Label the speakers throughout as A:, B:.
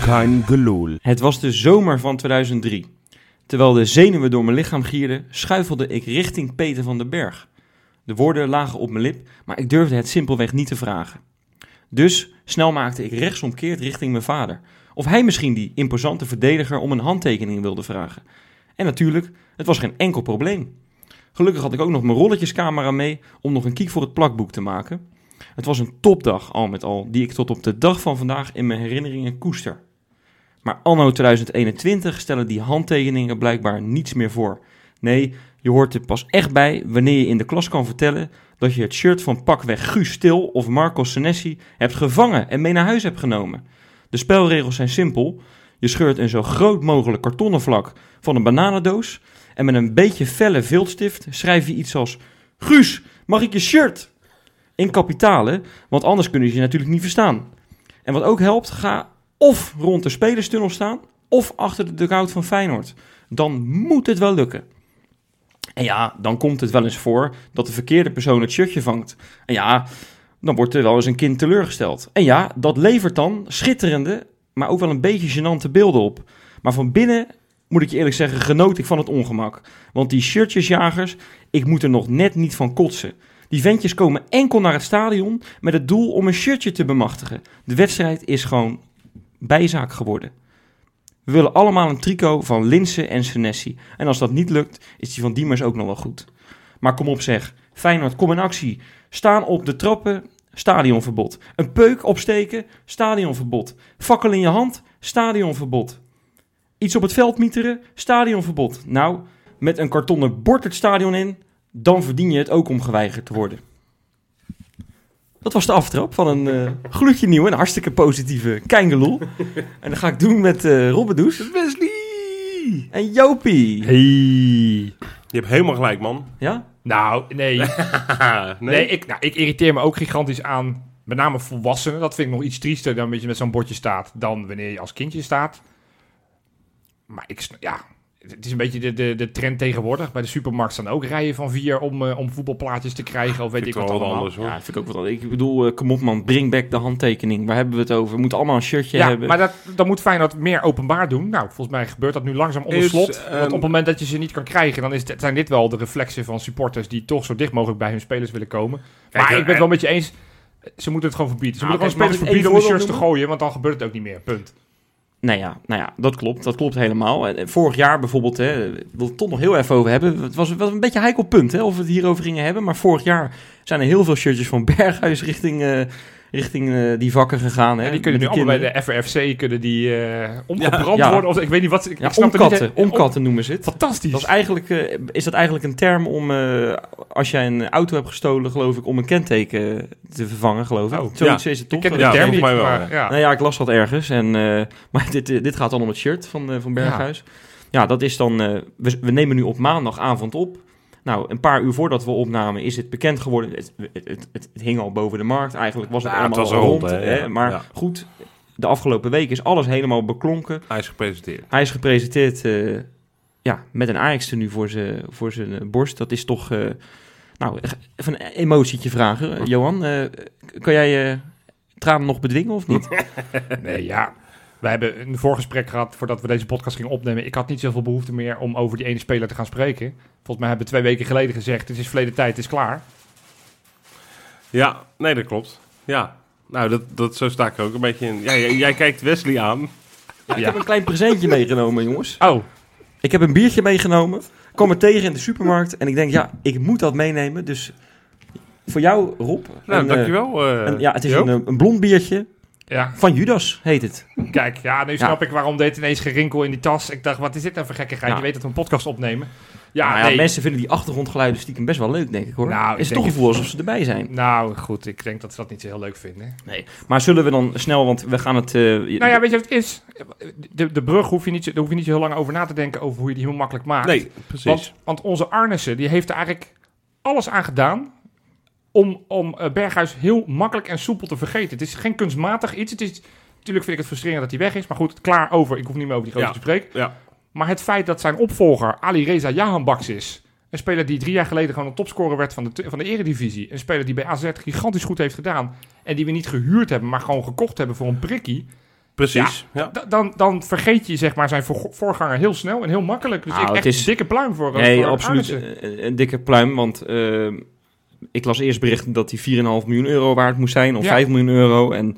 A: Kein geloel.
B: Het was de zomer van 2003. Terwijl de zenuwen door mijn lichaam gierden, schuifelde ik richting Peter van den Berg. De woorden lagen op mijn lip, maar ik durfde het simpelweg niet te vragen. Dus snel maakte ik rechtsomkeerd richting mijn vader. Of hij misschien die imposante verdediger om een handtekening wilde vragen. En natuurlijk, het was geen enkel probleem. Gelukkig had ik ook nog mijn rolletjescamera mee om nog een kiek voor het plakboek te maken. Het was een topdag al met al, die ik tot op de dag van vandaag in mijn herinneringen koester. Maar anno 2021 stellen die handtekeningen blijkbaar niets meer voor. Nee, je hoort er pas echt bij wanneer je in de klas kan vertellen dat je het shirt van pakweg Guus Stil of Marco Senesi hebt gevangen en mee naar huis hebt genomen. De spelregels zijn simpel. Je scheurt een zo groot mogelijk kartonnen vlak van een bananendoos en met een beetje felle viltstift schrijf je iets als Guus, mag ik je shirt? In kapitalen, want anders kunnen ze je natuurlijk niet verstaan. En wat ook helpt, ga of rond de spelerstunnel staan, of achter de dugout van Feyenoord. Dan moet het wel lukken. En ja, dan komt het wel eens voor dat de verkeerde persoon het shirtje vangt. En ja, dan wordt er wel eens een kind teleurgesteld. En ja, dat levert dan schitterende, maar ook wel een beetje gênante beelden op. Maar van binnen, moet ik je eerlijk zeggen, genoot ik van het ongemak. Want die shirtjesjagers, ik moet er nog net niet van kotsen. Die ventjes komen enkel naar het stadion met het doel om een shirtje te bemachtigen. De wedstrijd is gewoon bijzaak geworden. We willen allemaal een trico van Linsen en Senesi. En als dat niet lukt, is die van Diemers ook nog wel goed. Maar kom op zeg, Feyenoord, kom in actie. Staan op de trappen, stadionverbod. Een peuk opsteken, stadionverbod. Fakkel in je hand, stadionverbod. Iets op het veld mieteren, stadionverbod. Nou, met een kartonnen bord het stadion in, dan verdien je het ook om geweigerd te worden. Dat was de aftrap van een eh gloedje nieuwe en hartstikke positieve Keingeloel. en dat ga ik doen met eh Robbe Does
A: Wesley!
B: en Jopie.
A: Hey.
C: Je hebt helemaal gelijk, man.
B: Ja?
D: Nou, nee.
C: Haha,
D: Nee, ik, nou, ik irriteer me ook gigantisch aan. Met name volwassenen. Dat vind ik nog iets triester dan dat je met zo'n bordje staat. Dan wanneer je als kindje staat. Maar ik, sn- ja. Het is een beetje de, de, de trend tegenwoordig. Bij de supermarkt staan ook rijen van vier om, eh, om voetbalplaatjes te krijgen. Of weet ik
C: Vind ik
D: wat
C: wel wat
D: allemaal.
C: anders, hoor.
B: Ja, dat vind ik ook wel. Ik bedoel, eh, kom op man, bring back de handtekening. Waar hebben we het over? We moeten allemaal een shirtje
D: Ja,
B: hebben.
D: maar dat, dan moet Feyenoord meer openbaar doen. Nou, volgens mij gebeurt dat nu langzaam onder
C: Is,
D: slot.
C: ehm,
D: want op het moment dat je ze niet kan krijgen, dan is, dit- zijn dit wel de reflexen van supporters die toch zo dicht mogelijk bij hun spelers willen komen. Maar
C: Kijk,
D: ik ben het
C: eh,
D: wel met je eens, ze moeten het gewoon verbieden. Ze
B: Nou,
D: moeten
B: kijk,
D: gewoon spelers
B: mag ik
D: verbieden om
B: één
D: de shirts te
B: voorbeeld
D: gooien, want dan gebeurt het ook niet meer. Punt.
B: Nou ja, nou ja, dat klopt. Dat klopt helemaal. En, eh, Vorig jaar bijvoorbeeld, hè, ik wil het toch nog heel even over hebben. Het was, was een beetje een heikel punt hè, of we het hierover gingen hebben. Maar vorig jaar zijn er heel veel shirtjes van Berghuis richting, eh, richting eh, die vakken gegaan. Hè,
D: En die kunnen nu
B: met
D: allemaal bij
B: kinderen.
D: de FRFC kunnen die, eh omgebrand
B: Ja.
D: worden. Of, ik weet niet wat. Ik,
B: Ja,
D: ik snap het
B: omkatten.
D: niet, hè.
B: omkatten noemen ze het.
D: Fantastisch.
B: Dat is, eigenlijk, eh, is dat eigenlijk een term om, eh, als jij een auto hebt gestolen, geloof ik, om een kenteken te vervangen, geloof ik.
D: Oh,
B: Zoiets is het toch?
D: ik ken de
C: Ja,
D: term
C: volgens
D: niet,
C: mij wel,
D: maar, ja.
B: Nou ja, ik las dat ergens. En, eh, maar dit, eh, dit gaat dan om het shirt van, eh, van Berghuis. Ja. dat is dan... eh, we, we nemen nu op maandagavond op. Nou, een paar uur voordat we opnamen is het bekend geworden. Het, het, het, het hing al boven de markt. Eigenlijk was het
C: Nou, het
B: allemaal
C: was
B: al
C: rond,
B: rond.
C: hè,
B: hè,
C: ja.
B: Maar
C: Ja.
B: goed, de afgelopen week is alles helemaal beklonken.
C: Hij is gepresenteerd.
B: Hij is gepresenteerd eh, ja, met een ajax nu voor zijn voor zijn eh, borst. Dat is toch... eh, nou, even een emotietje vragen. Eh, Johan, eh, k- kan jij je tranen nog bedwingen of niet?
D: Nee, ja. We hebben een voorgesprek gehad voordat we deze podcast gingen opnemen. Ik had niet zoveel behoefte meer om over die ene speler te gaan spreken. Volgens mij hebben we twee weken geleden gezegd, het is verleden tijd, het is klaar.
C: Ja, nee, dat klopt. Ja. Nou, dat, dat, zo sta ik er ook een beetje in. Ja, jij, jij kijkt Wesley aan.
B: Ik
D: Ja.
B: heb een klein presentje meegenomen, jongens.
D: Oh,
B: Ik heb een biertje meegenomen. Kom er tegen in de supermarkt. En ik denk, ja, ik moet dat meenemen. Dus voor jou, Rob.
C: Nou,
B: een, eh,
C: dankjewel. eh,
B: een- ja, het is
C: Joop.
B: een, eh, een blond biertje.
D: ja.
B: Van Judas heet het.
D: Kijk, ja, nu snap ik waarom deed ineens gerinkel in die tas. Ik dacht, wat is dit nou voor gekkigheid?
B: Ja.
D: Je weet dat we een podcast opnemen. Ja,
B: Maar Nou ja,
D: nee.
B: mensen vinden die achtergrondgeluiden stiekem best wel leuk, denk ik hoor.
D: Nou, ik
B: is
D: denk
B: toch een
D: het-
B: gevoel alsof ze erbij zijn.
D: Nou goed, ik denk dat ze dat niet zo heel leuk vinden.
B: Nee. Maar zullen we dan snel, want we gaan het... eh, je-
D: Nou ja, weet je wat het is? De, de brug hoef je, niet, zo- daar hoef je niet zo heel lang over na te denken over hoe je die heel makkelijk maakt.
C: Nee, precies.
D: Want, want onze Arnissen, die heeft er eigenlijk alles aan gedaan om, om eh, Berghuis heel makkelijk en soepel te vergeten. Het is geen kunstmatig iets. Het is, natuurlijk vind ik het frustrerend dat hij weg is, maar goed, klaar over. Ik hoef niet meer over die gozer
C: Ja.
D: te spreken.
C: Ja.
D: Maar het feit dat zijn opvolger Ali Reza Jahanbaks is, een speler die drie jaar geleden gewoon een topscorer werd van de, van de eredivisie, een speler die bij AZ gigantisch goed heeft gedaan en die we niet gehuurd hebben, maar gewoon gekocht hebben voor een prikkie,
C: Precies. Ja.
D: da- dan, dan vergeet je zeg maar, zijn voor- voorganger heel snel en heel makkelijk. Dus
B: Nou,
D: ik echt
B: het is-
D: dikke pluim voor eh,
B: Nee,
D: voor
B: absoluut.
D: Arnissen.
B: eh, Een, dikke pluim, want eh, ik las eerst berichten dat die 4,5 miljoen euro waard moest zijn, of
D: Ja.
B: 5 miljoen euro. En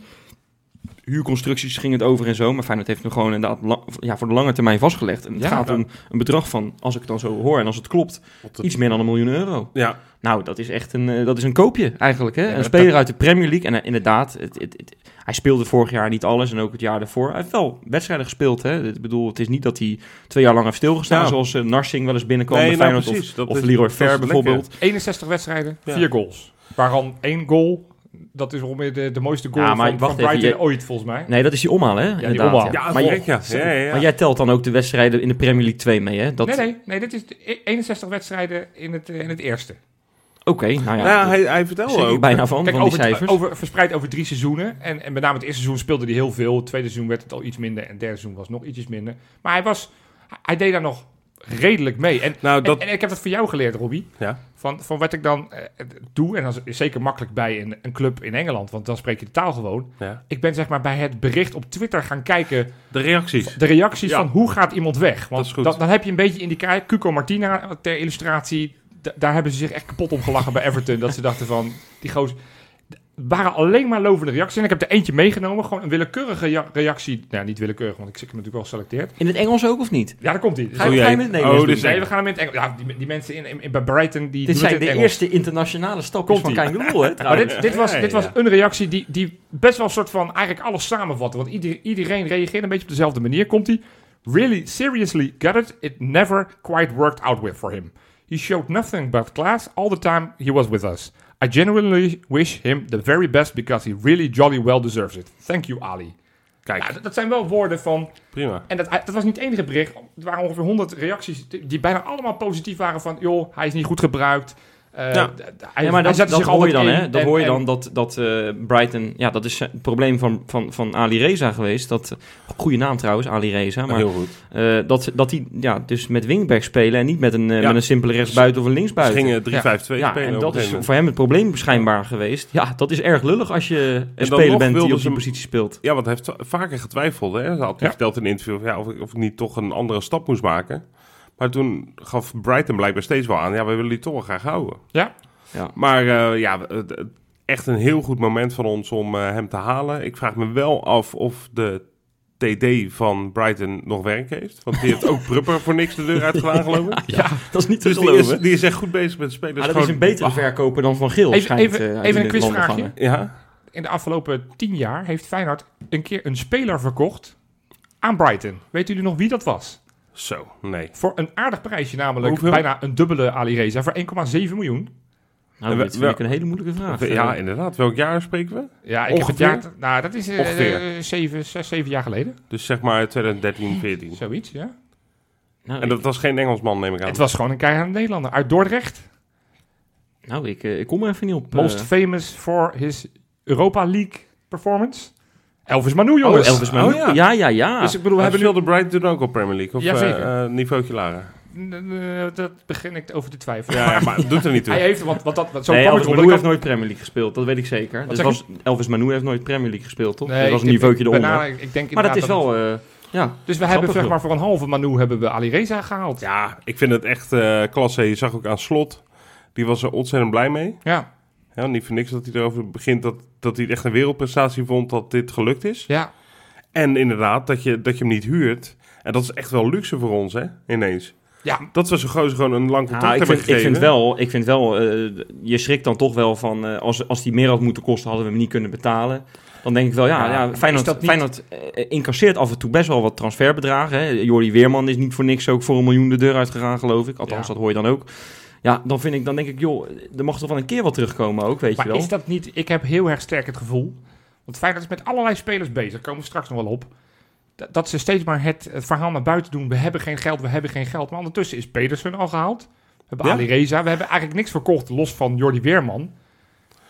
B: huurconstructies ging het over en zo. Maar Feyenoord heeft hem gewoon inderdaad la- ja, voor de lange termijn vastgelegd. En het
D: Ja.
B: gaat
D: Ja.
B: om een bedrag van, als ik het dan zo hoor en als het klopt,
C: Wat het-
B: iets meer dan een miljoen euro.
C: Ja.
B: Nou, dat is echt een, eh, dat is een koopje eigenlijk. Hè?
D: maar
B: een
D: dat-
B: speler uit de Premier League. En eh, inderdaad, het, het, het- hij speelde vorig jaar niet alles en ook het jaar daarvoor. Hij heeft wel wedstrijden gespeeld. Hè? Ik bedoel, het is niet dat hij twee jaar lang heeft stilgestaan.
C: Ja.
B: Zoals eh, Narsing wel eens binnenkwam
C: Nee,
B: bij
C: nou,
B: Feyenoord.
C: precies.
B: of
C: Dat
B: of
C: is-
B: Leroy
C: dat is
B: Fair
C: lekker.
B: bijvoorbeeld.
D: 61 wedstrijden,
C: Ja.
D: 4 goals. Waarvan één goal, dat is ongeveer de, de mooiste goal
B: Ja, maar
D: van,
B: wacht
D: van Brighton
B: even, je-
D: ooit volgens mij.
B: Nee, dat is die omhaal, hè? inderdaad,
D: omhaal.
B: ja.
C: Ja,
B: maar,
C: ja,
B: jij,
C: ja, ja, ja.
B: maar jij telt dan ook de wedstrijden in de Premier League 2 mee, hè? Dat,
D: nee, nee, nee, dit is de e- 61 wedstrijden in het, eh, in het eerste.
B: Oké, nou ja.
C: Nou,
B: dat-
C: hij, oh. hij
B: schrik
C: vertelde
B: ik
C: ook.
B: bijna van, van die
D: over, het-
B: cijfers.
D: over, verspreid over drie seizoenen. En, en met name het eerste seizoen speelde hij heel veel. Het tweede seizoen werd het al iets minder. En het derde seizoen was nog ietsjes minder. Maar hij, was, hij deed daar nog redelijk mee. En,
C: Nou, dat,
D: en, en ik heb dat voor jou geleerd, Robbie.
C: Ja.
D: Van, van wat ik dan eh, doe. En dat is zeker makkelijk bij een, een club in Engeland. Want dan spreek je de taal gewoon.
C: ja.
D: Ik ben zeg maar bij het bericht op Twitter gaan kijken.
C: De reacties.
D: de reacties
C: Ja.
D: van hoe gaat iemand weg.
C: Dat
D: Want
C: is goed.
D: dan, dan heb je een beetje in die kijk. Cuco Martina ter illustratie. da- daar hebben ze zich echt kapot om gelachen bij Everton. Dat ze dachten van die gozer. d- waren alleen maar lovende reacties. En ik heb er eentje meegenomen. Gewoon een willekeurige ja- reactie. Nou, niet willekeurig, want ik zit hem natuurlijk wel selecteerd.
B: In het Engels ook of niet?
D: Ja, daar komt hij.
B: Ga je,
C: Oh,
B: ga
C: jee.
B: je met het Nederlands
C: Oh,
B: doen?
C: dit
D: Nee, we gaan hem in het Engels. Ja, die, die mensen in, in, in- bij Brighton die
B: Dit
D: doen het
B: zijn
D: in
B: de
D: het Engels.
B: eerste internationale stapjes van
D: Komt-ie.
B: Kein Geloel, hè?
D: Maar
B: trouwens.
D: dit, dit, was,
C: Ja, ja,
D: dit was
C: Nou, ja.
D: een reactie die, die best wel een soort van eigenlijk alles samenvatte. Want ieder, iedereen reageerde een beetje op dezelfde manier. Komt hij? Really, seriously, got it? It never quite worked out with for him. He showed nothing but class all the time he was with us. I genuinely wish him the very best because he really jolly well deserves it. Thank you, Ali.
C: Kijk,
D: Nou, dat, dat zijn wel woorden van...
C: prima.
D: En dat, dat was niet het enige bericht. Er waren ongeveer 100 reacties die die bijna allemaal positief waren van... joh, hij is niet goed gebruikt. Eh,
C: Ja.
D: d- d- hij,
B: Ja, maar
D: hij
B: dat,
D: zette
B: dat
D: zich
B: hoor je
D: altijd
B: dan,
D: in
B: hè? Dat
D: en-
B: hoor je
D: en-
B: dan dat, dat eh, Brighton... Ja, dat is het probleem van, van, van Ali Reza geweest. Dat, goede naam trouwens, Ali Reza. Maar
C: heel goed.
B: eh, dat, dat die ja, dus met wingback spelen en niet met een, eh,
C: Ja.
B: met een simpele rechtsbuiten of een
C: Ze
B: linksbuiten.
C: gingen 3-5-2
B: ja,
C: spelen.
B: en
C: op een gegeven
B: dat is
C: moment.
B: voor hem het probleem schijnbaar geweest. Ja, dat is erg lullig als je een
C: dan
B: speler
C: nog
B: bent die
C: wilden
B: op
C: ze
B: die
C: hem-
B: positie speelt.
C: Ja, want hij heeft t- vaker getwijfeld. Hè? Ze had
D: Ja.
C: verteld in een interview of, ja, of, ik, of ik niet toch een andere stap moest maken. Maar toen gaf Brighton blijkbaar steeds wel aan. Ja, we willen die toch wel graag houden.
D: Ja.
B: Ja.
C: Maar eh, ja, het- het- echt een heel goed moment van ons om eh, hem te halen. Ik vraag me wel af of de TD van Brighton nog werk heeft. Want die heeft ook Prupper voor niks de deur uitgedaan, geloof ik.
B: Ja, dat is niet te
C: Dus die
B: geloven.
C: is, die is echt goed bezig met de spelers.
B: Ah, dat
C: Gewoon-
B: is een betere
C: Ah,
B: verkoper dan Van Geel,
D: Even-
B: schijnt,
D: even-
B: eh, uit
D: even
B: die
D: een
B: Nederlander
D: quizvraagje.
B: vangen.
C: Ja,
D: in de afgelopen tien jaar heeft Feyenoord een keer een speler verkocht aan Brighton. Weet jullie nog wie dat was?
C: zo, nee.
D: Voor een aardig prijsje, namelijk
C: Hoeveel?
D: bijna een dubbele Ali Reza voor 1,7 miljoen.
B: Nou,
C: We-
B: dit vind
C: we-
B: ik een hele moeilijke vraag. Nou,
C: Ja, inderdaad. Welk jaar spreken we?
D: Ja, ik heb
C: Ongeveer?
D: het jaar. Nou, dat is eh,
C: Ongeveer.
D: eh, zeven, zes, zeven jaar geleden.
C: Dus zeg maar 2013, 14.
D: Zoiets, ja.
B: Nou,
C: En dat was geen Engelsman, neem ik aan.
D: Het was gewoon een keihard Nederlander uit Dordrecht.
B: ik- nou ik, eh, ik kom er even niet op.
D: Most
B: eh.
D: famous for his Europa League performance. Elvis Manu,
B: Oh,
D: jongens.
B: Elvis Manu. Ah.
C: Oh, ja.
B: ja. ja, ja, ja.
D: Dus ik bedoel,
C: We
D: we
C: hebben
D: hebben nu...
C: Wilde Bright toen ook op Premier League? Of
D: Jazeker.
C: eh, eh, niveautje lager?
D: Eh, Dat begin ik over te twijfelen.
C: Ja, ja, maar het doet er niet toe.
D: Hij heeft, want, want dat, want zo
B: nee,
D: kwam ik
B: Elvis
D: erop.
B: Manu
D: Ik
B: heeft
D: had-
B: nooit Premier League gespeeld, dat weet ik zeker. Dus
D: zeg
B: was, Elvis Manu heeft nooit Premier League gespeeld, toch? dat was
D: ik-
B: een niveautje
D: ik-
B: eronder.
D: bijna- ik- ik denk
B: maar dat
D: inderdaad
B: is wel, eh, ja.
D: Dus we hebben
B: Grappig,
D: zeg
B: joh.
D: maar voor een halve Manu hebben we Ali Reza gehaald. Ja.
C: Ja, ik vind het echt eh, klasse. Je zag ook aan Slot, die was er ontzettend blij mee.
D: Ja.
C: Ja, niet voor niks dat hij erover begint dat, dat hij het echt een wereldprestatie vond dat dit gelukt is. En inderdaad, dat je, dat je hem niet huurt. En dat is echt wel luxe voor ons, hè, ineens.
D: Ja.
C: Dat we zo'n gozer gewoon een lang contract
B: Ah, ik,
C: hebben
B: vind, ik
C: gegeven.
B: vind wel, ik vind wel eh, je schrikt dan toch wel van, eh, als, als die meer had moeten kosten, hadden we hem niet kunnen betalen. Dan denk ik wel, ja,
D: Ja,
B: ja, Feyenoord,
D: is dat niet-
B: Feyenoord eh, incasseert af en toe best wel wat transferbedragen. Hè. Jordi Weerman is niet voor niks ook voor een miljoen de deur uitgegaan, geloof ik. Althans,
D: Ja.
B: dat hoor je dan ook. Ja, dan, vind ik, dan denk ik, joh, er mag toch wel een keer wat terugkomen ook, weet
D: Maar
B: je wel.
D: is dat niet... Ik heb heel erg sterk het gevoel... Want Feyenoord is met allerlei spelers bezig. Daar komen we straks nog wel op. Dat, dat ze steeds maar het, het verhaal naar buiten doen. We hebben geen geld, we hebben geen geld. Maar ondertussen is Pedersen al gehaald. We hebben
C: Ja.
D: Ali Reza. We hebben eigenlijk niks verkocht, los van Jordi Weerman.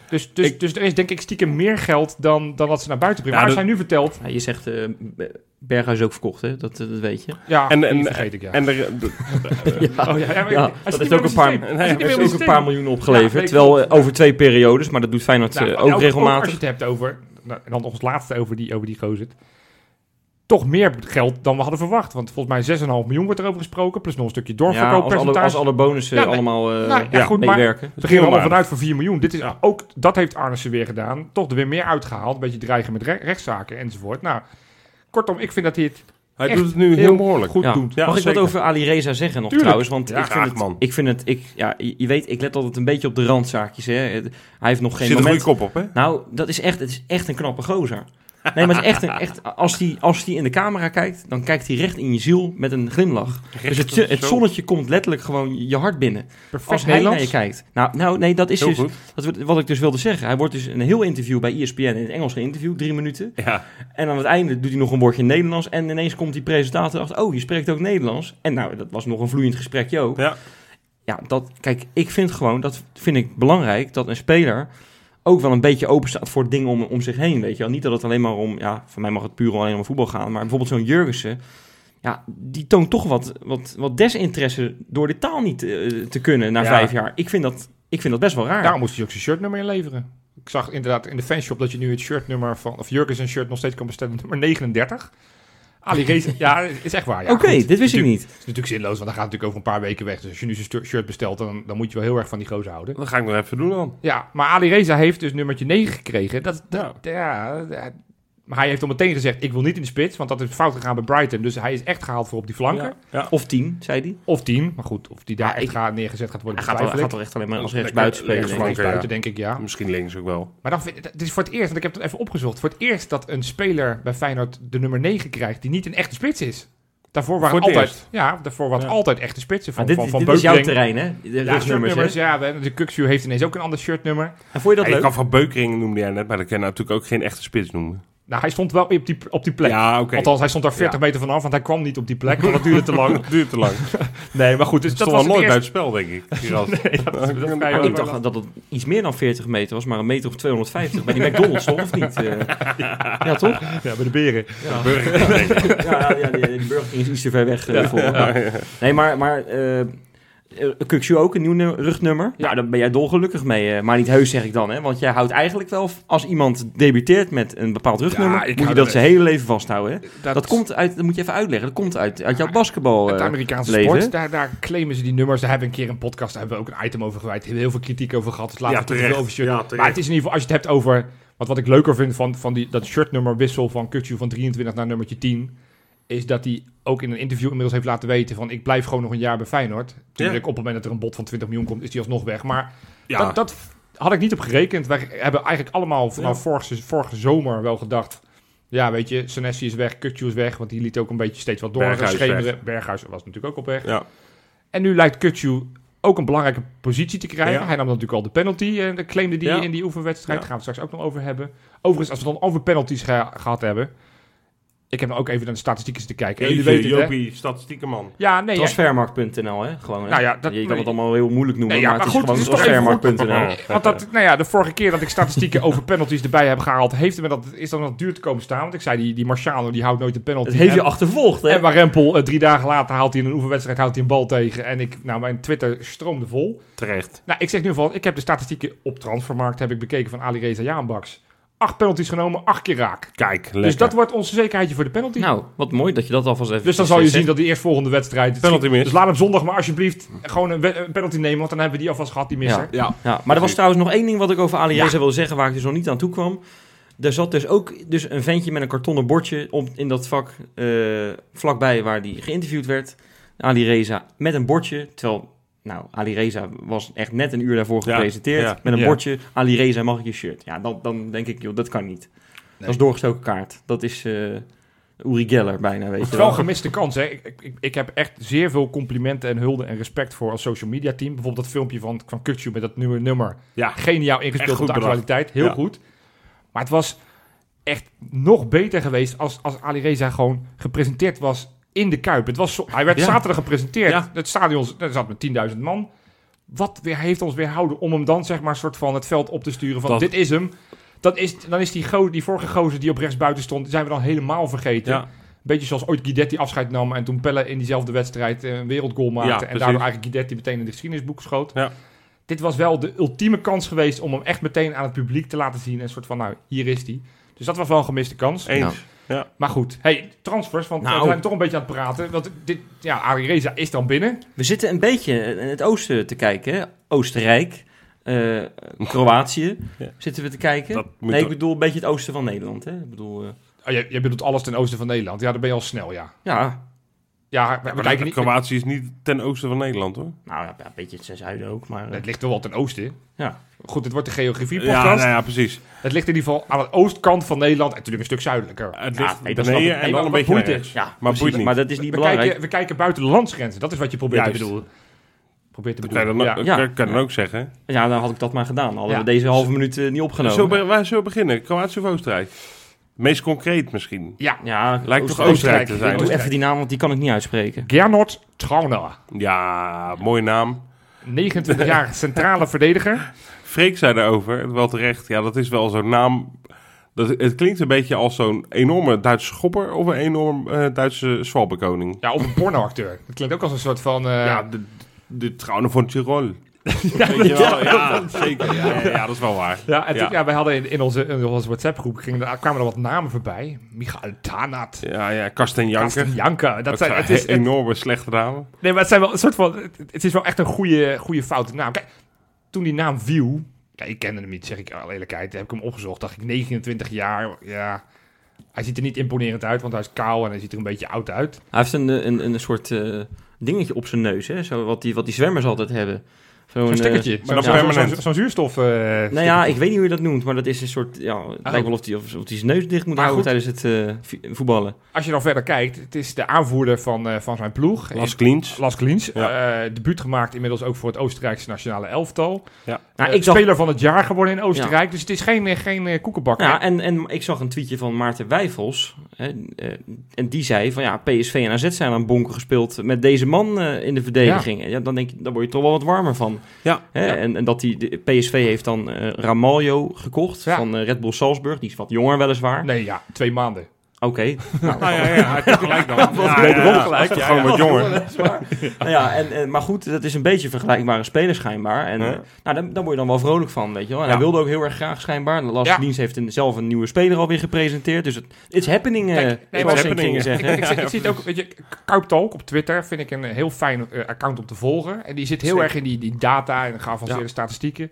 D: Dus, dus, dus er is denk ik stiekem meer geld dan, dan wat ze naar buiten brengen.
C: Ja,
D: maar als
C: dat-
D: jij nu vertelt...
B: Ja, je zegt, eh, Be- Berghuis is ook verkocht, hè? Dat, eh, dat weet je.
D: Ja,
C: En-
D: die
C: en-
D: vergeet ik, ja.
C: En er, d-
D: Oh, ja, ja,
B: Ja,
D: maar hij zit
B: dat
D: niet
B: heeft
D: meer
B: ook
D: in
B: een paar,
D: het systeem. Hij
B: hij
D: zit niet
B: heeft
D: meer in
B: ook
D: het
B: een paar
D: systeem.
B: miljoen
D: Ja,
B: opgeleverd.
D: weet
B: Terwijl eh, over twee periodes, maar dat doet Feyenoord
D: Nou,
B: eh,
D: maar
B: ook,
D: elke- Als je
B: regelmatig.
D: het hebt over, nou, en dan ons laatste over die, over die gozer. Toch meer geld dan we hadden verwacht. Want volgens mij 6,5 miljoen wordt erover gesproken. Plus nog een stukje
B: ja, als alle,
D: doorverkooppercentage.
B: als alle bonussen
D: Ja, nee.
B: allemaal eh,
D: Nou, ja, goed, maar-
B: meewerken.
D: Ze gingen er al
C: Heel
D: vanuit voor 4 miljoen. Dit is ook, dat heeft Arnissen weer gedaan. Toch er weer meer uitgehaald. Een beetje dreigen met re- rechtszaken enzovoort. Nou, kortom, ik vind dat hij het
C: hij
D: Echt
C: doet het nu
D: heel
C: heel behoorlijk.
D: goed
B: Ja.
D: doet.
C: Ja,
B: Mag ik
C: zeker.
B: wat over Ali Reza zeggen nog
D: Tuurlijk.
B: trouwens? Want
D: Ja,
B: ik vind
C: graag,
B: het,
C: man.
B: Ik vind het, ik, ja, je je weet, ik let altijd een beetje op de randzaakjes. Hè. Het- Hij heeft nog
C: Zit
B: geen
C: een goede
B: moment.
C: kop op, hè?
B: Nou, dat is echt, het is echt een knappe gozer. Nee, maar het is echt, een, echt als hij als die in de camera kijkt, dan kijkt hij recht in je ziel met een glimlach. Dus het,
C: Zo.
B: het zonnetje komt letterlijk gewoon je hart binnen.
D: perfect
B: Als hij naar je
D: Nederlands.
B: kijkt. Nou, nou nee, dat is
C: Heel
B: dus
C: goed.
B: dat, wordt- wat ik dus wilde zeggen. Hij wordt dus een heel interview bij ESPN in het Engels geïnterviewd, drie minuten.
C: Ja,
B: En aan het einde doet hij nog een woordje Nederlands. En ineens komt die presentator achter, oh, je spreekt ook Nederlands. En nou, dat was nog een vloeiend gesprekje ook.
C: Ja.
B: Ja, dat, kijk, ik vind gewoon, dat vind ik belangrijk, dat een speler ook wel een beetje open staat voor dingen om, om zich heen, weet je wel. Niet dat het alleen maar om, ja, voor mij mag het puur alleen om voetbal gaan, maar bijvoorbeeld zo'n Jurgensen, ja, die toont toch wat, wat, wat desinteresse door de taal niet eh, te kunnen na
D: Ja.
B: vijf jaar. Ik vind, dat, ik vind dat best wel raar.
D: Daarom moest hij ook zijn shirtnummer inleveren. Ik zag inderdaad in de fanshop dat je nu het shirtnummer van... Of Jurgen zijn shirt nog steeds kan bestellen. Nummer 39. Ali Reza. ja, is echt waar. Ja,
B: Oké,
D: goed.
B: dit wist ik
D: Natuurlijk-
B: niet.
D: Het is natuurlijk zinloos, want hij gaat natuurlijk over een paar weken weg. Dus als je nu zijn stu- shirt bestelt, dan, dan moet je wel heel erg van die gozer houden.
C: dat ga ik nog even doen dan.
D: Ja, maar Ali Reza heeft dus nummertje 9 gekregen. Dat, dat, ja. eh, maar hij heeft al meteen gezegd, ik wil niet in de spits, want dat is fout gegaan bij Brighton. Dus hij is echt gehaald voor op die flanken.
C: Ja. Ja.
B: Of tien, zei hij.
D: Of team, maar goed, of die daar
B: Ja,
D: echt
B: ik-
D: gaat neergezet gaat worden,
B: Hij gaat, wel- hij
D: betwijfel
B: gaat toch
D: ik.
B: echt alleen maar als
C: Lekker-
B: rechtsbuiten spelen.
C: lekker
B: denk ik.
C: flanken,
D: Links buiten, denk ik, ja.
C: Misschien links ook wel.
D: Maar dan, vind ik- het is voor het eerst, want ik heb het even opgezocht. Voor het eerst dat een speler bij Feyenoord de nummer 9 krijgt, die niet een echte spits is. Daarvoor waren
C: Voor het
D: altijd,
C: eerst.
D: ja, daarvoor waren
C: Ja.
D: altijd echte spitsen. Van,
B: Maar dit,
D: van, van
B: dit is jouw
D: Beukering.
B: terrein, hè? De
D: Ja,
B: rugnummers,
D: shirtnummers,
B: hè?
D: ja. we- De Kuxu heeft ineens ook een ander shirtnummer.
B: En vond je dat
C: Ja, je
B: leuk?
C: kan Van Beukering noemde jij net, maar dat kan je nou natuurlijk ook geen echte spits noemen.
D: Nou, hij stond wel op die, op die plek.
C: Ja, oké.
D: Althans, hij stond daar 40
C: Ja.
D: meter vanaf, want hij kwam niet op die plek. Want dat duurde te lang.
C: Dat duurt te lang.
D: Nee, maar goed, dus
C: Dat
D: dat
C: was
D: was
C: nooit
D: het
C: bij
D: eerste.
C: het spel, denk ik. die gast.
D: dat kan je
B: Maar
D: wel-
B: ik dacht dat het iets meer dan 40 meter was, maar een meter of 250. Bij die McDonald's toch, of niet? Eh, ja, toch?
D: Ja, bij de beren.
B: Ja, ja, ja die, die Burger King is iets te ver weg eh, voor. Nee, maar, maar eh eh, Kukshu ook, een nieuw nu- rugnummer. Ja, daar ben jij dolgelukkig mee. eh, maar niet heus, zeg ik dan, hè? Want jij houdt eigenlijk wel, als iemand debuteert met een bepaald
D: Ja,
B: rugnummer,
D: ik
B: moet je
D: hou
B: dat
D: er-
B: zijn hele leven vasthouden, hè?
D: Dat,
B: Dat komt uit, dat moet je even uitleggen, dat komt uit, uit jouw
D: Ja,
B: basketbal.
D: Het
B: eh,
D: Amerikaanse
B: leven.
D: sport, daar, daar claimen ze die nummers. Daar hebben we een keer een podcast, daar hebben we ook een item over gewijd. Daar hebben we heel veel kritiek over gehad. Dus laten
C: Ja,
D: we het er
C: terecht.
D: veel over shirt.
C: Ja,
D: maar
C: terecht.
D: het is in ieder geval, als je het hebt over... Want wat ik leuker vind van, van die, dat shirtnummer wissel van Kukju van 23 naar nummertje 10... is dat hij ook in een interview inmiddels heeft laten weten van... ik blijf gewoon nog een jaar bij Feyenoord. Natuurlijk, op het moment dat er een bod van 20 miljoen komt, is hij alsnog weg. Maar
C: Ja,
D: Dat, dat had ik niet op gerekend. Wij hebben eigenlijk allemaal vanaf vorige, vorige zomer wel gedacht... Ja, weet je, Senesi is weg, Kukju is weg... want die liet ook een beetje steeds wat door
C: Berghuis
D: schemeren. Berghuis was natuurlijk ook op weg.
C: Ja.
D: En nu lijkt Kukju ook een belangrijke positie te krijgen.
C: Ja.
D: Hij nam natuurlijk al de penalty en dat claimde die
C: Ja.
D: in die oefenwedstrijd.
C: Ja.
D: Daar gaan we het straks ook nog over hebben. Overigens, als we het dan over penalties ge- gehad hebben... Ik heb nou ook even naar de statistieken te kijken. En
C: Jeetje,
D: Jullie weten het, hè?
C: Jopie, statistiekenman.
D: Ja, nee, ja,
B: Transfermarkt.nl, hè? Gewoon, hè?
D: Nou ja, dat-
B: je kan het allemaal heel moeilijk noemen,
D: Nee, ja,
B: maar,
D: maar
B: het is
D: goed,
B: gewoon
D: het is toch even
B: transfermarkt.nl.
D: Want dat, nou ja, de vorige keer dat ik statistieken over penalties erbij heb gehaald, heeft er me dat, is dan wat duur te komen staan. Want ik zei, die, die Marciano die houdt nooit een penalty.
B: Het heeft je
D: En-
B: achtervolgd, hè?
D: en waar Rempel eh, drie dagen later haalt hij in een oefenwedstrijd houdt hij een bal tegen. En ik, nou, mijn Twitter stroomde vol.
C: Terecht.
D: Nou, ik zeg nu van, ik heb de statistieken op transfermarkt heb ik bekeken van Ali Reza Jaanbaks. Acht penalties genomen, acht keer raak.
C: Kijk, lekker.
D: Dus dat wordt onze zekerheidje voor de penalty.
B: Nou, wat mooi dat je dat alvast even...
D: dus dan zal je zien dat die eerstvolgende wedstrijd...
C: Penalty mis.
D: Dus laat hem zondag maar alsjeblieft gewoon een, we- een penalty nemen, want dan hebben we die alvast gehad, die misser.
B: Ja.
C: Ja.
B: Ja, maar er was
C: Precies.
B: trouwens nog één ding wat ik over Ali
D: Ja.
B: Reza wilde zeggen, waar ik dus nog niet aan toe kwam. Er zat dus ook dus een ventje met een kartonnen bordje om, in dat vak, eh, vlakbij waar die geïnterviewd werd. Ali Reza met een bordje, terwijl... Nou, Ali Reza was echt net een uur daarvoor
C: Ja,
B: gepresenteerd.
C: ja.
B: Met een
D: Ja.
B: bordje, Ali Reza mag ik je shirt. Ja, dan, dan denk ik, joh, dat kan niet. Dat is doorgestoken kaart. Dat is eh Uri Geller bijna, weet
D: Het
B: je
D: is wel
B: wel.
D: een gemiste kans, hè. Ik, ik, ik heb echt zeer veel complimenten en hulde en respect voor als social media team. Bijvoorbeeld dat filmpje van, van Kutsu met dat nieuwe nummer.
C: Ja,
D: Geniaal
C: Echt
D: ingespeeld
C: goed
D: op de
C: bedacht.
D: actualiteit. Heel
C: Ja.
D: goed. Maar het was echt nog beter geweest als, als Ali Reza gewoon gepresenteerd was in de Kuip. Het was zo- hij werd
C: Ja.
D: zaterdag gepresenteerd.
C: Ja.
D: Het stadion daar zat met 10.000 man. Wat weer, heeft ons weerhouden om hem dan zeg maar soort van het veld op te sturen van
C: Dat-
D: dit is hem. Dat is, dan is die, go die vorige gozer die op rechts buiten stond, die zijn we dan helemaal vergeten.
C: ja.
D: Beetje zoals ooit Guidetti afscheid nam en toen Pelle in diezelfde wedstrijd eh, een wereldgoal maakte.
C: Ja,
D: en
C: precies.
D: daardoor eigenlijk Guidetti meteen in de geschiedenisboek schoot.
C: Ja.
D: Dit was wel de ultieme kans geweest om hem echt meteen aan het publiek te laten zien. En een soort van, nou, hier is hij. Dus dat was wel een gemiste kans.
C: eens.
D: Maar goed, hey, transfers, want eh,
B: Nou.
D: we zijn toch een beetje aan het praten. Want dit, ja, Arie Reza is dan binnen.
B: We zitten een beetje in het oosten te kijken. hè. Oostenrijk, eh, Kroatië
C: Ja.
B: zitten we te kijken.
C: Dat moet
B: nee, ik
C: ook-
B: bedoel een beetje het oosten van Nederland. Hè? Ik bedoel, eh,
D: Oh, je, je bedoelt alles ten oosten van Nederland. Ja, dan ben je al snel, ja.
B: ja,
D: Ja, we,
C: Maar
D: we kijken
C: de-
D: niet...
C: Kroatië is niet ten oosten van Nederland, hoor.
B: nou ja, een beetje het zijn zuiden ook. Maar, eh,
D: Het ligt toch wel ten oosten.
B: Ja.
D: Goed, dit wordt de
C: Ja,
D: geografie-podcast.
C: nou ja, precies.
D: Het ligt in ieder geval aan de oostkant van Nederland. En natuurlijk een stuk zuidelijker.
C: Het
B: Ja,
C: ligt
B: nee, dat snap
C: beneden
B: ik.
C: en
D: Nee,
C: dan
D: maar
C: een
D: wat
C: beetje naar
D: boeit
C: rechts.
B: ja,
C: maar eh,
B: precies.
C: boeit niet.
B: Maar dat is niet
D: we,
B: belangrijk.
D: kijken, we kijken buiten de landsgrenzen. Dat is wat je probeert dus.
C: Juist.
D: te bedoelen. Probeert te
C: Dat kan je
D: bedoelen.
C: dan,
D: ja.
C: ook-
B: Ja.
C: kan- kan je dan ook zeggen.
B: Ja, dan had ik dat maar gedaan. Hadden
D: Ja.
B: we deze halve minuut eh, niet opgenomen.
C: Zo, be- waar zo beginnen? Kroatië of Oostenrijk? Meest concreet misschien.
D: ja.
B: ja,
C: Lijkt toch
B: Oostenrijk.
C: Oostenrijk te
D: Oostenrijk.
C: zijn?
B: Doe even die naam, want die kan ik niet uitspreken.
D: Gernot Trauner.
C: Ja, mooie naam.
D: 29 jaar centrale verdediger.
C: Freek zei daarover, wel terecht. Ja, dat is wel zo'n naam. Dat, het klinkt een beetje als zo'n enorme Duitse schopper of een enorm eh, Duitse zwalbekoning.
D: Ja, of een pornoacteur. Dat klinkt ook als een soort van... eh,
C: Ja, de, de trouwen van Tirol. Weet je wel? Ja, zeker. Ja, ja, ja, dat is wel waar.
D: Ja, en toen-
C: Ja.
D: ja, wij hadden in, in onze, in onze WhatsApp-groep gingen, er- kwamen er wat namen voorbij. Michael Tanat,
C: Ja, ja, Kastenjanker.
D: Karsten Janker. Dat
C: Dat
D: zijn,
C: zijn
D: het is, het-
C: enorme slechte namen.
D: nee, maar het zijn wel een soort van... Het, het is wel echt een goede, goede foute naam. Kijk, toen die naam viel... Kijk, ik kende hem niet, zeg ik alle eerlijkheid. Heb ik hem opgezocht, dacht ik 29 jaar. Ja, hij ziet er niet imponerend uit, want hij is kaal en hij ziet er een beetje oud uit.
B: Hij heeft een, eh, een, een soort eh, dingetje op zijn neus, hè? Zo, wat, die, wat die zwemmers altijd hebben. Zo'n
D: Zo'n
B: eh,
D: stekkertje.
C: maar
D: Zo'n-
C: dan
D: zo'n-
C: permanent.
D: zo'n- Zo'n zuurstof. eh,
B: nou ja, ik weet niet hoe je dat noemt, maar dat is een soort... Ja, het
D: Oh.
B: lijkt wel of hij of, of die zijn neus dicht moet
D: Maar
B: houden
D: goed.
B: tijdens het eh, vi- voetballen.
D: Als je dan verder kijkt, het is de aanvoerder van, eh, van zijn ploeg.
C: Las Kliens.
D: Las Kliens. Eh, debuut gemaakt inmiddels ook voor het Oostenrijkse nationale elftal.
B: Nou,
D: Eh,
B: ik zag,
D: Speler van het jaar geworden in Oostenrijk. Dus het is geen, eh, geen eh, koekenbak.
B: ja, en, en ik zag een tweetje van Maarten Wijfels. Hè, eh, en die zei van ja, PSV en AZ zijn aan bonken gespeeld met deze man eh, in de verdediging. Ja. dan denk je, daar word je toch wel wat warmer van.
C: Ja.
B: Hè, En, en dat die de PSV heeft dan eh Ramaljo gekocht
D: Ja.
B: van eh, Red Bull Salzburg. Die is wat jonger weliswaar.
D: Nee, ja, twee maanden.
B: Oké,
C: Nou ja, ja, ja, gelijk dan. Ja, ja,
B: wederom
C: ja,
B: gelijk,
C: dat is
B: ja,
C: Gewoon
B: ja.
C: wat jonger.
B: Nou ja, en, en- maar goed, dat is een beetje een vergelijkbare speler schijnbaar. En
C: Ja.
B: eh, nou, daar, daar word je dan wel vrolijk van, weet je wel. En hij wilde ook heel erg graag schijnbaar. Lars
D: Ja.
B: Dienst heeft een, zelf een nieuwe speler alweer gepresenteerd. Dus het is happening, eh
D: Kijk, nee,
B: nee,
D: maar-
B: happening.
D: Ik,
B: zeggen.
D: ik, ik- ik zie het ook, weet je, Kuiptalk op Twitter vind ik een eh, heel fijn eh, account om te volgen. En die zit heel
C: Zeker.
D: erg in die, die data en geavanceerde statistieken.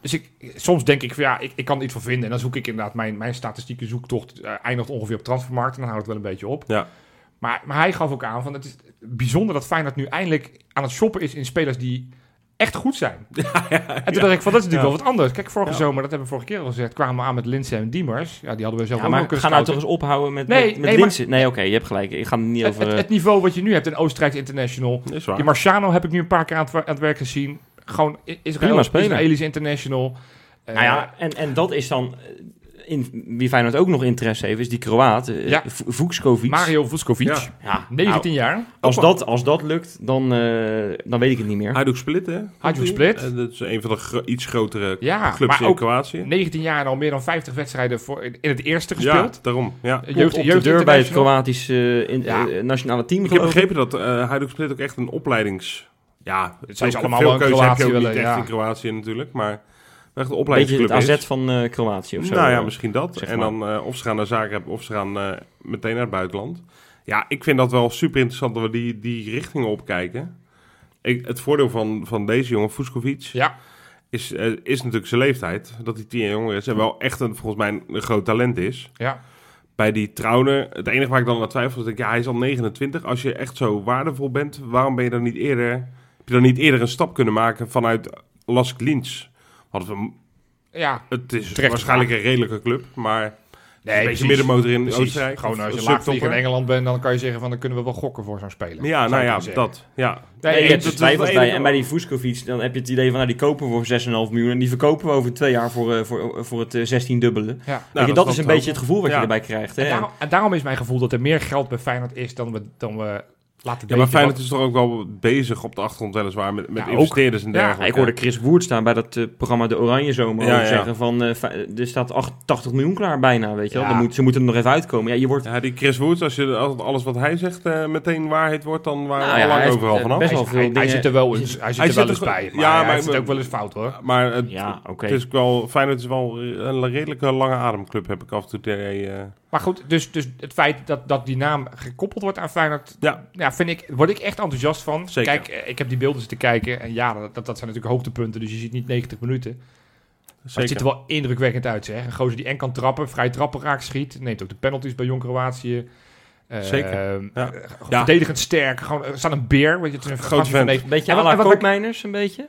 D: Dus ik, soms denk ik van ja, ik, ik kan er iets van vinden. En dan zoek ik inderdaad, mijn, mijn statistieke zoektocht eh, eindigt ongeveer op transfermarkt. En dan houdt het wel een beetje op.
C: Ja.
D: Maar, maar hij gaf ook aan van het is bijzonder dat Feyenoord nu eindelijk aan het shoppen is in spelers die echt goed zijn. en toen dacht ik van dat is natuurlijk wel wat anders. Kijk, vorige zomer, dat hebben we vorige keer al gezegd, kwamen we aan met Linsen en Diemers. Ja, die hadden we zelf
B: Ja,
D: ook
B: maar
D: wel kunnen
B: ga nou
D: scouten.
B: toch eens ophouden met,
D: Nee,
B: met, met
D: nee,
B: Linssen. Nee, oké, je hebt gelijk. Ik ga het niet
D: Het,
B: over...
D: het,
B: eh,
D: het niveau wat je nu hebt in Oostenrijk International.
C: Is
D: Die
C: waar.
D: Marciano heb ik nu een paar keer aan het, wer- aan het werk gezien. Gewoon I- Israël,
B: Prima speler.
D: Israëli's International.
C: Ah
D: Eh,
B: nou ja, en, en dat is dan... eh, In, wie Feyenoord ook nog interesse heeft, is die Kroaat, eh,
D: Ja.
B: V- Vukskovic.
D: Mario Vuskovic.
C: Ja.
B: Ja, nou,
D: 19 jaar.
B: als, dat, als dat lukt, dan, eh, dan weet ik het niet
D: Ah,
B: meer.
C: Hajduk Split, hè?
D: Hajduk Split.
C: Eh, dat is een van de gro- iets grotere
D: Ja,
C: clubs
D: maar
C: in
D: ook
C: Kroatië.
D: 19 jaar en al meer dan 50 wedstrijden voor, in, in het eerste
C: Ja,
D: gespeeld.
C: daarom. Ja.
D: Eh,
B: Jeugd, op de deur bij het
D: international.
B: Kroatische eh, in-
D: Ja.
B: eh, nationale team.
C: Ik heb
B: geloof ik.
C: begrepen dat eh Hajduk Split ook echt een opleidings... Ja,
D: Het zijn ze
C: veel-
D: allemaal
C: veel
D: wel in
C: keuze heb je ook
D: Kroatië
C: niet
D: willen,
C: echt
D: ja.
C: in Kroatië natuurlijk, maar echt een
B: beetje
C: opleidingsclub
B: het AZ
C: is.
B: van eh, Kroatië of zo.
C: Nou ja, misschien dat.
B: zeg
C: en
B: maar.
C: dan eh, of ze gaan naar Zagreb of ze gaan eh, meteen naar het buitenland. Ja, ik vind dat wel super interessant dat we die, die richtingen opkijken. Ik, het voordeel van, van deze jongen, Fuskovic,
D: Ja.
C: is, eh, is natuurlijk zijn leeftijd. Dat hij tien jaar jonger is en wel echt een, volgens mij een groot talent is.
D: Ja.
C: Bij die Trauner, het enige waar ik dan aan twijfel is dat ik, ja, hij is al 29. Als je echt zo waardevol bent, waarom ben je dan niet eerder, heb je dan niet eerder een stap kunnen maken vanuit Las Klins? Hadden we hem
D: ja.
C: het is
D: Terecht
C: waarschijnlijk een redelijke club, maar
D: Nee,
C: een beetje
D: precies.
C: middenmotor in
D: Precies.
C: Oostenrijk.
D: Gewoon
C: of
D: als je
C: subtopper.
D: laagvlieger in Engeland bent, dan kan je zeggen van dan kunnen we wel gokken voor zo'n speler.
C: Ja,
D: Zou
C: nou
D: ik
C: ja,
D: dan zeggen.
C: dat. Ja.
D: Nee,
B: je hebt er
D: eens.
C: dat- dat is
B: twijfels
C: wel
B: bij.
C: enig-
B: En bij die Vuskovic, dan heb je het idee van, nou, die kopen we voor 6,5 miljoen. En die verkopen we over twee jaar voor, eh, voor, voor het eh, 16-dubbele. Weet
D: Ja.
B: je,
C: Nou,
B: dat,
C: dat
B: is
C: valt
B: een
C: te
B: beetje het gevoel wat
C: Ja.
B: je erbij krijgt. Hè?
D: En, daarom, en daarom is mijn gevoel dat er meer geld bij Feyenoord is dan we, dan we laten
C: Ja,
D: denken.
C: maar Feyenoord
D: Want-
C: is toch ook wel bezig op de achtergrond weliswaar met, met
D: Ja, ook.
C: investeerders en
D: Ja,
C: dergelijke.
B: Ja, ik hoorde Chris Woert staan bij dat eh, programma De Oranje Zomer
C: Ja,
B: ook
C: ja.
B: zeggen van eh, fi- er staat 88 miljoen klaar bijna, weet je wel.
D: Ja.
B: Dan moet, ze moeten er nog even uitkomen. Ja, je wordt
C: Ja, die Chris Woods, als je als alles wat hij zegt eh, meteen waarheid wordt, dan waren we
B: Nou ja,
C: al
B: hij
C: lang
B: heeft,
C: overal
B: eh,
C: vanaf.
B: best wel
D: hij,
B: veel
D: hij
B: dingen-
D: zit er wel eens, hij zit er
C: zit
D: wel
C: er
D: eens
C: ge-
D: bij. Maar
C: Ja,
D: ja,
C: maar-
D: hij zit ook wel eens fout hoor.
C: Maar het,
B: Ja, oké.
C: het is ook wel, Feyenoord is wel een redelijke lange ademclub, heb ik af en toe het idee. eh.
D: Maar goed, dus, dus het feit dat, dat die naam gekoppeld wordt aan Feyenoord,
C: Ja.
D: ja, vind ik, word ik echt enthousiast van.
C: Zeker.
D: Kijk, eh, ik heb die beelden zitten kijken en ja, dat, dat zijn natuurlijk hoogtepunten, dus je ziet niet 90 minuten. Maar het ziet
C: Zeker.
D: er wel indrukwekkend uit, zeg. Een gozer die en kan trappen, vrij trappen raak schiet. Neemt ook de penalties bij Jong Kroatië. Eh,
C: Zeker, ja.
D: eh,
C: Ja.
D: Verdedigend sterk. Gewoon, er staat een beer. Weet je, het is een
C: Groot
D: gast van
C: vent.
D: negen-
B: een beetje
D: En
B: à
D: wat-
B: la
D: en wat-
B: Koopmeiners, een beetje.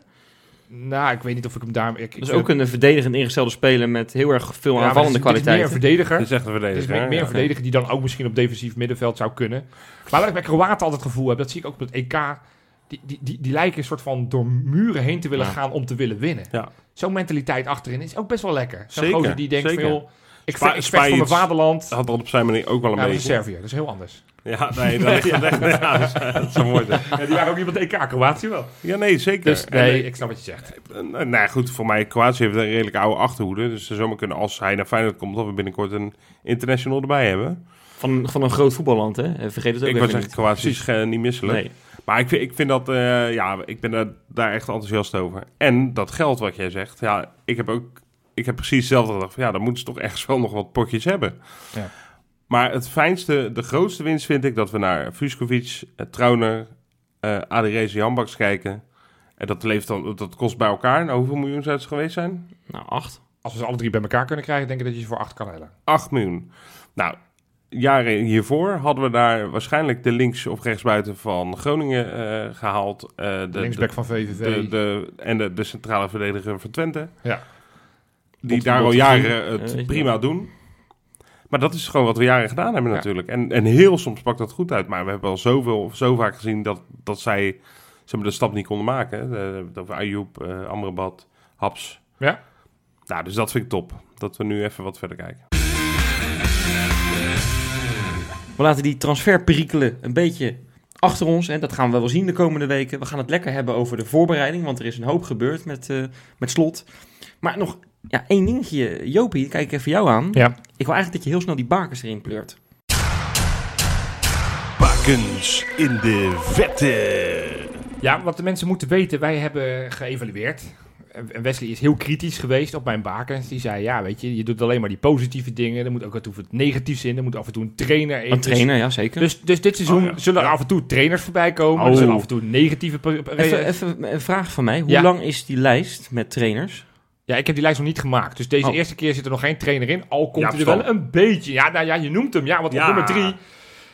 D: Nou, ik weet niet of ik hem daar... Ik, ik
B: Dat is
D: vind
B: ook een eh, verdedigend ingestelde speler met heel erg veel
D: ja, maar
B: aanvallende
D: dit is- dit is
B: kwaliteiten.
D: meer een verdediger.
C: Het is echt een
D: Het is
C: verdediger.
D: meer,
C: hè?
D: meer
C: Ja.
D: een verdediger die dan ook misschien op defensief middenveld zou kunnen. Maar wat ik bij Kroaten altijd het gevoel heb, dat zie ik ook op het EK. Die, die, die, die lijken een soort van door muren heen te willen
B: Ja.
D: gaan om te willen winnen.
C: Ja.
D: Zo'n mentaliteit achterin is ook best wel lekker. Zo'n
C: Zeker,
D: gozer die denkt
C: zeker.
D: van, joh, ik,
C: Spa-
D: ve- ik vecht voor mijn
C: Spijs.
D: vaderland.
C: Had dat op zijn manier ook wel een
D: Ja, dat is
C: beetje.
D: Servië, dat is heel anders.
C: Ja, nee, dat ligt het echt. Ja, dat is- dat is zo mooi. zijn.
D: Ja, die waren ook iemand EK, Kroatië wel.
C: Ja, nee, zeker.
D: Dus
C: En,
D: nee, ik snap wat je zegt.
C: Eh, Nou ja, goed, voor mij, Kroatië heeft een redelijk oude achterhoede. Dus ze zomaar kunnen, als hij naar Feyenoord komt, dat we binnenkort een international erbij hebben.
B: Van, van een groot voetballand, hè. Eh, Vergeet het ook
C: Ik
B: even
C: was zeggen,
B: niet.
C: Kroatië is eh, niet misselijk.
B: Nee.
C: Maar ik vind, ik vind dat, eh, ja, ik ben daar- daar echt enthousiast over. En dat geld wat jij zegt, ja, ik heb ook, ik heb precies hetzelfde gedacht. van, Ja, dan moeten ze toch echt wel nog wat potjes hebben.
D: Ja.
C: Maar het fijnste, de grootste winst vind ik dat we naar Vuskovic, eh, Trauner, eh Adirese Jambaks kijken. En dat, leeft dan, dat kost bij elkaar, nou hoeveel miljoen zou het geweest zijn?
B: Nou, acht.
D: Als we ze alle drie bij elkaar kunnen krijgen, denk ik dat je ze voor acht kan halen.
C: 8 miljoen. Nou, jaren hiervoor hadden we daar waarschijnlijk de links- of rechtsbuiten van Groningen eh, gehaald. eh, de,
D: De, Linksback van VVV.
C: de, de, de- en de, de centrale verdediger van Twente.
D: Ja.
C: Die
B: Bot-
C: daar al
B: Bot-
C: jaren het
B: eh, weet je
C: prima doen. Maar dat is gewoon wat we jaren gedaan hebben
D: Ja.
C: natuurlijk. En, en heel soms pakt dat goed uit. Maar we hebben al zoveel of zo vaak gezien dat, dat zij zeg maar, de stap niet konden maken. hè. We hebben het over Ayoub, eh, Amrabat, Haps.
D: Ja.
C: Nou, dus dat vind ik top. Dat we nu even wat verder kijken.
B: We laten die transferperikelen een beetje achter ons. En dat gaan we wel zien de komende weken. We gaan het lekker hebben over de voorbereiding. Want er is een hoop gebeurd met, eh, met slot. Maar nog ja, één dingetje. Jopie, kijk ik even jou aan.
D: Ja.
B: Ik wil eigenlijk dat je heel snel die bakens erin pleurt.
E: Bakens in de vette.
D: ja, wat de mensen moeten weten, wij hebben geëvalueerd. En Wesley is heel kritisch geweest op mijn bakens. Die zei, ja, weet je, je doet alleen maar die positieve dingen. Er moet ook af en toe wat negatiefs in. Er moet af en toe een trainer in.
B: Een
D: Dus-
B: trainer, ja zeker.
D: Dus, dus dit seizoen
C: Oh, ja.
D: zullen er
C: Ja.
D: af en toe trainers voorbij komen. Er
B: Oh.
D: zullen af en toe negatieve... pre- pre-
B: even, even een vraag van mij. Hoe
D: Ja.
B: lang is die lijst met trainers?
D: Ja, ik heb die lijst nog niet gemaakt. Dus deze
B: Oh.
D: eerste keer zit er nog geen trainer in. Al komt
C: Ja,
D: hij er wel
C: verstand.
D: een beetje. Ja, nou ja, je noemt hem. Ja, want op
C: Ja.
D: nummer drie.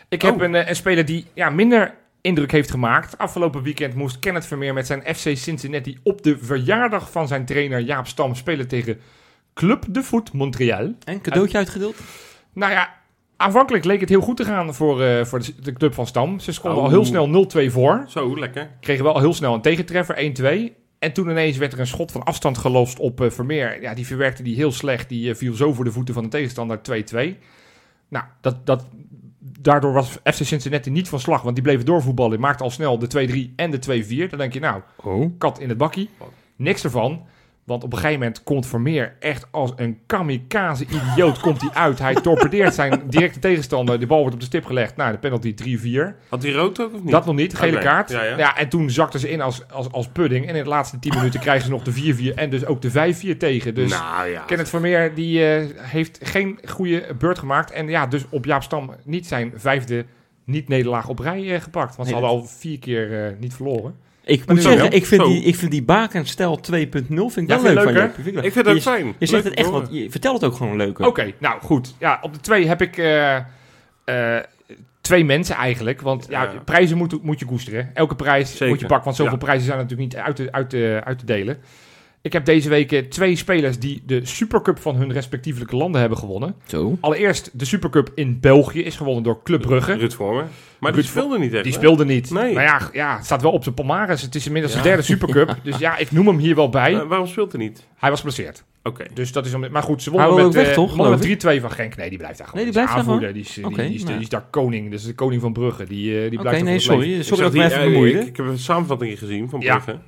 D: Ik heb een, eh, een speler die ja, minder indruk heeft gemaakt. Afgelopen weekend moest Kenneth Vermeer met zijn FC Cincinnati op de verjaardag van zijn trainer Jaap Stam spelen tegen Club de Voet Montreal.
B: En cadeautje uitgedeeld?
D: Nou ja, aanvankelijk leek het heel goed te gaan voor, eh, voor de, de club van Stam. Ze stonden al
C: Oh.
D: heel snel 0-2 voor
C: Zo, lekker.
D: kregen wel heel snel een tegentreffer, 1-2. En toen ineens werd er een schot van afstand gelost op eh, Vermeer. Ja, die verwerkte die heel slecht. Die eh, viel zo voor de voeten van de tegenstander 2-2. Nou, dat, dat, daardoor was FC Cincinnati niet van slag. Want die bleven doorvoetballen. Maakte al snel de 2-3 en de 2-4. Dan denk je, nou,
B: Oh.
D: kat in het bakkie. Niks ervan. Want op een gegeven moment komt Vermeer echt als een kamikaze-idioot komt hij uit. Hij torpedeert zijn directe tegenstander. De bal wordt op de stip gelegd. Nou, de penalty 3-4.
C: Had hij rood ook of niet?
D: Dat nog niet, gele
C: Oké,
D: kaart. Ja,
C: ja, ja.
D: en toen zakten ze in als, als, als pudding. En in de laatste 10 minuten krijgen ze nog de 4-4 en dus ook de 5-4 tegen. Dus
C: nou ja.
D: Kenneth Vermeer die, eh, heeft geen goede beurt gemaakt. En ja, dus op Jaap Stam niet zijn vijfde niet-nederlaag op rij eh, gepakt. Want ze
B: Nee,
D: hadden al vier keer eh, niet verloren.
B: Ik
D: Maar
B: moet
D: nu
B: zeggen,
C: wel.
B: ik vind,
C: Zo.
B: die, ik vind die bakenstijl 2.0 vind ik wel leuk
D: Ja, vind
B: van
D: je leuk, hè?
B: Jopie. Vind ik, leuk.
C: Ik vind het
B: je,
C: ook fijn.
B: Je,
C: Leuk
B: zegt het
C: om
B: echt
C: te
B: wat, je vertelt het ook gewoon leuk. hè?
D: Oké, nou goed. Ja, op de twee heb ik eh, eh, twee mensen eigenlijk. Want ja,
C: Ja.
D: prijzen moet, moet je koesteren. Elke prijs
C: Zeker.
D: moet je pakken. Want zoveel
C: Ja.
D: prijzen zijn natuurlijk niet uit te, uit te, uit te delen. Ik heb deze week eh, twee spelers die de Supercup van hun respectievelijke landen hebben gewonnen.
B: Zo.
D: Allereerst, de Supercup in België is gewonnen door Club Brugge.
C: Ruud Vormer. Maar
D: Ruud
C: die speelde niet echt.
D: Die
C: hè?
D: speelde niet.
C: Nee.
D: Maar ja, ja, het staat wel op zijn palmares. Het is inmiddels de derde Supercup. Dus ja, ik noem hem hier wel bij.
C: Eh, waarom speelt hij niet?
D: Hij was geblesseerd.
C: Oké.
D: Dus dat is om... Maar goed, ze
B: Hij
D: wonnen
B: wil
D: met,
B: ook weg,
D: eh,
B: toch,
D: wonnen
B: geloof
D: met 3-2 van Genk. Nee, die blijft daar gewoon.
B: Nee, die
D: is
B: blijft daar
D: aanvoerder. Die is, eh, die,
B: Oké,
D: die is, die
B: nou.
D: is daar koning. Dat is de koning van Brugge. Die, eh, die
B: Oké,
D: blijft
B: nee,
D: er voor het
B: sorry.
D: leven.
B: Sorry
C: zag
B: dat ik me
C: die,
B: even
C: eh,
B: bemoeide.
C: Ik, ik heb een samenvatting gezien van
D: Ja.
C: Brugge. Ja.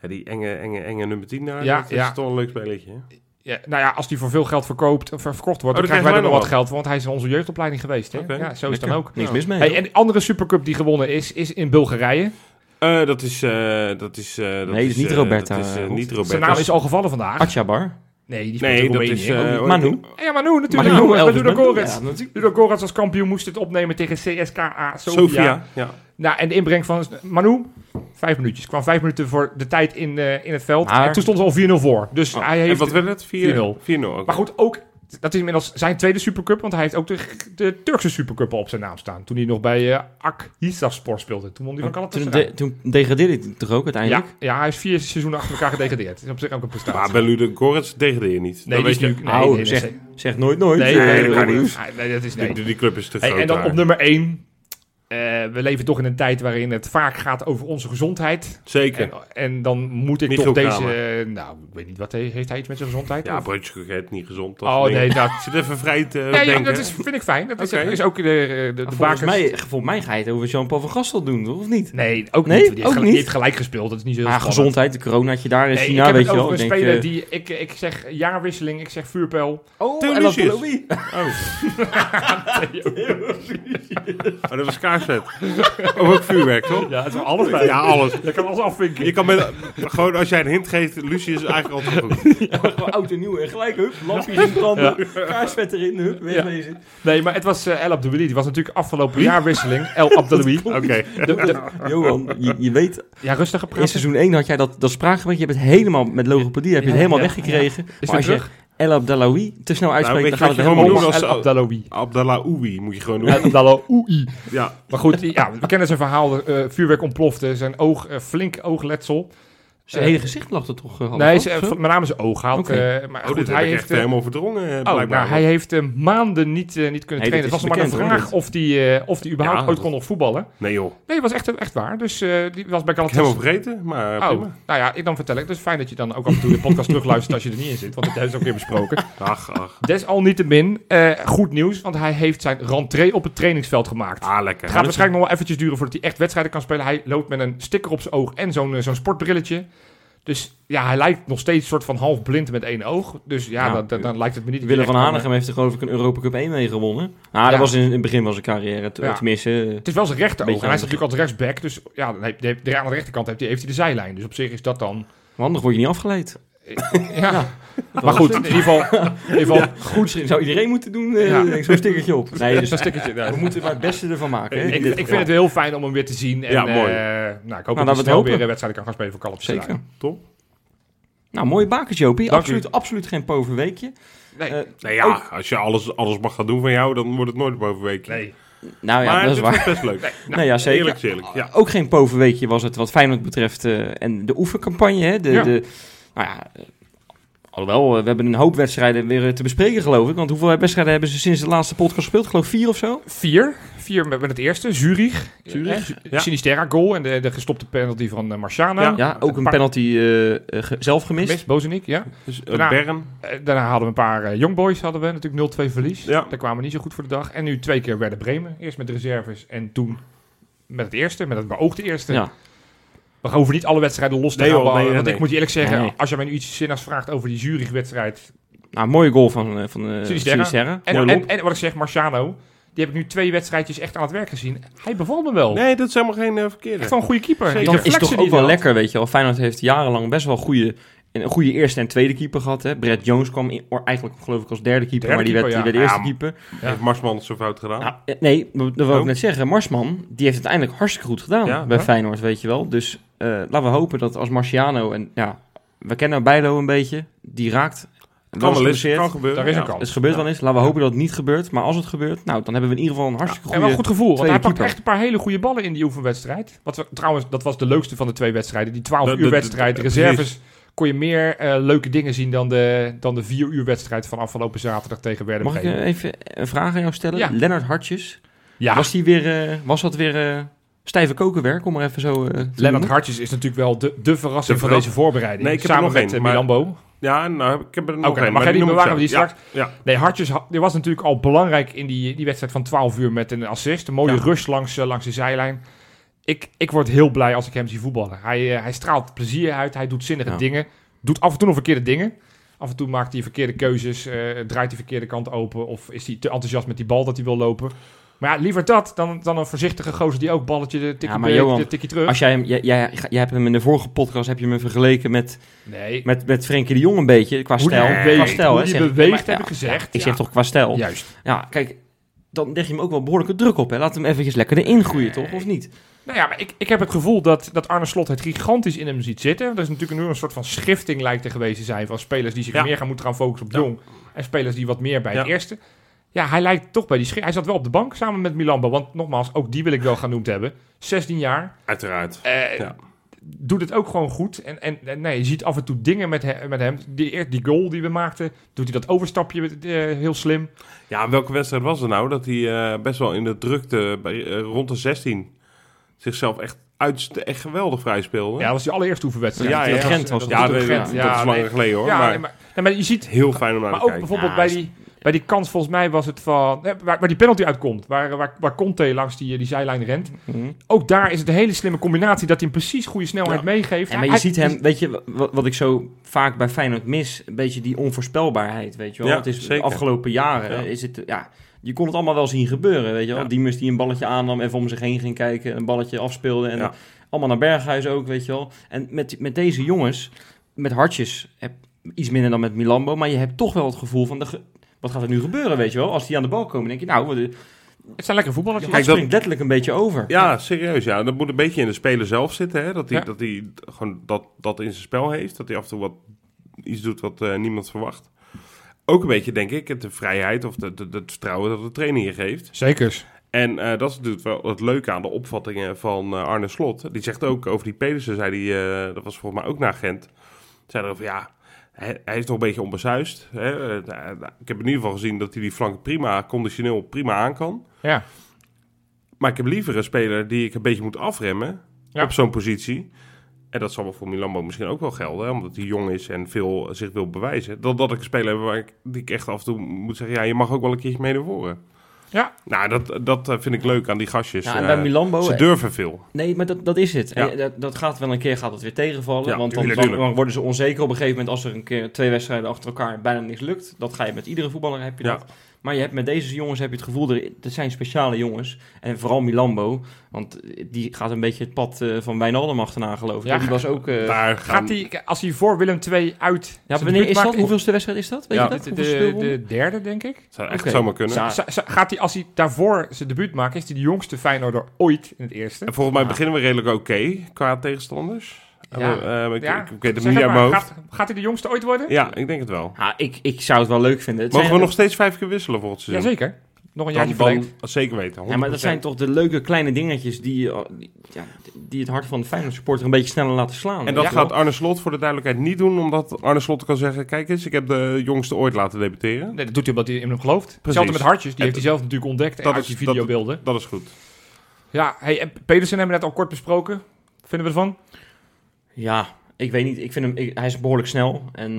C: die enge, enge, enge nummer 10 daar.
D: Ja,
C: dat
D: ja.
C: is toch een leuk spelletje. hè?
D: Ja, nou ja, als die voor veel geld verkoopt, of verkocht wordt,
C: Oh,
D: dan
C: dan
D: krijgen wij er
C: krijgen
D: nog
C: wij
D: wat geld. voor, Want hij is in onze jeugdopleiding geweest. Hè?
C: Oké,
D: Ja, zo is het dan ook.
B: Niks mis mee.
D: Hey, en de andere Supercup die gewonnen is, is in Bulgarije.
C: Eh, dat is... eh, dat is eh, dat
B: Nee, dat is niet
C: eh,
B: Roberta,
C: Dat is eh,
B: Rob.
C: niet Roberta.
D: Zijn naam is al gevallen vandaag.
B: Atjabar.
D: Nee, die speelt
C: Nee,
D: in
C: dat
D: Roemenië. Oh,
C: is... eh,
B: Ook niet. Manu.
D: Ja, maar nu natuurlijk.
B: Manu
D: Manu,
B: Elvis,
D: Ludo
B: Manu,
D: Gorets.
B: ja, natuurlijk.
D: Ludo Gorets als kampioen moest het opnemen tegen CSKA Sofia.
C: Sofia. Ja.
D: Nou, en de inbreng van Manu, vijf minuutjes. Kwam vijf minuten voor de tijd in, eh, in het veld.
B: Maar-
D: En toen stond er al 4-0 voor. Dus hij
C: Oh, En
D: heeft...
C: wat werd het?
D: 4-0.
C: 4-0. 4-0. oké.
D: Maar goed, ook... Dat is inmiddels zijn tweede Supercup, want hij heeft ook de, de Turkse Supercup al op zijn naam staan. Toen hij nog bij eh Ak Hisarspor speelde. Toen won hij van
B: Oh, Toen,
D: Galatasaray.
B: de, toen degradeerde hij toch ook
D: Ja,
B: uiteindelijk?
D: ja, hij is vier seizoenen achter elkaar gedegradeerd. Dat is op zich ook een prestatie.
C: Maar bij Ludo Gorits degradeer je niet.
D: nee,
C: Dan
D: die is
C: weet je,
D: nu... Nee,
B: Oh,
D: nee, nee,
B: zeg,
D: nee,
B: zeg nooit nooit. Eh,
D: nee,
C: nee,
D: nee,
C: dat
D: nee,
C: kan niet.
D: nee, nee, dat is
C: die-
D: nee.
C: die, die club is te
D: Hey,
C: groot
D: en dan
C: daar.
D: op nummer 1. we leven toch in een tijd waarin het vaak gaat over onze gezondheid.
C: Zeker.
D: En, en dan moet ik
C: Michiel
D: toch deze.
C: Kramer.
D: eh, nou, ik weet niet wat hij- heeft hij iets met zijn gezondheid?
C: ja,
D: Of-
C: broodjescoket, niet gezond. Dat
D: oh
C: soort dingen.
D: nee, dat,
C: Ik Zit even vrij te
D: ja, ja,
C: denken.
D: dat is, vind ik fijn. Dat is,
C: Oké.
D: is ook de, de, de
B: Nou, volgens,
D: bakers-
B: mij, volgens mij ga je het over Jean-Paul van Gastel doen, toch? Of niet?
D: Nee, ook
B: Nee,
D: niet. Die heeft,
B: ook
D: gelijk,
B: niet.
D: die heeft gelijk gespeeld. Dat is niet zo heel
B: Ah,
D: spannend.
B: gezondheid, de coronaatje daar in
D: Nee,
B: China,
D: ik heb
B: weet
D: het
B: je wel.
D: over een
B: Ik denk,
D: speler
B: eh,
D: die... Ik, ik zeg jaarwisseling, ik zeg vuurpijl.
B: Oh,
C: Theo
B: en dan
C: Lucius.
B: Louis.
C: Oh, dat was kaarsvet. of ook vuurwerk, toch?
D: Ja, het is alles bij.
C: Ja, alles.
D: Je kan alles afvinken.
C: Je kan met, gewoon als jij een hint geeft, Lucie is eigenlijk altijd goed.
B: Gewoon oud en nieuw en gelijk, hup. Lampjes in branden, kaarsvet erin, hup, wegwezen.
D: Nee, maar het was eh, El Abdeloui. Die was natuurlijk afgelopen jaarwisseling. El Abdeloui.
C: Oké.
D: De- de-
B: Johan, je, je weet,
D: Ja, rustig gepraat.
B: in seizoen 1 had jij dat, dat spraakgebrek. Je hebt het helemaal, met logopedie heb je het helemaal weggekregen.
D: Is
B: maar
D: weer
B: als
D: terug? Nou,
B: je El Abdalawi te snel uitspreekt,
C: weet
B: dan
C: je
B: gaat
C: wat
B: het
C: je
B: er
C: gewoon
B: helemaal
C: moet
B: mis.
C: doen?
D: El Abdalawi.
C: Abdallah Oei moet je gewoon doen.
D: El Abdalawi.
C: Ja.
D: Maar goed, die- ja, we kennen zijn verhaal. eh, vuurwerk ontplofte. Zijn oog, eh, flink oogletsel.
B: Zijn hele gezicht lag er toch? eh, half
D: Nee,
B: af,
D: ze,
B: zo?
D: met name zijn oog had.
B: Oké.
D: eh, maar
C: Oh,
D: goed,
C: dit
D: hij
C: heb ik
D: heeft...
C: echt
D: eh,
C: helemaal verdrongen, eh,
D: Oh,
C: blijkbaar.
D: nou, hij heeft eh, maanden niet, eh, niet kunnen
B: Nee, dit
D: trainen. Het was
B: is
D: nog maar
B: bekend,
D: een
B: hoor,
D: vraag of die, eh, of die überhaupt
C: Ja,
D: ooit
C: dat-
D: kon nog voetballen.
C: Nee joh,
D: Nee, was echt, echt waar. Dus eh, die was
C: helemaal
D: bij Galatasaray.
C: vergeten, maar eh,
D: Oh,
C: prima.
D: nou ja, ik dan vertel ik. Dus fijn dat je dan ook af en toe de podcast terugluistert als je er niet in zit. Want het is ook weer besproken.
C: Ach, ach.
D: Desalniettemin, eh, goed nieuws, want hij heeft zijn rentree op het trainingsveld gemaakt.
C: Ah,
D: Het
C: lekker.
D: gaat waarschijnlijk nog wel eventjes duren voordat hij echt wedstrijden kan spelen. Hij loopt met een sticker op zijn oog en zo'n eh, zo'n sportbrilletje. Dus ja, hij lijkt nog steeds soort van half blind met één oog. Dus ja,
B: Ja.
D: dan, dan, dan lijkt het me niet. dat
B: Willem
D: hij
B: van
D: echt kan,
B: Hanegem heeft er geloof ik een Europa Cup 1 mee gewonnen. Nou,
D: Ja.
B: dat was in het begin van zijn carrière, te-
D: Ja.
B: tenminste. eh,
D: Het is wel zijn rechteroog.
B: Beetje
D: En hij is
B: handig.
D: natuurlijk als rechtsback. Dus ja, dan heeft, heeft- aan de rechterkant heeft hij, heeft hij de zijlijn. Dus op zich is dat dan...
B: Handig word je niet afgeleid.
D: Ja. Maar goed, in ieder geval... In ieder geval
B: Goed, zou iedereen moeten doen. eh,
D: Ja.
B: denk ik, Zo'n stickertje op. Nee, dus
D: Zo'n stickertje. ja.
B: we moeten maar het beste ervan maken. Hè, in
D: Nou, Ik,
B: dit
D: ik vind
B: geval.
D: het heel fijn om hem weer te zien. En,
C: Ja, mooi.
D: eh, nou, ik hoop
B: laten we
D: dat hij
B: het
D: snel
B: hopen.
D: weer eh, wedstrijden kan gaan spelen voor Kalopsaray.
B: Zeker.
C: Top.
B: Nou, mooie bakers, Jopie.
D: Dank
B: Absoluut, absoluut geen poverweekje.
D: Nee,
B: Eh,
C: Nou ja, als je alles, alles mag gaan doen van jou, dan wordt het nooit bovenweekje.
D: Oh. nee.
B: Nou ja,
C: maar
B: dat is
C: dit was
B: waar.
C: best leuk.
B: nee, ja, zeker.
C: Eerlijk, eerlijk. Ja.
B: Ook geen poverweekje was het wat Feyenoord betreft. eh, en de oefencampagne. Hè, de,
D: Ja.
B: de, nou ja, eh, alhoewel, eh, we hebben een hoop wedstrijden weer eh, te bespreken, geloof ik. Want hoeveel wedstrijden hebben ze sinds de laatste podcast gespeeld? Ik geloof vier of zo?
D: Vier. Vier met, met het eerste. Zurich.
C: Zurich,
D: Eh,
C: ja.
D: Sinisterra goal. En de, de gestopte penalty van eh, Marciano.
C: Ja.
B: Ja, ook een
D: Pak-
B: penalty eh, eh, ge- zelf gemist.
D: Mist, Bozenik, ja.
C: Dus, eh,
D: Daarna-
C: Bern.
D: Eh, daarna hadden we een paar eh, Youngboys. Hadden we natuurlijk 0-2 verlies.
C: Ja.
D: Daar kwamen we niet zo goed voor de dag. En nu twee keer werden Bremen. Eerst met de reserves en toen met het eerste. Met het beoogde eerste.
B: Ja.
D: We hoeven niet alle wedstrijden los te
C: Nee,
D: houden.
C: joh, nee,
D: want
C: nee, nee.
D: ik moet je eerlijk zeggen,
B: Nee.
D: als je mij nu iets zinnigs vraagt over die Zurich-wedstrijd.
B: Nou, mooie goal van, eh, van eh
D: Sinisterra.
B: Sinisterra.
D: En,
B: Mooi
D: en,
B: lob.
D: en wat ik zeg, Marciano. Die heb ik nu twee wedstrijdjes echt aan het werk gezien. Hij beval me wel.
C: Nee, dat is helemaal geen eh,
D: Echt
C: verkeerde.
D: wel een goede keeper. Die
B: Dan is
D: reflexen
B: toch
D: die
B: ook wel
D: hij had.
B: lekker, weet je wel. Feyenoord heeft jarenlang best wel goede, een goede eerste en tweede keeper gehad. Hè. Brad Jones kwam in, or- eigenlijk geloof ik als derde keeper,
D: Derde
B: maar die werd,
D: keeper,
B: die werd
D: ja.
B: eerste
C: Ja,
B: keeper.
C: Heeft Marsman het zo fout gedaan?
B: Nou, eh, nee, dat wil ik
C: Oh.
B: net zeggen. Marsman, die heeft het uiteindelijk hartstikke goed gedaan
C: Ja,
B: bij
C: ja.
B: Feyenoord, weet je wel. Dus eh, laten we hopen dat als Marciano, en ja, we kennen Bijlo een beetje, die raakt.
C: kan wel eens,
B: geblesseerd.
C: kan gebeuren.
D: Daar is een
C: ja.
D: kans.
B: Het gebeurt wel eens. Laten we hopen dat het niet gebeurt. Maar als het gebeurt, nou, dan hebben we in ieder geval een hartstikke
D: En
B: goede...
D: wel een goed gevoel, want
B: tweede
D: hij pakt
B: keeper.
D: echt een paar hele goede ballen in die oefenwedstrijd. Wat we, trouwens, dat was de leukste van de twee wedstrijden. Die 12
C: De- de-
D: uur wedstrijd,
C: de-
D: reserves kon je meer eh, leuke dingen zien dan de, dan de vier uur wedstrijd van afgelopen zaterdag tegen Werder
B: Mag ik
D: Bremen.
B: eh, even een vraag aan jou stellen?
D: Ja.
B: Lennart Hartjes.
D: Ja,
B: Was, die weer, eh, was dat weer eh, stijve kokenwerk, om maar even zo eh, te
D: Lennart
B: noemen?
D: Hartjes is natuurlijk wel de, de verrassing
C: De
D: van
C: verra-
D: deze voorbereiding.
C: Nee, ik heb er
D: Samen
C: nog
D: met
C: één,
D: eh,
C: maar-
D: Milan Bo.
C: Ja, nou, heb ik heb er nog
D: Oké,
C: een,
D: mag jij die
C: noem ik
D: bewaren,
C: zo.
D: die straks-
C: Ja, ja.
D: Nee, Hartjes ha- die was natuurlijk al belangrijk in die, die wedstrijd van 12 uur met een assist. Een mooie
C: Ja.
D: rush langs, eh, langs de zijlijn. Ik, ik word heel blij als ik hem zie voetballen. Hij, eh, hij straalt plezier uit, hij doet zinnige
B: Ja.
D: dingen. Doet af en toe nog verkeerde dingen. Af en toe maakt hij verkeerde keuzes, eh, draait hij verkeerde kant open... of is hij te enthousiast met die bal dat hij wil lopen. Maar ja, liever dat dan, dan een voorzichtige gozer die ook balletje de tikkie,
B: Ja, maar
D: be-
B: Johan,
D: de tikkie terug.
B: Als jij, hem, jij, jij, jij hebt hem in de vorige podcast heb je hem vergeleken met,
D: Nee,
B: met, met Frenkie de Jong een beetje, qua
D: Hoe die
B: stijl.
D: beweegt,
B: qua stijl,
D: hoe
B: hè,
D: die
B: zeg ik.
D: beweegt,
B: Maar
D: heb ik gezegd,
B: ik zeg
D: ja.
B: toch qua stijl. Ja.
D: juist.
B: kijk, dan leg je hem ook wel behoorlijke druk op. Hè. Laat hem eventjes lekker erin groeien, toch? Of niet?
D: Nou ja, maar ik, ik heb het gevoel dat, dat Arne Slot het gigantisch in hem ziet zitten. Er is natuurlijk nu een soort van schifting lijkt er geweest te zijn van spelers die zich
C: Ja.
D: meer gaan moeten gaan focussen op
C: Ja.
D: Jong. En spelers die wat meer bij het
C: Ja.
D: eerste. Ja, hij lijkt toch bij die schif. Hij zat wel op de bank samen met Milambo. Want nogmaals, ook die wil ik wel genoemd hebben. 16 jaar.
C: uiteraard.
D: Eh,
C: Ja.
D: Doet het ook gewoon goed. En, en, en nee, je ziet af en toe dingen met, he- met hem. Die, eer- die goal die we maakten, doet hij dat overstapje eh, heel slim.
C: Ja, welke wedstrijd was het nou dat hij eh, best wel in de drukte bij, eh, rond de 16 zichzelf echt, uitst- echt geweldig vrij speelde?
D: Ja, dat was die allereerste oefenwedstrijd.
C: Ja, ja,
D: Dat
C: ja.
B: Gent was
D: dat
B: het.
C: Ja,
D: doet
C: dat,
D: ook Gent.
C: dat
D: Ja,
C: is
D: nee.
C: langer geleden hoor.
D: Ja,
C: maar,
D: nee, maar, nee, maar je ziet
C: heel fijn om naar
D: Maar
C: te
D: ook
C: kijken.
D: bijvoorbeeld
B: Ja,
D: bij,
B: is-
D: die, bij die kans, volgens mij was het van. eh, Waar, waar die penalty uitkomt. Waar, waar, waar Conte langs die, eh, die zijlijn rent.
B: Mhm.
D: Ook daar is het een hele slimme combinatie dat hij hem precies goede snelheid
C: Ja.
D: meegeeft.
B: En maar je
D: Hij-
B: ziet hem, weet je, wa- wat, wat ik zo vaak bij Feyenoord mis, een beetje die onvoorspelbaarheid, weet je wel.
C: Ja,
B: het is de
C: zeker.
B: afgelopen jaren,
C: Ja.
B: is het, ja, je kon het allemaal wel zien gebeuren, weet je wel.
C: Ja.
B: Die mus die een balletje aannam, even om zich heen ging kijken, een balletje afspeelde en
C: Ja.
B: allemaal naar Berghuis ook, weet je wel. En met, met deze jongens, met hartjes, heb, iets minder dan met Milambo, maar je hebt toch wel het gevoel van, de, ge- wat gaat er nu gebeuren, weet je wel. Als die aan de bal komen, denk je, nou, de-
D: Het zijn lekker voetballers.
B: je
D: Ja,
B: hart
C: dat-
B: springt letterlijk een beetje over.
C: Ja, serieus. Ja. Dat moet een beetje in de speler zelf zitten. Hè? Dat hij
D: Ja.
C: dat hij gewoon dat, dat in zijn spel heeft. Dat hij af en toe wat, iets doet wat eh, niemand verwacht. Ook een beetje, denk ik, de vrijheid of de, de, de- het vertrouwen dat de trainer je geeft.
D: Zeker.
C: En eh, dat is natuurlijk wel het leuke aan de opvattingen van eh, Arne Slot. Die zegt ook over die Pedersen, zei die, eh, dat was volgens mij ook naar Gent. Zei erover, ja, hij, hij is toch een beetje onbesuist. Hè? Eh, nou, nou, ik heb in ieder geval gezien dat hij die flank prima, conditioneel prima aan kan.
D: Ja.
C: Maar ik heb liever een speler die ik een beetje moet afremmen
D: Ja.
C: op zo'n positie. En dat zal wel voor Milambo misschien ook wel gelden, hè, omdat hij jong is en veel eh, zich wil bewijzen. Dat, dat ik een speler heb waar ik, die ik echt af en toe moet zeggen, ja, je mag ook wel een keertje mee naar voren.
D: Ja.
C: Nou, dat, dat eh, vind ik leuk aan die gastjes.
B: Ja, en
C: eh,
B: bij Milambo...
C: ze durven veel.
B: Nee, maar dat, dat is het.
C: Ja.
B: En dat, dat gaat wel een keer gaat het weer tegenvallen.
C: Ja,
B: want dan,
C: tuurlijk,
B: dan-
C: tuurlijk.
B: dan worden ze onzeker op een gegeven moment als er een keer twee wedstrijden achter elkaar bijna niks lukt. Dat ga je met iedere voetballer heb je
C: Ja.
B: dat. Maar je hebt met deze jongens heb je het gevoel, er, dat zijn speciale jongens. En vooral Milambo, want die gaat een beetje het pad eh, van Wijnaldum achterna geloof ik.
D: Ja,
B: die was ook... eh,
C: Daar
D: Gaat
C: gaan,
D: hij, als hij voor Willem 2 uit.
B: ja,
D: zijn
B: wanneer
D: debuut
B: is dat?
D: maakt- Nou,
B: Hoeveelste wedstrijd is dat? Weet
C: Ja,
B: je dat?
D: De,
B: Hoeveel
D: de,
B: speelronden?
D: de derde, denk ik.
C: zou echt
B: Oké.
C: zomaar kunnen.
B: Za-
D: Za- za- Gaat hij, als hij daarvoor zijn debuut maakt, is hij de jongste Feyenoorder ooit in het eerste?
C: En volgens mij beginnen we redelijk oké qua tegenstanders.
D: Ja.
C: Eh, eh, ik,
D: Ja.
C: ik, ik weet het
D: Zeg
C: niet
D: het
C: uit
D: maar,
C: mijn hoofd.
D: Gaat, gaat hij de jongste ooit worden?
C: Ja, ik denk het wel.
B: Ja, ik, ik zou het wel leuk vinden. Het
C: Mogen we
B: zijn-
C: nog steeds vijf keer wisselen volgend seizoen?
D: Jazeker. Nog een jaartje
C: Dan,
D: verlengd.
C: dan zeker weten. 100%.
B: Ja, maar dat zijn toch de leuke kleine dingetjes die, eh, die, ja, die het hart van de Feyenoord supporter een beetje sneller laten slaan.
C: En dat
B: weet je wel.
C: gaat Arne Slot voor de duidelijkheid niet doen, omdat Arne Slot kan zeggen: Kijk eens, ik heb de jongste ooit laten debuteren.
D: Nee, dat doet hij omdat hij in hem gelooft. Hetzelfde met Hartjes, die heeft hij zelf natuurlijk ontdekt
C: dat
D: uit
C: is-
D: die
C: dat-
D: videobeelden.
C: Dat is goed.
D: Ja, hey, en Pedersen hebben we net al kort besproken. Wat Vinden we ervan?
B: Ja, ik weet niet. Ik vind hem, ik- hij is behoorlijk snel. En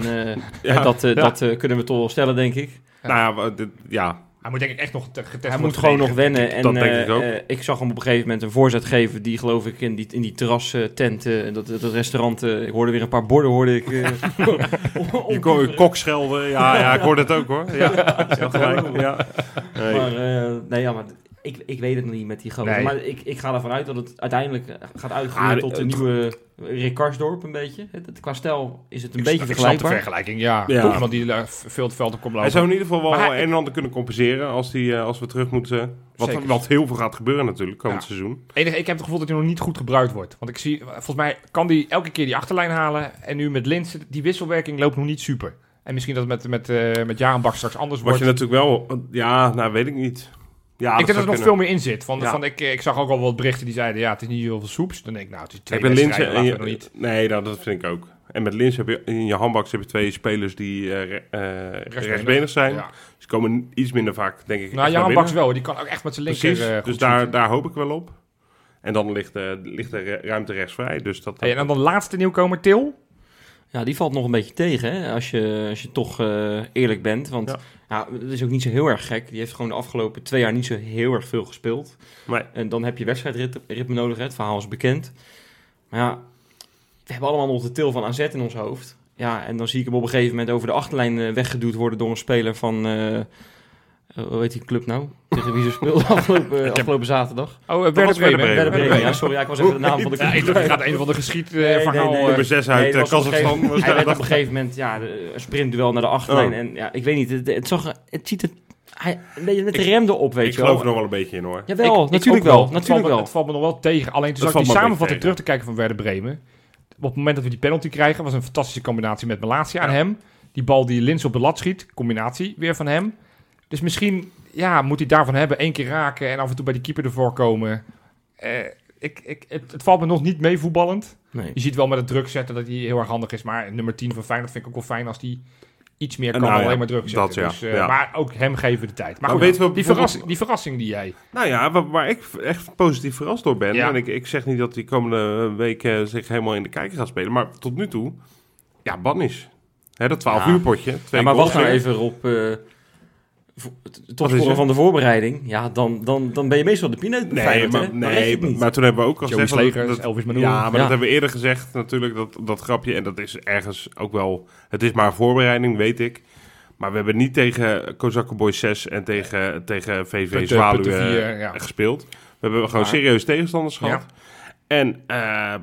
B: eh, dat, eh,
D: ja.
B: dat eh, kunnen we toch wel stellen, denk ik.
C: Nou ja, we- dit- ja.
D: Hij moet denk ik echt nog te- getest
B: Hij
D: worden.
B: moet gewoon nog wennen. En
C: Dat denk ik
B: eh,
C: ook.
B: eh, ik zag hem op een gegeven moment een voorzet geven. Die geloof ik in die, in die terrastent, eh, dat, dat restaurant. eh, ik hoorde weer een paar borden, hoorde ik. eh,
C: Je kon je kok schelden. Ja, ja, ik hoor het ook hoor. Ja, ja, gelijk. ja. Nee.
B: maar, eh, nee, ja, maar ik, ik weet het nog niet met die gozer.
D: Nee.
B: Maar ik, ik ga ervan uit dat het uiteindelijk eh, gaat uitgroeien
C: Ah,
B: tot een
C: het-
B: nieuwe Rick Karsdorp een beetje. Het, het- qua stijl is het een
D: Ik
B: beetje
D: snap- ik snap de
B: vergelijkbaar.
D: vergelijking, ja.
C: Ja.
D: Toch iemand die eh, veel het veld op komt
C: Hij
D: lopen.
C: zou in ieder geval wel
D: Maar hij-
C: een en ander kunnen compenseren als, die, eh, als we terug moeten. Wat,
D: Zeker.
C: wat heel veel gaat gebeuren natuurlijk komend
D: Ja.
C: seizoen.
D: Enige, ik heb het gevoel dat hij nog niet goed gebruikt wordt. Want ik zie, eh, volgens mij kan hij elke keer die achterlijn halen. En nu met Linsen, die wisselwerking loopt nog niet super. En misschien dat het met, met, eh met Jaren Bak straks anders
C: Wat
D: wordt.
C: je natuurlijk wel. Ja, nou weet ik niet. Ja,
D: ik denk dat er
C: zou
D: nog
C: kunnen.
D: veel meer in zit. Van,
C: Ja.
D: van, ik, ik zag ook al wat berichten die zeiden, ja, het is niet heel veel soeps. Dan denk ik, nou, het is twee
C: Ik ben Linse
D: wedstrijden,
C: en
D: laten
C: je,
D: we nog niet.
C: Nee, nou, dat vind ik ook. En met Lins heb je in je handbaks heb je twee spelers die eh, re- eh, rechtsbenig
D: Rechtsbenig,
C: zijn.
D: ja.
C: Ze komen iets minder vaak, denk ik. echt
D: Nou,
C: naar
D: Jan
C: binnen.
D: Baks wel. hoor. Die kan ook echt met zijn linker
C: Precies,
D: eh, goed
C: dus
D: schieten.
C: daar, daar hoop ik wel op. En dan ligt, eh, ligt de re- ruimte rechts vrij. Dus dat,
D: Hey, en dan de laatste nieuwkomer, Til. Oh,
B: Ja, die valt nog een beetje tegen, hè, als je, als je toch eh, eerlijk bent. Want
C: Ja.
B: ja. dat is ook niet zo heel erg gek. Die heeft gewoon de afgelopen twee jaar niet zo heel erg veel gespeeld.
C: Nee.
B: En dan heb je wedstrijdritme nodig, hè. het verhaal is bekend. Maar ja, we hebben allemaal nog de til van AZ in ons hoofd. Ja, en dan zie ik hem op een gegeven moment over de achterlijn eh, weggeduwd worden door een speler van... eh, eh, hoe heet die club nou? Tegen wie ze speelde afgelopen, afgelopen zaterdag?
D: Oh, uh,
C: was Werder Bremen.
B: Werder Bremen, ja, sorry, ja, ik was even de naam van de club.
D: ik dacht, je gaat een van
B: Nee, nee,
D: de geschiedverhaal...
B: nee.
D: Nee,
C: nummer 6 uit
B: Eh,
C: eh,
B: Nee, dat was op een
C: Kazachstan.
B: gegeven-
C: was
B: Hij
C: daar
B: werd op
C: dat-
B: een gegeven moment ja, de- een sprintduel naar de achterlijn.
C: Oh.
B: En ja, ik weet niet, het, het zag, er- het ziet er... Hij, een beetje met de rem erop, weet
C: Ik
B: je wel.
C: geloof er nog wel een beetje in hoor.
B: Jawel, natuurlijk wel,
D: het, valt
B: natuurlijk
D: me,
B: wel.
D: het valt me nog wel tegen. Alleen toen
C: Dat
D: zat
C: valt
D: ik
C: me
D: die
C: ook
D: samenvatting
C: tegen.
D: terug te kijken van Werder Bremen. Op het moment dat we die penalty krijgen, was een fantastische combinatie met Malatia aan hem. Die bal die Lins op de lat schiet, combinatie weer van hem. Dus misschien ja, moet hij daarvan hebben. één keer raken en af en toe bij de keeper ervoor komen. Eh, ik, ik, het, het valt me nog niet mee voetballend.
B: Nee.
D: Je ziet wel met het druk zetten dat hij heel erg handig is. Maar nummer 10 van Feyenoord vind ik ook wel fijn als die iets meer kan
C: Nou
D: dan
C: ja,
D: alleen maar druk zetten.
C: dat ja,
D: Dus, eh,
C: ja.
D: Maar ook hem geven de tijd. Maar
C: Maar
D: goed,
C: weten we
D: die,
C: bijvoorbeeld-
D: verrassing, die verrassing die jij...
C: Nou ja, waar, waar ik echt positief verrast door ben.
D: Ja.
C: En ik, ik zeg niet dat die komende week eh, zich helemaal in de kijker gaat spelen. Maar tot nu toe, ja, Bannis. Hè, dat 12
B: Ja.
C: uur potje. Twee
B: Ja, maar
C: goals
B: wacht nou
C: weer.
B: even op... eh vo- t-
C: Wat
B: tot
C: is
B: scoren
C: er?
B: van de voorbereiding. Ja, dan, dan, dan ben je meestal de pineut. bij
C: Nee,
B: Feyenoord, hè.
C: maar,
B: red je
C: nee
B: het niet.
C: maar toen hebben we ook al
D: Joey
C: gezegd... dat-
D: Slegers,
C: dat-
D: Elvis Manoer.
C: ja, maar
B: Ja.
C: dat hebben we eerder gezegd natuurlijk, dat, dat grapje. En dat is ergens ook wel... Het is maar voorbereiding, weet ik. Maar we hebben niet tegen Kozakken Boys 6 en tegen, tegen VV
D: Putten-
C: Zwaluwe
D: Putten vier, ja.
C: gespeeld. We hebben gewoon
D: Maar-
C: serieus tegenstanders
D: Ja.
C: gehad. En eh,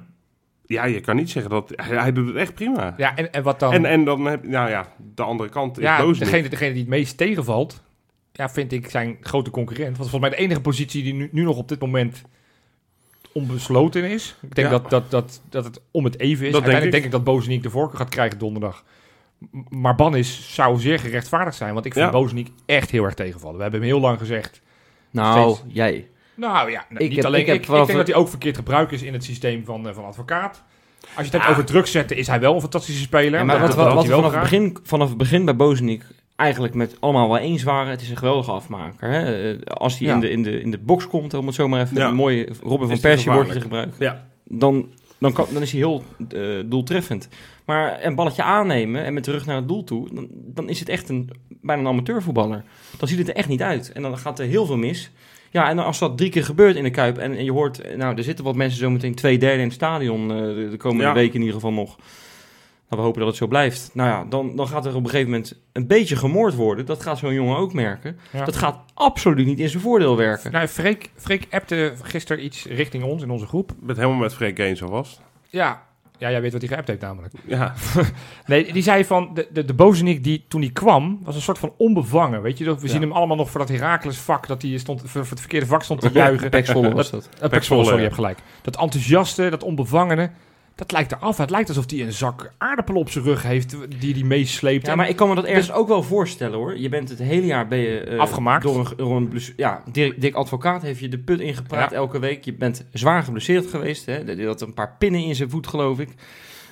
C: ja, je kan niet zeggen dat... Hij, hij doet het echt prima.
D: Ja, en, en wat dan?
C: En, en dan heb nou ja, de andere kant is
D: ja,
C: boos niet.
D: degene, degene die het meest tegenvalt, ja, vind ik zijn grote concurrent. Want volgens mij de enige positie die nu, nu nog op dit moment onbesloten is. Ik denk
C: Ja.
D: dat, dat, dat, dat het om het even
C: Dat
D: is.
C: denk
D: Uiteindelijk
C: ik.
D: denk ik, dat Bozeniek de voorkeur gaat krijgen donderdag. M- Maar Bannis zou zeer gerechtvaardigd zijn. Want ik vind
C: Ja.
D: Bozeniek echt heel erg tegenvallen. We hebben hem heel lang gezegd.
B: Nou, jij.
D: Nou ja,
B: Ik
D: niet
B: heb-
D: alleen.
B: ik
D: Ik,
B: heb
D: ik,
B: wel
D: denk
B: ver-
D: dat hij ook verkeerd gebruikt is in het systeem van, eh, van advocaat. Als je het hebt over terugzetten, is hij wel een fantastische speler.
B: Ja, maar
D: Dat-
B: wat,
D: dat
B: we,
D: had
B: wat
D: hij
B: we
D: wel
B: vanaf, het
D: graag.
B: begin, vanaf het begin bij Bozeniek eigenlijk met allemaal wel eens waren, het is een geweldige afmaker. Hè? Eh, Als hij
D: Ja.
B: in, de, in, de, in de box komt, om het zomaar even
C: Ja.
B: een mooie Robin van
C: die
B: Persie woordje te
C: gevaarlijk.
B: gebruiken,
C: Ja.
B: dan, dan, kan, dan is hij heel eh, doeltreffend. Maar een balletje aannemen en met de rug naar het doel toe, dan, dan is het echt een, bijna een amateurvoetballer. Dan ziet het er echt niet uit en dan gaat er heel veel mis. Ja, en dan als dat drie keer gebeurt in de Kuip en, en je hoort, eh, nou, er zitten wat mensen zometeen twee derde in het stadion eh, de, de komende
C: Ja.
B: weken in ieder geval nog. Nou, we hopen dat het zo blijft. Nou ja, dan, dan gaat er op een gegeven moment een beetje gemoord worden. Dat gaat zo'n jongen ook merken.
D: Ja.
B: Dat gaat absoluut niet in zijn voordeel werken.
D: Nou, Freek, Freek appte gisteren iets richting ons in onze groep.
C: Ik ben het helemaal met Freek eens alvast.
D: Ja, ja jij weet wat hij geappt heeft namelijk.
C: Ja.
D: Nee, die zei van, de, de, de Bozenik die toen hij kwam, was een soort van onbevangen, weet je. We zien hem allemaal nog voor dat Heracles vak, dat hij stond, voor, voor het verkeerde vak stond te juichen.
B: Pek Zwolle was dat.
D: Eh,
C: Pek Zwolle,
D: Pek Zwolle, sorry,
C: ja.
D: je hebt gelijk. Dat enthousiaste, dat onbevangene, dat lijkt eraf. Het lijkt alsof hij een zak aardappelen op zijn rug heeft, die hij meesleept.
B: Ja, maar ik kan me dat
C: dus
B: ergens ook wel voorstellen hoor. Je bent het hele jaar ben je, eh,
D: Afgemaakt.
B: Door een, door een bless- ja, Dirk, Dick Advocaat heeft je de put ingepraat
D: Ja.
B: elke week. Je bent zwaar geblesseerd geweest. Hè? Hij had een paar pinnen in zijn voet, geloof ik.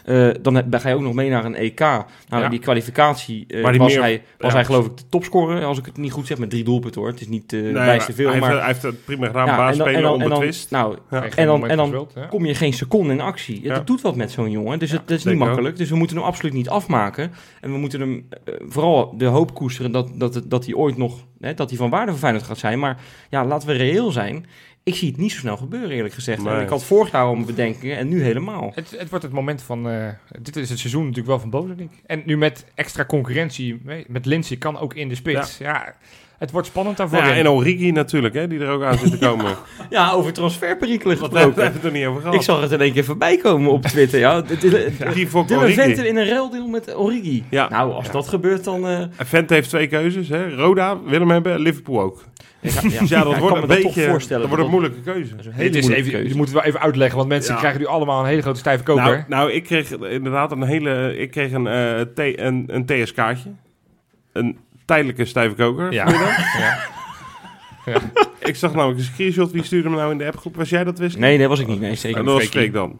B: Eh, dan heb- dan ga je ook nog mee naar een EK. Nou,
D: Ja.
B: die kwalificatie eh,
C: Maar die
B: was,
C: meer-
B: hij, was
C: ja.
B: hij geloof ik de topscorer, als ik het niet goed zeg, met drie doelpunten hoor. Het is niet eh
C: Nee,
B: bijster
C: maar
B: veel,
C: hij,
B: maar...
C: heeft, hij heeft het prima gedaan.
B: Ja,
C: baas
B: en dan- en
C: spelen
B: dan- en dan-
C: onbetwist.
B: Nou,
C: Ja.
D: Geen
B: en dan-
D: moment
B: en dan-
D: gespeeld, hè.
B: kom je geen seconde in actie.
C: Ja.
B: Dat doet wat met zo'n jongen. Dus het, dat is
C: denk
B: niet
C: ik
B: makkelijk. Dus we moeten hem absoluut niet afmaken. En we moeten hem eh, vooral de hoop koesteren dat, dat, het- dat hij ooit nog hè, dat hij van waarde voor Feyenoord gaat zijn. Maar ja, laten we reëel zijn. Ik zie het niet zo snel gebeuren, eerlijk gezegd.
C: Nee.
B: En ik had vorig jaar al mijn bedenkingen en nu helemaal.
D: Het, het wordt het moment van. eh, dit is het seizoen natuurlijk wel van Bozenik. En nu met extra concurrentie. Met Lindsay kan ook in de spits. Ja, het wordt spannend daarvoor.
C: Nou ja, en Origi natuurlijk, hè, die er ook aan zit te komen.
B: Ja, over transferperikelen
C: Dat hebben we
B: gesproken.
C: het er niet over gehad.
B: Ik zag het in één keer voorbij komen op Twitter. Ja. Het- het- het-
C: Die voor
B: Dylan Vente
C: Origi.
B: in een ruildeal met Origi.
C: Ja.
B: Nou, als dat gebeurt, dan... eh,
C: En Vent heeft twee keuzes, hè. Roda wil hem hebben, Liverpool ook. Dus ja, dat
B: ik kan
C: wordt
B: me
C: een
B: dat toch
C: beetje... Dat
B: voorstellen
C: wordt
B: dat
C: een moeilijke keuze.
B: dat is een hele
D: Dit is
B: moeilijke
D: even,
B: keuze.
D: je moet het wel even uitleggen, want mensen
C: Ja.
D: krijgen nu allemaal een hele grote stijve koker.
C: Nou, nou, ik kreeg inderdaad een hele... Ik kreeg een, eh T- een, een TSK'tje. Een tijdelijke stijve koker.
D: ja. ja.
C: Ik zag namelijk een screenshot. Wie stuurde hem nou in de appgroep? Was jij dat, wist?
B: Nee, dat was ik niet. Nee, zeker
C: En
B: niet.
C: dat was Freek dan.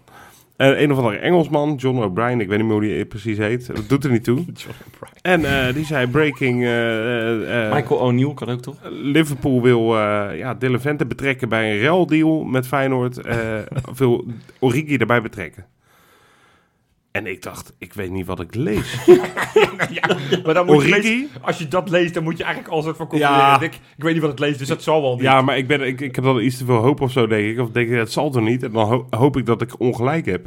C: Eh, een of andere Engelsman, John O'Brien, ik weet niet meer hoe die precies heet. Dat doet er niet toe. En eh, die zei breaking... eh, eh, eh,
B: Michael O'Neill kan ook toch?
C: Liverpool wil eh ja, Dylan Vente betrekken bij een ruildeal met Feyenoord. eh, wil Origi erbij betrekken. En ik dacht, ik weet niet wat ik lees.
D: Maar dan moet je lezen-
C: Origi?
D: als je dat leest, dan moet je eigenlijk al soort van concluderen.
C: Ja.
D: Ik, ik weet niet wat het leest, dus dat zal wel niet.
C: Ja, maar ik, ben, ik, ik heb dan iets te veel hoop of zo, denk ik. Of denk ik, het zal toch niet? En dan ho- hoop ik dat ik ongelijk heb.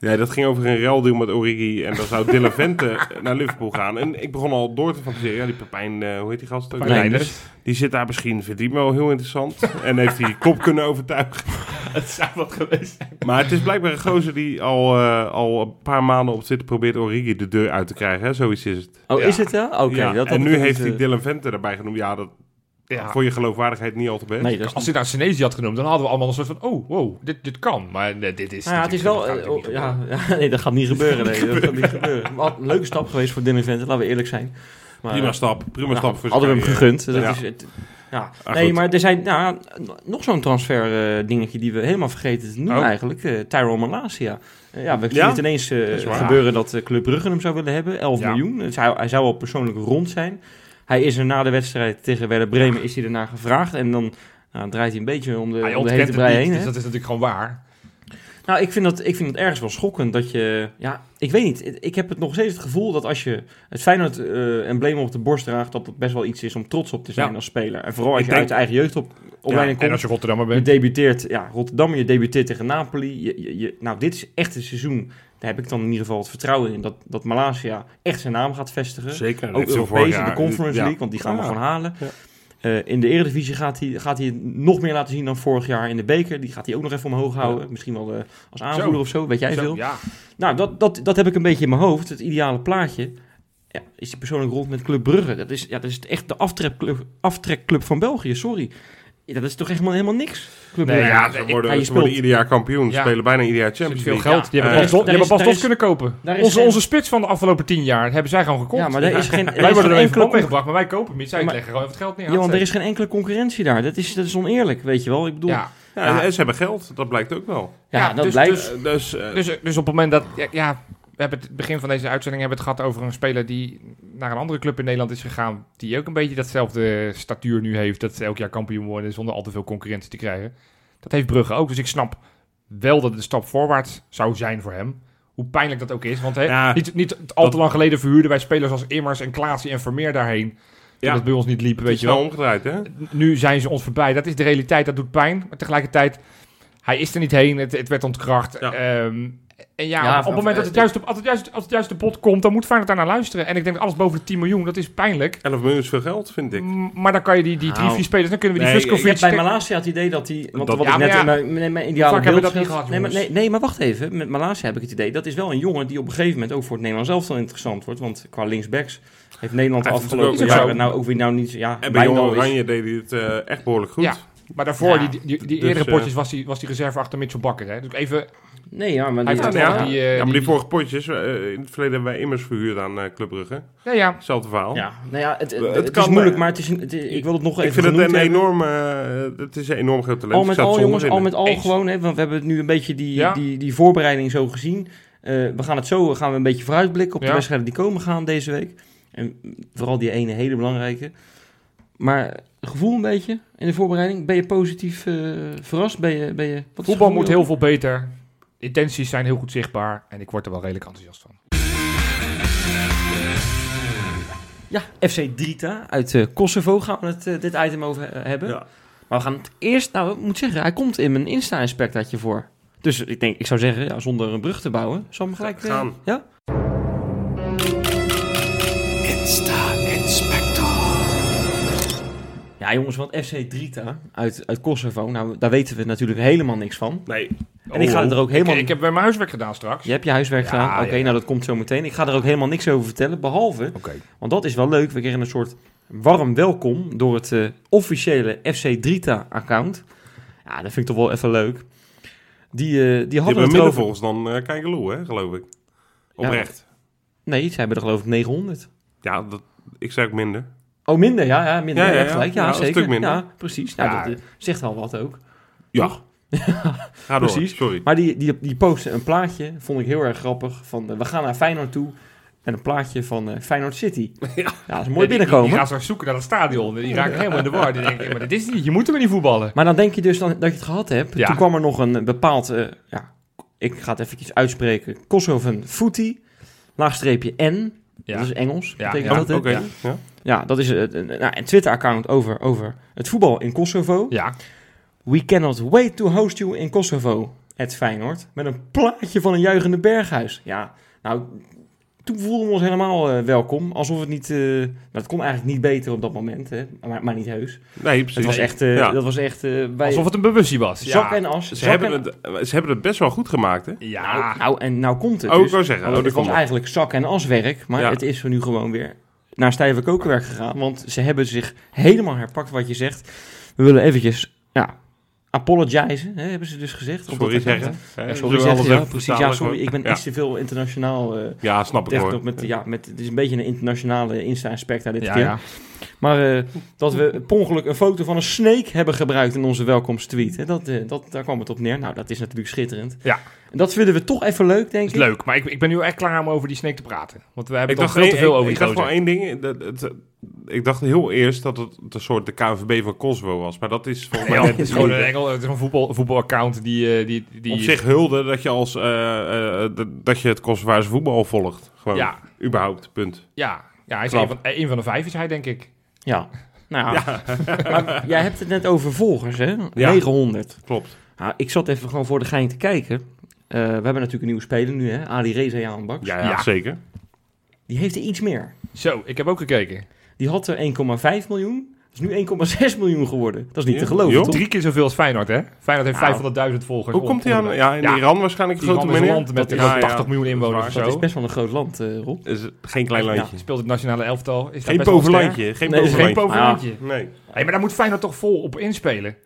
C: Ja. dat ging over een ruildeal met Origi. En dan zou Dylan Vente naar Liverpool gaan. En ik begon al door te fantaseren. Ja, die Pepijn, eh, hoe heet die gast? ook?
D: Pepijn
C: Nee,
D: Leinders.
C: Die zit daar misschien, vindt die me wel heel interessant. en heeft die kop kunnen overtuigen.
D: Het zou wat geweest zijn.
C: Maar het is blijkbaar een gozer die al, eh, al een paar maanden op zit probeert Origi de deur uit te krijgen. Hè? Zoiets is het.
B: Oh,
D: Ja.
B: is het wel? Oké.
C: Ja,
B: dat had
C: en
B: ik
C: nu
B: niet,
C: heeft
B: eh,
C: hij Dylan Venter erbij genoemd. Ja, dat
D: Ja.
C: voor je geloofwaardigheid niet al te best.
B: Nee, dat is
D: Als hij nou Senezi had genoemd, dan hadden we allemaal een soort van... Oh, wow, dit, dit kan. Maar nee, dit is...
B: Nou ja, het is wel.
D: natuurlijk-
B: eh,
D: dat gaat
B: oh,
D: natuurlijk niet
B: ja, ja, nee, dat gaat niet gebeuren. Nee, dat gaat niet gebeuren. Maar wat een leuke stap geweest voor Dylan Venter, laten we eerlijk zijn. Maar,
C: Prima
B: eh,
C: stap. Prima
B: nou,
C: stap voor zijn
B: Hadden we hem
C: carrière.
B: gegund. Dat
C: Ja.
B: is het, ja.
C: Ah,
B: nee,
C: goed.
B: maar er zijn nou, nog zo'n transfer eh, dingetje die we helemaal vergeten te noemen
C: Oh.
B: eigenlijk. eh Tyrone Malasia. Eh, ja, we zien
C: Ja?
B: het ineens eh,
D: is waar.
B: gebeuren dat eh, Club Brugge hem zou willen hebben. 11
D: Ja.
B: miljoen. Het zou, hij zou al persoonlijk rond zijn. Hij is er na de wedstrijd tegen Werder Bremen is hij ernaar gevraagd. En dan nou, draait hij een beetje om de,
D: Hij
B: om de hete
D: ontkent
B: brei
D: het
B: heen.
D: niet,
B: hè?
D: dus dat is natuurlijk gewoon waar.
B: Nou, ik vind, dat, ik vind het ergens wel schokkend dat je... Ja, ik weet niet. Ik heb het nog steeds het gevoel dat als je het Feyenoord-embleem op de borst draagt... dat dat best wel iets is om trots op te zijn
D: Ja.
B: als speler. En vooral als
C: Ik
B: je
C: denk-
B: uit de eigen
D: Ja,
B: jeugdopleiding
D: en als
B: komt.
D: je Rotterdammer
B: Je
D: bent.
B: debuteert, ja, Rotterdam, je debuteert tegen Napoli. Je, je, je- nou, dit is echt een seizoen. Daar heb ik dan in ieder geval het vertrouwen in... dat, dat Malaysia echt zijn naam gaat vestigen.
C: Zeker.
B: Ook Europees in de Conference League, want die gaan we
C: Ja.
B: gewoon halen.
C: Ja.
B: Eh, in de Eredivisie gaat hij, gaat hij het nog meer laten zien dan vorig jaar in de beker. Die gaat hij ook nog even omhoog houden. Misschien wel eh, als aanvoerder
D: Zo.
B: of zo, weet jij
D: Zo,
B: veel.
D: ja.
B: Nou, dat, dat, dat heb ik een beetje in mijn hoofd. Het ideale plaatje ja, is die persoonlijk rond met Club Brugge. Dat is, ja, dat is echt de aftrekclub, aftrekclub van België, sorry. Ja, dat is toch echt helemaal, helemaal niks? Club
D: Nee,
B: Brugge.
D: ja,
C: Ja,
D: ik-
C: ze
B: ja, je
C: worden, ze
B: speelt.
C: worden ieder jaar kampioen. Ze
D: Ja.
C: spelen bijna ieder jaar
D: Er zit
C: Champions
D: veel
C: League.
D: geld. Die hebben
C: Ja. eh,
D: pas Dof- die
B: Daar is-
D: hebben pas
B: daar
D: Dof
B: is-
D: kunnen kopen.
B: daar is
D: Onze,
B: geen-
D: onze spits van de afgelopen tien jaar hebben zij gewoon gekocht.
B: Ja, maar er is geen... er
D: Wij
B: is
D: worden
B: geen
D: er even
B: enkele
D: van meegebracht, maar wij kopen hem niet. Zij
B: Maar-
D: leggen gewoon even het geld neer.
B: Johan, er is geen enkele concurrentie daar. Dat is, dat is oneerlijk, weet je wel. Ik bedoel, ja,
D: Ja,
C: Ja,
B: Ja.
C: En ze hebben geld. Dat blijkt ook wel.
D: Ja,
B: dat
D: dus-
B: blijkt.
D: dus-
C: Eh, Dus, eh,
D: dus, dus op het moment dat... Ja, ja, we hebben het begin van deze uitzending hebben we het gehad over een speler die naar een andere club in Nederland is gegaan. Die ook een beetje datzelfde statuur nu heeft. Dat ze elk jaar kampioen worden zonder al te veel concurrentie te krijgen. Dat heeft Brugge ook. Dus ik snap wel dat het een stap voorwaarts zou zijn voor hem. Hoe pijnlijk dat ook is. Want hè,
C: Ja,
D: niet, niet al te lang geleden verhuurden wij spelers als Immers en Klaasie en Vermeer daarheen. Dat
C: Ja.
D: het bij ons niet liep,
C: het
D: weet
C: is
D: je
C: wel
D: wel.
C: omgedraaid, hè?
D: Nu zijn ze ons voorbij. Dat is de realiteit, dat doet pijn. Maar tegelijkertijd, hij is er niet heen. Het, het werd ontkracht.
C: Ja.
D: Ehm, en ja,
B: Ja,
D: op het moment dat het juist op, als, het juist, als het juist de pot komt, dan moet Feyenoord daarnaar luisteren. En ik denk dat alles boven de 10 miljoen, dat is pijnlijk.
C: 11 miljoen is veel geld, vind ik.
D: M- Maar dan kan je die, die drie,
B: Nou.
D: vier spelers, dan kunnen we die
C: Nee,
D: Vuskovic...
B: Ik heb bij
D: stek-
B: Malasia het idee dat hij... Want
C: Dat-
B: wat
D: Ja,
B: ik net
D: maar ja.
B: in mijn, mijn, mijn ideale
D: Vaak hebben we
B: beeld
D: dat
B: schetst-
D: niet gehad,
B: nee, maar,
D: jongens.
B: nee, nee, maar wacht even. Met Malasia heb ik het idee. Dat is wel een jongen die op een gegeven moment ook voor het Nederlands elftal interessant wordt. Want qua linksbacks heeft Nederland de
C: Hij heeft
B: afgelopen
C: natuurlijk ook-
B: jaren nou ook weer nou niet... zo- Ja,
C: En bij Jong
B: Wijndal is-
C: Oranje deed hij het eh, echt behoorlijk goed.
D: Ja. Maar daarvoor,
B: Ja.
D: die, die, die, die
C: Dus,
D: eerdere
C: eh,
D: potjes, was die, was die reserve achter Mitchell Bakker. Hè? Dus even,
B: Nee, ja, maar...
D: hij
B: die-
D: heeft
C: ja,
D: ja,
C: ja.
D: die... eh,
C: ja, maar
D: die-
C: die vorige potjes, eh, in het verleden hebben wij immers verhuurd aan eh Club Brugge.
D: Ja, ja.
C: Hetzelfde verhaal.
B: Ja, nou ja, het, het,
C: Het
B: het is
C: kan,
B: moeilijk,
C: eh,
B: maar het is, het is- ik wil het nog even
C: Ik vind het
B: genoemd
C: een
B: hebben.
C: enorme, eh, het is een enorm groot talent.
B: Al met
C: Ik zou
B: al,
C: het
B: jongens,
C: zonde
B: al met al
D: Eens.
B: gewoon. Hè, want we hebben het nu een beetje die,
D: Ja.
B: die, die voorbereiding zo gezien. Eh, we gaan het zo gaan we een beetje vooruitblikken op de
D: Ja.
B: wedstrijden die komen gaan deze week. En vooral die ene hele belangrijke. Maar het gevoel een beetje in de voorbereiding. Ben je positief eh, verrast? Ben je, ben je, wat is het
D: Voetbal
B: gevoel,
D: moet
B: joh?
D: heel veel beter. Intenties zijn heel goed zichtbaar. En ik word er wel redelijk enthousiast van.
B: Ja, FC Drita uit eh, Kosovo gaan we het, eh, dit item over eh, hebben.
C: Ja.
B: Maar we gaan het eerst... Nou, ik moet zeggen, hij komt in mijn Insta-inspectaatje voor. Dus ik denk, ik zou zeggen, ja, zonder een brug te bouwen, zal ik hem gelijk... eh,
C: Gaan.
B: Ja? Ja, jongens, want FC Drita uit, uit Kosovo, nou, daar weten we natuurlijk helemaal niks van.
C: in. Nee,
B: En ik ga er ook helemaal...
D: Oh. Ik, ik heb weer mijn huiswerk gedaan straks.
B: Je hebt je huiswerk
D: Ja,
B: gedaan. Oké,
D: ja, ja.
B: nou dat komt zo meteen. Ik ga er ook helemaal niks over vertellen, behalve,
D: Oké.
B: want dat is wel leuk, we kregen een soort warm welkom door het eh, officiële FC Drita-account. Ja, dat vind ik toch wel even leuk. Die, eh die
C: die
B: hadden
C: hebben
B: het
C: minder
B: over...
C: volgens dan eh Kijkeloe, hè, geloof ik. Oprecht.
B: Nee, ze hebben er geloof ik 900.
C: Ja, dat, ik zei ook minder.
B: Oh, minder, ja, ja minder.
C: Ja,
B: Ja,
C: ja, ja.
B: gelijk. ja,
C: Ja, een
B: zeker.
C: stuk minder.
B: Ja, precies. Nou,
D: Ja.
B: dat eh, zegt al wat ook.
C: Ja.
B: Toch?
C: Ga door,
B: Precies.
C: sorry.
B: Maar die, die, die postte een plaatje, vond ik heel erg grappig, van eh, we gaan naar Feyenoord toe. En een plaatje van eh, Feyenoord City. Ja, dat is mooi
D: Die-
B: binnenkomen.
D: Die, die gaan zo zoeken naar het stadion. Die raken helemaal in de war. Die denken, maar dit is niet, je moet er maar niet voetballen.
B: Maar dan denk je dus dan, dat je het gehad hebt.
D: Ja.
B: Toen kwam er nog een bepaald, eh, ja, ik ga het eventjes uitspreken. Kosoven Footy, laagstreepje N.
D: Ja.
B: Dat is Engels.
D: Ja,
B: betekent
D: ja.
B: dat,
C: Oh, Oké,
B: hè?
C: ja.
B: Ja, dat is eh, een, nou, een Twitter-account over, over het voetbal in Kosovo.
D: Ja,
B: We cannot wait to host you in Kosovo, at Feyenoord. Met een plaatje van een juichende berghuis. Ja, nou, toen voelden we ons helemaal eh, welkom. Alsof het niet, eh, nou, het kon eigenlijk niet beter op dat moment, hè. Maar, maar niet heus.
C: Nee, precies.
B: Het was echt, eh,
C: Ja.
B: dat was echt eh, bij
D: alsof het een bewustie was. Ja.
B: zak en as.
C: Ze
B: zak
C: hebben,
B: en-
C: het, ze hebben het best wel goed gemaakt, hè?
D: Ja,
B: Nou, nou, en nou komt het.
C: Oh, ik
B: dus.
C: wou zeggen. Oh, dat
B: Want het was
C: komt nog.
B: eigenlijk zak- en aswerk, maar
C: Ja.
B: het is er nu gewoon weer naar stijve kokenwerk gegaan. Want ze hebben zich helemaal herpakt wat je zegt. We willen eventjes, ja, apologizen, hè, hebben ze dus gezegd. Op
C: Sorry
B: dat
C: zeggen.
B: account.
C: Hè, zullen
B: Ja,
C: we
B: sorry zeggen,
C: alles
B: ja,
C: even
B: precies. Ja,
C: vertalen
B: sorry,
C: gewoon?
B: ik ben
C: Ja.
B: iets te veel internationaal eh
C: Ja, snap ik
B: terecht
C: hoor.
B: op met, ja, met, het is een beetje een internationale Insta-aspect daar dit
D: ja,
B: keer.
D: ja.
B: Maar eh, dat we per ongeluk een foto van een snake hebben gebruikt in onze welkomsttweet. Hè, dat, eh, dat, daar kwam het op neer. Nou, dat is natuurlijk schitterend.
D: Ja.
B: En dat vinden we toch even leuk, denk
D: is
B: ik.
D: leuk. Maar ik, ik ben nu echt klaar om over die snake te praten. Want we hebben
C: Ik
D: toch
C: dacht
D: veel te
C: één-
D: veel
C: ik-
D: over die
C: Ik dacht wel
D: gozer.
C: één ding. Dat, het- ik dacht heel eerst dat het een soort de KNVB van Kosovo was. Maar dat is volgens mij
D: Ja,
C: net
D: het is
C: niet.
D: gewoon een engel, het is een voetbal, voetbalaccount die, eh, die, die...
C: Op zich hulde dat je, als, eh, eh, dat- dat je het Kosovaarse voetbal volgt. Gewoon,
D: Ja.
C: überhaupt, punt.
D: Ja, ja hij is
B: Knap.
D: een van, eh, een van de vijf is hij, denk ik.
B: Ja. Nou, ja. maar jij hebt het net over volgers, hè? 900.
C: Klopt.
B: Nou, ik zat even gewoon voor de gein te kijken. Eh, we hebben natuurlijk een nieuwe speler nu, hè? Ali Reza aan bak.
C: Ja, ja,
D: Ja.
C: zeker.
B: Die heeft er iets meer.
D: Zo, ik heb ook gekeken.
B: Die had er 1,5 miljoen. Dat is nu 1,6 miljoen geworden. Dat is niet te
C: Ja,
B: geloven,
C: joh.
B: toch?
D: Drie keer zoveel als Feyenoord, hè? Feyenoord
B: Nou,
D: heeft 500.000 volgers.
C: Hoe komt hij aan?
D: Iran
C: Ja, in
D: Ja.
C: Iran waarschijnlijk een
D: is
C: grote
D: een
C: meneer.
D: land met
C: Dat is-
D: iemand
C: ja, ja,
D: 80 miljoen inwoners
C: waar.
D: of
B: Dat is
D: zo.
B: best wel een groot land, eh, Rob.
C: Is het geen klein landje.
D: Speelt het nationale elftal. Is daar
C: Geen
D: best wel een
C: bovenlandje. Geen
B: Nee,
D: ster. Geen
C: bovenlandje.
D: bovenlandje.
C: Nee.
D: Hey, maar daar moet Feyenoord toch vol op inspelen. Tuurlijk,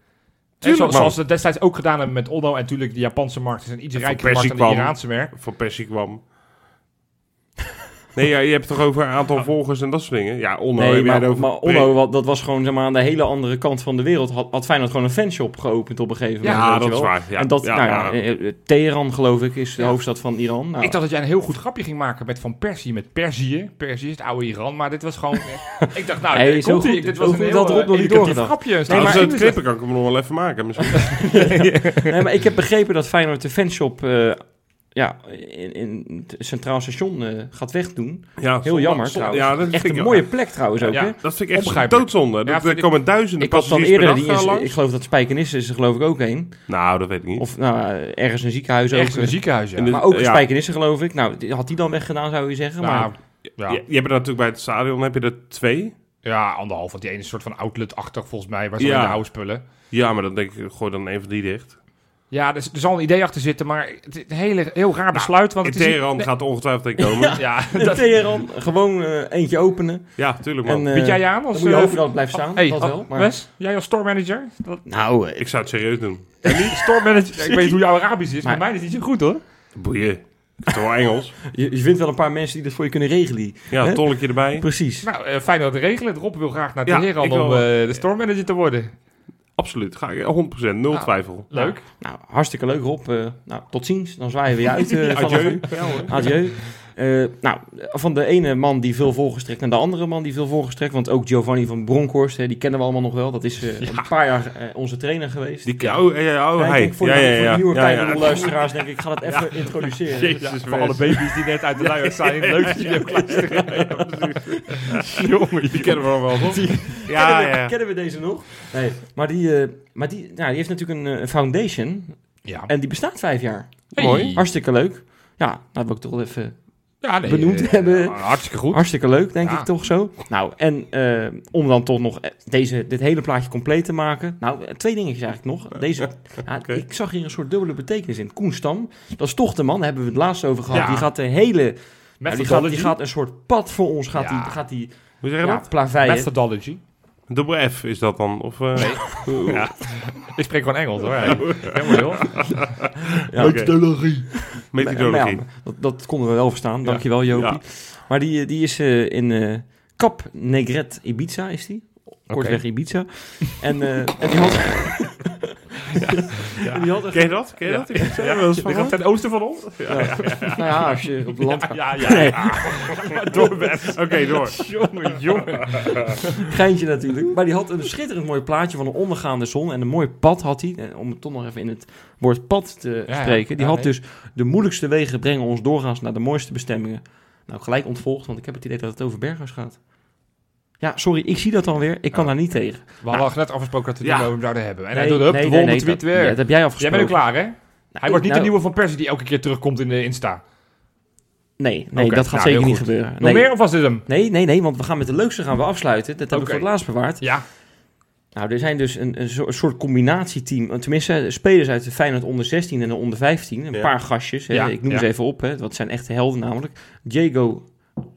C: Tuurlijk,
D: zoals,
C: man.
D: zoals ze destijds ook gedaan hebben met Oldo. En natuurlijk, de Japanse markt is een iets
C: Van
D: rijkere markt
C: Persie
D: dan de
C: kwam.
D: Iraanse markt.
C: Van Persie kwam. Nee, ja, je hebt het toch over een aantal volgers en dat soort dingen? Ja, Onno
B: Nee,
C: heb jij het
B: maar,
C: over.
B: maar Onno, wat- dat was gewoon zeg maar, aan de hele andere kant van de wereld. Had, had Feyenoord gewoon een fanshop geopend op een gegeven moment.
C: Ja,
B: weet
C: dat
B: je
C: is
B: wel.
C: waar. Ja,
B: en dat,
C: ja,
B: nou
C: ja.
B: ja, eh, eh, Teheran geloof ik is de
D: Ja.
B: hoofdstad van Iran. Nou,
D: Ik dacht dat jij een heel goed grapje ging maken met Van Persie. Met Perzië. Perzië is het oude Iran. Maar dit was gewoon... ik dacht, nou,
B: Hey,
D: dit
B: zo
D: komt
B: goed-
D: ie. Dit
B: zo
D: was een
B: goed
D: heel
B: dat Rob
D: eh,
B: nog niet
D: educatief
B: doorgedacht.
D: grapje. Staat
C: Nou,
D: er
C: als
D: zo
C: ze
D: in
C: het
D: de-
C: knippen kan ik hem nog wel even maken. Misschien.
B: Nee, maar ik heb begrepen dat Feyenoord de fanshop eh, ja, in, in het Centraal Station eh, gaat wegdoen.
C: Ja, zondag-
B: Heel jammer
C: zondag-
B: trouwens.
C: Ja, dat
B: Echt
C: vind
B: een
C: ik-
B: mooie plek trouwens ook.
D: Ja.
B: hè?
C: Dat vind ik echt
D: Onbegrijpelijk.
C: doodzonde.
D: Ja,
C: Dat,
D: vind
C: er
D: ik-
C: komen duizenden
B: Ik had dan
C: passagiers per
B: eerder,
C: dag
B: die is,
C: eh,
B: ik
C: langs.
B: geloof dat Spijkenisse is er geloof ik ook heen.
C: Nou, dat weet ik niet.
B: Of nou, eh, ergens een ziekenhuis
D: Ergens
B: ook.
D: in een ziekenhuis, ja.
C: In de-
B: Maar ook
C: Ja.
B: Spijkenisse geloof ik. Nou, die- had die dan weggedaan zou je zeggen.
D: Nou,
B: maar
D: ja.
C: Je, je hebt er natuurlijk bij het stadion heb je er twee.
D: Ja, anderhalf. Want die ene is een soort van outlet-achtig volgens mij. Waar ze
C: Ja.
D: in de oude spullen.
C: Ja, maar dan denk ik, gooi dan een van die dicht.
D: Ja, dus, er zal een idee achter zitten. Maar het is een hele, heel
C: Nou,
D: raar besluit. Want
C: In
D: het is niet-
C: Teheran gaat er ongetwijfeld een komen. Ja,
D: Ja,
B: in
D: dat
B: Teheran gewoon eh, eentje openen.
C: tuurlijk man.
B: En, eh,
D: bied jij je aan
B: dan
D: als...
B: moet je
D: eh,
B: hopen dat het blijft staan.
D: Hey,
B: dat wel. Maar...
D: Wes, jij als stormmanager? Dat,
B: Nou, eh,
C: ik zou het serieus doen.
D: stormmanager, ik weet niet hoe jouw Arabisch is, maar,
B: Maar-
D: mijn is niet zo goed hoor.
C: Boeien. Ik heb toch wel Engels.
B: je, je vindt wel een paar mensen die dat voor je kunnen regelen. hier.
C: Ja,
B: Hè?
C: tolkje erbij.
B: Precies.
D: Nou, eh, fijn dat het regelen. Rob wil graag naar
C: Ja,
D: Teheran
C: ik
D: om
C: wil-
D: eh, de stormmanager te worden.
C: Absoluut. Ga ik 100%. Nul
D: Ah.
C: twijfel.
D: Leuk.
B: Nou, hartstikke leuk Rob. Eh, nou, tot ziens. Dan zwaaien we je uit eh vanaf
C: Adieu.
B: nu. Adieu. Eh, nou, van de ene man die veel volgestrekt naar de andere man die veel volgestrekt. Want ook Giovanni van Bronckhorst, hè, die kennen we allemaal nog wel. Dat is eh, een paar jaar eh, onze trainer geweest.
C: Die, oh, ja, ja, oh,
B: Ja, ik
C: hij.
B: denk voor,
C: ja,
B: de,
C: ja,
B: voor
C: ja.
B: de nieuwe
C: ja, ja.
B: kijkende luisteraars denk ik, ik ga dat even introduceren.
C: Jezus,
D: Voor alle
C: mensen.
D: baby's die net uit de luier zijn. Leuk dat jullie ook luisteren. Jongen,
C: Die kennen we nog wel, toch?
B: kennen,
C: Ja,
B: we,
C: ja.
B: kennen we deze nog? Nee, maar die, eh, maar die, nou, die heeft natuurlijk een eh, foundation
D: Ja,
B: en die bestaat vijf jaar.
D: Hey.
B: Mooi. Hartstikke leuk. Ja, dat wil ik toch wel even...
D: ja nee,
B: Benoemd
D: eh,
B: hebben.
D: Hartstikke goed.
B: Hartstikke leuk, denk
D: Ja.
B: ik toch zo. Nou, en eh, om dan toch nog eh, deze, dit hele plaatje compleet te maken. Nou, eh, twee dingetjes eigenlijk nog. Deze, ja, Ik zag hier een soort dubbele betekenis in. Koen Stam, dat is toch de man, daar hebben we het laatst over gehad.
D: Ja.
B: Die gaat de hele... nou, die, gaat, die
D: Methodology.
B: gaat een soort pad voor ons, gaat
D: Ja.
B: die, gaat die
C: Hoe zeg je
B: ja,
C: dat?
B: plaveien.
D: Methodology.
C: Dubbel F is dat dan? Of, eh,
D: Ik spreek gewoon Engels hoor. hey. Helemaal joh.
B: Ja, oké.
C: Methodologie.
B: Maar ja, dat, dat konden we wel verstaan. Dankjewel, Jopie.
C: Ja.
B: Maar die, eh, die is eh, in eh Cap Negret Ibiza, is die. Kortweg Ibiza. En, eh, en die had... En die had echt-
C: Ken je dat? Ken je dat? Ik heb wel eens
D: Ligt dat
C: van
D: ten oosten van ons?
B: Nou ja, als je op het land gaat.
D: Ja, ja.
B: Nee,
C: Doorbed. Oké, door.
D: Jongen, jongen.
B: geintje natuurlijk. Maar die had een schitterend mooi plaatje van een ondergaande zon. En een mooi pad had hij. Eh, Om het toch nog even in het woord pad te
D: Ja, ja.
B: spreken. Die
D: Ja,
B: had
D: nee.
B: dus de moeilijkste wegen brengen ons doorgaans naar de mooiste bestemmingen. Nou, gelijk ontvolgd, want ik heb het idee dat het over Berghuis gaat. Ja, sorry, ik zie dat dan weer. Ik kan daar niet tegen.
D: We hadden al net afgesproken dat we
C: Ja.
D: die over zouden hebben. Oh. En hij doet het de volgende tweet
B: dat,
D: weer.
B: ja, dat heb jij
D: Jij
B: afgesproken.
D: bent er klaar, hè? Hij wordt niet
B: nou,
D: de nieuwe Van Persie die elke keer terugkomt in de Insta.
B: Nee, nee
D: Oké,
B: dat gaat
D: nou,
B: zeker
D: heel
B: niet
D: goed.
B: gebeuren.
D: Nog
B: Nee,
D: meer of was dit hem?
B: nee, nee, nee, want we gaan met de leukste gaan we afsluiten. Dat heb ik
D: Oké.
B: voor het laatst bewaard.
D: Ja.
B: Nou, er zijn dus een, een zo- een soort combinatieteam. Tenminste, spelers uit de Feyenoord onder 16 en de onder 15. Een
C: Ja.
B: paar gastjes. Hè.
D: Ja,
B: Ik noem
D: ja.
B: ze even op. Hè. Dat zijn echte helden namelijk. Diego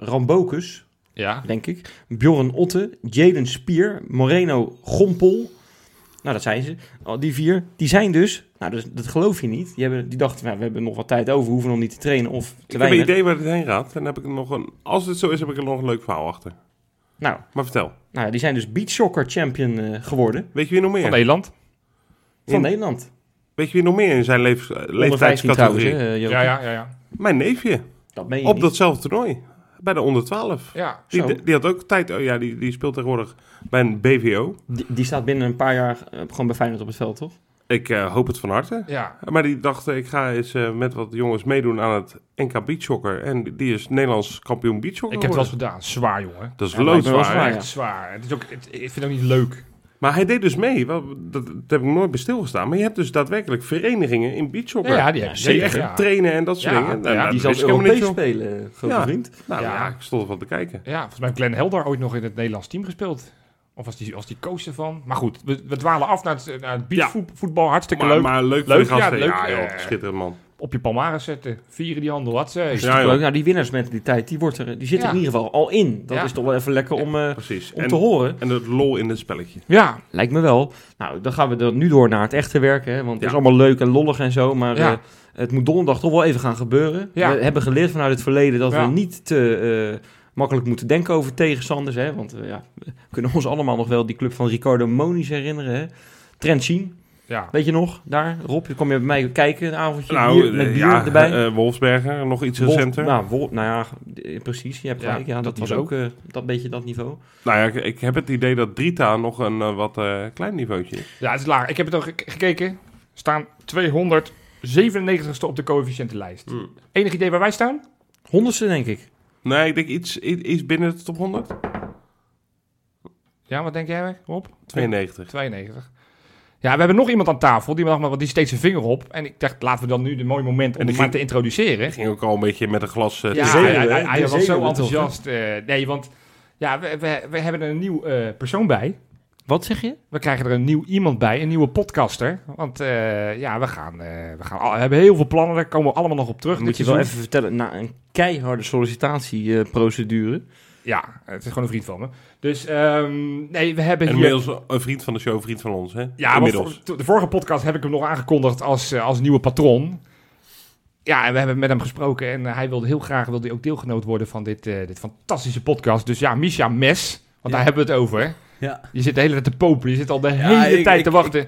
B: Rambokus,
D: Ja.
B: denk ik. Bjorn Otte. Jaden Spier. Moreno Gompel. Nou, dat zijn ze. Al Die vier. Die zijn dus... Nou, dat, dat geloof je niet. Die, hebben, die dachten, nou, we hebben nog wat tijd over. We hoeven nog niet te trainen of te
C: Ik heb een
B: weinig.
C: idee waar dit heen gaat. En heb ik nog een, als het zo is, heb ik er nog een leuk verhaal achter.
B: Nou,
C: Maar vertel.
B: nou, die zijn dus beachsoccer champion eh, geworden
C: Weet je wie nog meer?
D: Van Nederland.
B: van
C: In-
B: Nederland.
C: Weet je wie nog meer in zijn leef,
B: Onder 15 trouwens, hè,
C: leeftijdscategorie?
B: eh, Joke.
D: Ja, ja, ja. ja.
C: Mijn neefje.
B: Dat meen je
C: Op
B: niet.
C: datzelfde toernooi. Bij de onder 12.
D: ja.
B: Zo.
C: Die, die had ook tijd. Oh ja, die, die speelt tegenwoordig bij een BVO.
B: Die, die staat binnen een paar jaar eh, gewoon bij Feyenoord op het veld, toch?
C: Ik eh, hoop het van harte.
D: ja.
C: Maar die dacht, eh, ik ga eens eh, met wat jongens meedoen aan het NK Beachhockey. En die is Nederlands kampioen beachhockey
D: Ik heb het wel eens
C: geworden.
D: gedaan. Zwaar, jongen.
C: Dat is
B: Ja, lijkt me wel
C: loodzwaar. hè?
B: zwaar.
D: Echt zwaar. Het is ook, het- ik vind het ook niet leuk.
C: Maar hij deed dus mee. Wel, dat, dat heb ik nooit bij stilgestaan. Maar je hebt dus daadwerkelijk verenigingen in beachhockey.
D: Ja, ja, die
B: Ja,
D: heb je
C: Die
D: zeker.
C: echt
D: Ja.
C: trainen en dat soort
D: Ja,
C: dingen. Nou,
D: ja,
C: dat
B: die
C: wist
B: zal
C: ik helemaal niet,
B: Europees
C: joh.
B: spelen, grote
C: Ja.
B: vriend.
C: Nou ja.
D: Ja.
C: ik stond ervan te kijken.
D: Ja, volgens mij heeft Glenn Helder ooit nog in het Nederlands team gespeeld. Of was die, was die coach ervan? Maar goed, we, we dwalen af naar het, naar het beachvoetbal. Hartstikke
C: Maar
D: leuk.
C: leuk, maar leuk, voor
D: Leuk,
C: die gasten.
D: ja,
C: Ja,
D: leuk,
C: joh,
D: eh.
C: schitterend man.
D: Op je palmares zetten. Vieren die handel. Wat ze.
C: Ja, Ah, joh,
B: Leuk. Nou, die winnaarsmentaliteit, die, wordt er, die zit er
D: Ja.
B: in ieder geval al in. Dat
D: Ja.
B: is toch wel even lekker om, eh,
C: precies.
B: om
C: en,
B: te horen.
C: en het lol in het spelletje.
D: Ja,
B: Lijkt me wel. Nou, dan gaan we er nu door naar het echte werk. Hè? Want het
C: Ja.
B: is allemaal leuk en lollig en zo. Maar
D: Ja.
B: eh, het moet donderdag toch wel even gaan gebeuren.
D: Ja.
B: We hebben geleerd vanuit het verleden dat
D: Ja.
B: we niet te eh, makkelijk moeten denken over tegenstanders. Hè? Want eh, ja, we kunnen ons allemaal nog wel die club van Ricardo Moniz herinneren. Hè? Trent zien.
D: ja.
B: Weet je nog, daar, Rob, je kwam je bij mij kijken een avondje
C: Nou,
B: bier, met
C: eh,
B: bier
C: ja,
B: erbij.
C: eh, Wolfsberger, nog iets
B: Wolf-
C: recenter. Nou,
B: nou, Wolf- nou ja, eh, precies, je hebt
D: Ja,
B: gelijk. Ja, dat,
D: dat
B: was ook eh, dat beetje dat niveau.
C: Nou ja, ik, ik heb het idee dat Drita nog een eh, wat eh, klein niveautje is.
D: Ja, het is laag. Ik heb het ook gek- gekeken. Staan 297ste op de coëfficiëntenlijst.
C: Hmm.
D: Enig idee waar wij staan?
B: Honderdste, denk ik.
C: Nee, ik denk iets, i- iets binnen de top 100.
D: Ja, wat denk jij Rob?
C: 92.
D: 92. Ja, we hebben nog iemand aan tafel. Die, mag maar, want die steekt zijn vinger op. En ik dacht, laten we dan nu een mooi moment
C: die
D: om hem maar
C: ging-
D: te introduceren.
C: Ging ook al een beetje met een glas. eh,
D: Ja,
C: tussen.
D: hij,
B: zenuwen,
D: hij-
B: hè?
D: hij
B: De
D: was zo
B: zenuwen
D: enthousiast. eh, nee, want ja, we, we, we hebben er een nieuw eh, persoon bij.
B: Wat zeg je?
D: We krijgen er een nieuw iemand bij, een nieuwe podcaster. Want eh, ja, we, gaan, eh, we, gaan, al- we hebben heel veel plannen. Daar komen we allemaal nog op terug.
B: Dan
D: dit
B: moet je wel
D: seizoen.
B: even vertellen, na een keiharde sollicitatieprocedure.
D: Ja, het is gewoon een vriend van me. Dus ehm, nee, we hebben
C: En
D: hier...
C: inmiddels een vriend van de show, vriend van ons. Hè?
D: Ja, want
C: inmiddels.
D: voor- de vorige podcast heb ik hem nog aangekondigd als, eh, als nieuwe patroon. Ja, en we hebben met hem gesproken en eh, hij wilde heel graag wilde hij ook deelgenoot worden van dit, eh, dit fantastische podcast. Dus ja, Misha Mes, want daar hebben we het over.
F: Ja.
D: Je zit de hele tijd te popelen, je zit al de
F: Ja,
D: hele
F: ik-
D: tijd
F: ik-
D: te wachten.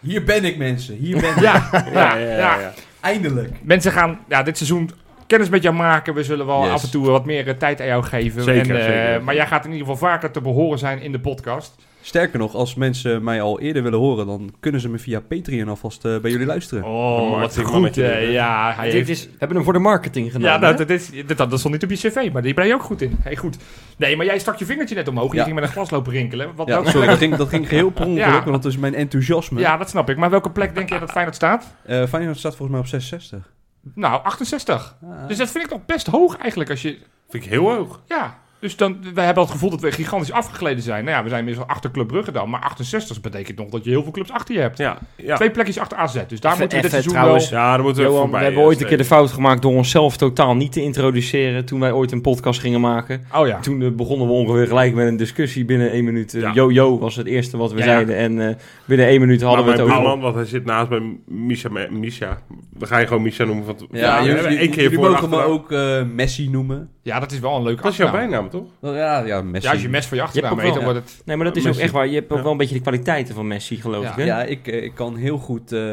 F: Hier ben ik, mensen. Hier ben ik.
D: ja, ja, ja,
F: Eindelijk.
D: Mensen gaan ja, dit seizoen kennis met jou maken. We zullen wel
C: Yes.
D: af en toe wat meer eh, tijd aan jou geven.
C: Zeker,
D: eh,
C: zeker.
D: Maar jij gaat in ieder geval vaker te behoren zijn in de podcast.
F: Sterker nog, als mensen mij al eerder willen horen, dan kunnen ze me via Patreon alvast eh, bij jullie luisteren.
D: Oh,
C: wat
D: wat
C: een
D: goed.
C: mannetje,
D: eh,
C: hè?
D: ja, hij
B: Dit
D: heeft...
B: is, we hebben hem voor de marketing gedaan.
D: Ja, nou,
B: hè?
D: dat, is, dat, dat stond niet op je cv, maar die ben je ook goed in. Hey, goed. Nee, maar jij stak je vingertje net omhoog en je
F: Ja.
D: ging met een glas lopen rinkelen. Wat
F: Ja,
D: welke-
F: sorry, dat ging, dat ging geheel per ongeluk,
D: Ja.
F: want dat is mijn enthousiasme.
D: ja, dat snap ik. Maar welke plek denk jij dat Feyenoord staat?
F: Eh, Feyenoord staat volgens mij op 66.
D: Nou, 68.
F: Ah.
D: Dus dat vind ik nog best hoog eigenlijk als je...
C: Vind ik heel hoog.
D: Ja, dus dan, we hebben het gevoel dat we gigantisch afgegleden zijn. Nou ja, we zijn inmiddels achter Club Brugge dan. Maar 68 betekent nog dat je heel veel clubs achter je hebt.
C: Ja, ja.
D: Twee plekjes achter AZ. Dus daar
B: Even-
D: moeten we dit
B: even
D: seizoen
B: trouwens,
D: wel...
C: ja daar moeten we
B: Johan,
C: voorbij.
B: we hebben ooit
C: eh,
B: een keer de fout gemaakt door onszelf totaal niet te introduceren toen wij ooit een podcast gingen maken.
D: Oh ja.
B: Toen eh, begonnen we ongeveer gelijk met een discussie binnen één minuut. Eh,
C: Ja.
B: Yo-yo was het eerste wat we
D: Ja, ja.
B: zeiden en eh, binnen één minuut hadden
C: Maar
B: we het
C: mijn
B: over...
C: buurman, want hij zit naast bij Misha. Misha. We gaan je gewoon Misha noemen. Want
F: Ja,
C: we
F: jullie,
C: hebben één keer
F: jullie
C: voor en
F: mogen me
C: achternaam.
F: ook eh, Messi noemen.
D: Ja, dat is wel een leuke
C: Dat is
B: Nou.
C: jouw
D: achternaam.
C: bijnaam, toch?
F: Ja, ja, Messi.
D: Ja, als je mes voor je achternaam
B: ook
D: heet, dan
B: wel,
D: wordt het...
B: Nee, maar dat is
C: Messi.
B: ook echt waar. Je hebt ook
C: Ja.
B: wel een beetje de kwaliteiten van Messi, geloof
D: Ja.
B: ik. Hè?
F: Ja, ik, eh, ik kan heel goed eh,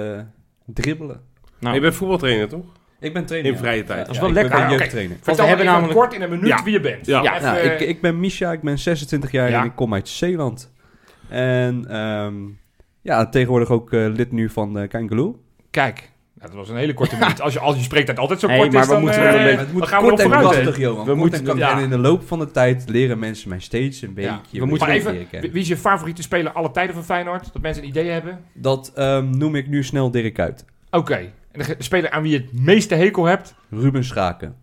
F: dribbelen.
B: Nou,
C: Je bent voetbaltrainer, toch?
F: Ik ben trainer.
C: In
F: ja.
C: vrije tijd.
F: Ja,
B: Dat is wel
F: ik
B: lekker.
F: ben
B: Ah,
D: oké.
F: jeugdtrainer.
D: Vertel
B: we hebben
D: hebben namelijk...
B: namelijk-
D: kort in een minuut
C: Ja.
D: wie je bent.
C: Ja.
D: Even- eh,
F: Nou, ik, ik ben Misha, ik ben 26 jaar
D: Ja.
F: en ik kom uit Zeeland. En ehm, ja, tegenwoordig ook eh, lid nu van uh, Kangaloo.
D: Kijk, nou, dat was een hele korte minuut. Als je, als je spreektijd altijd zo
B: Hey,
D: kort
B: maar
D: is,
B: we
D: dan,
B: moeten
D: eh,
B: wel een beetje-
D: dan gaan we
F: kort
D: erop
F: en
D: vooruit. hè.
F: krachtig, Johan.
B: We
F: We
B: moeten-
F: moeten en,
D: ja.
F: krachtig. en in de loop van de tijd leren mensen mij steeds een beetje.
D: Ja.
F: een
B: We moeten
F: beetje
D: even-
F: leren kennen.
D: Wie wie is je favoriete speler alle tijden van Feyenoord? Dat mensen een idee hebben.
F: Dat ehm, noem ik nu snel Dirk uit.
D: Oké. En de ge- de speler aan wie je het meeste hekel hebt?
F: Ruben Schaken.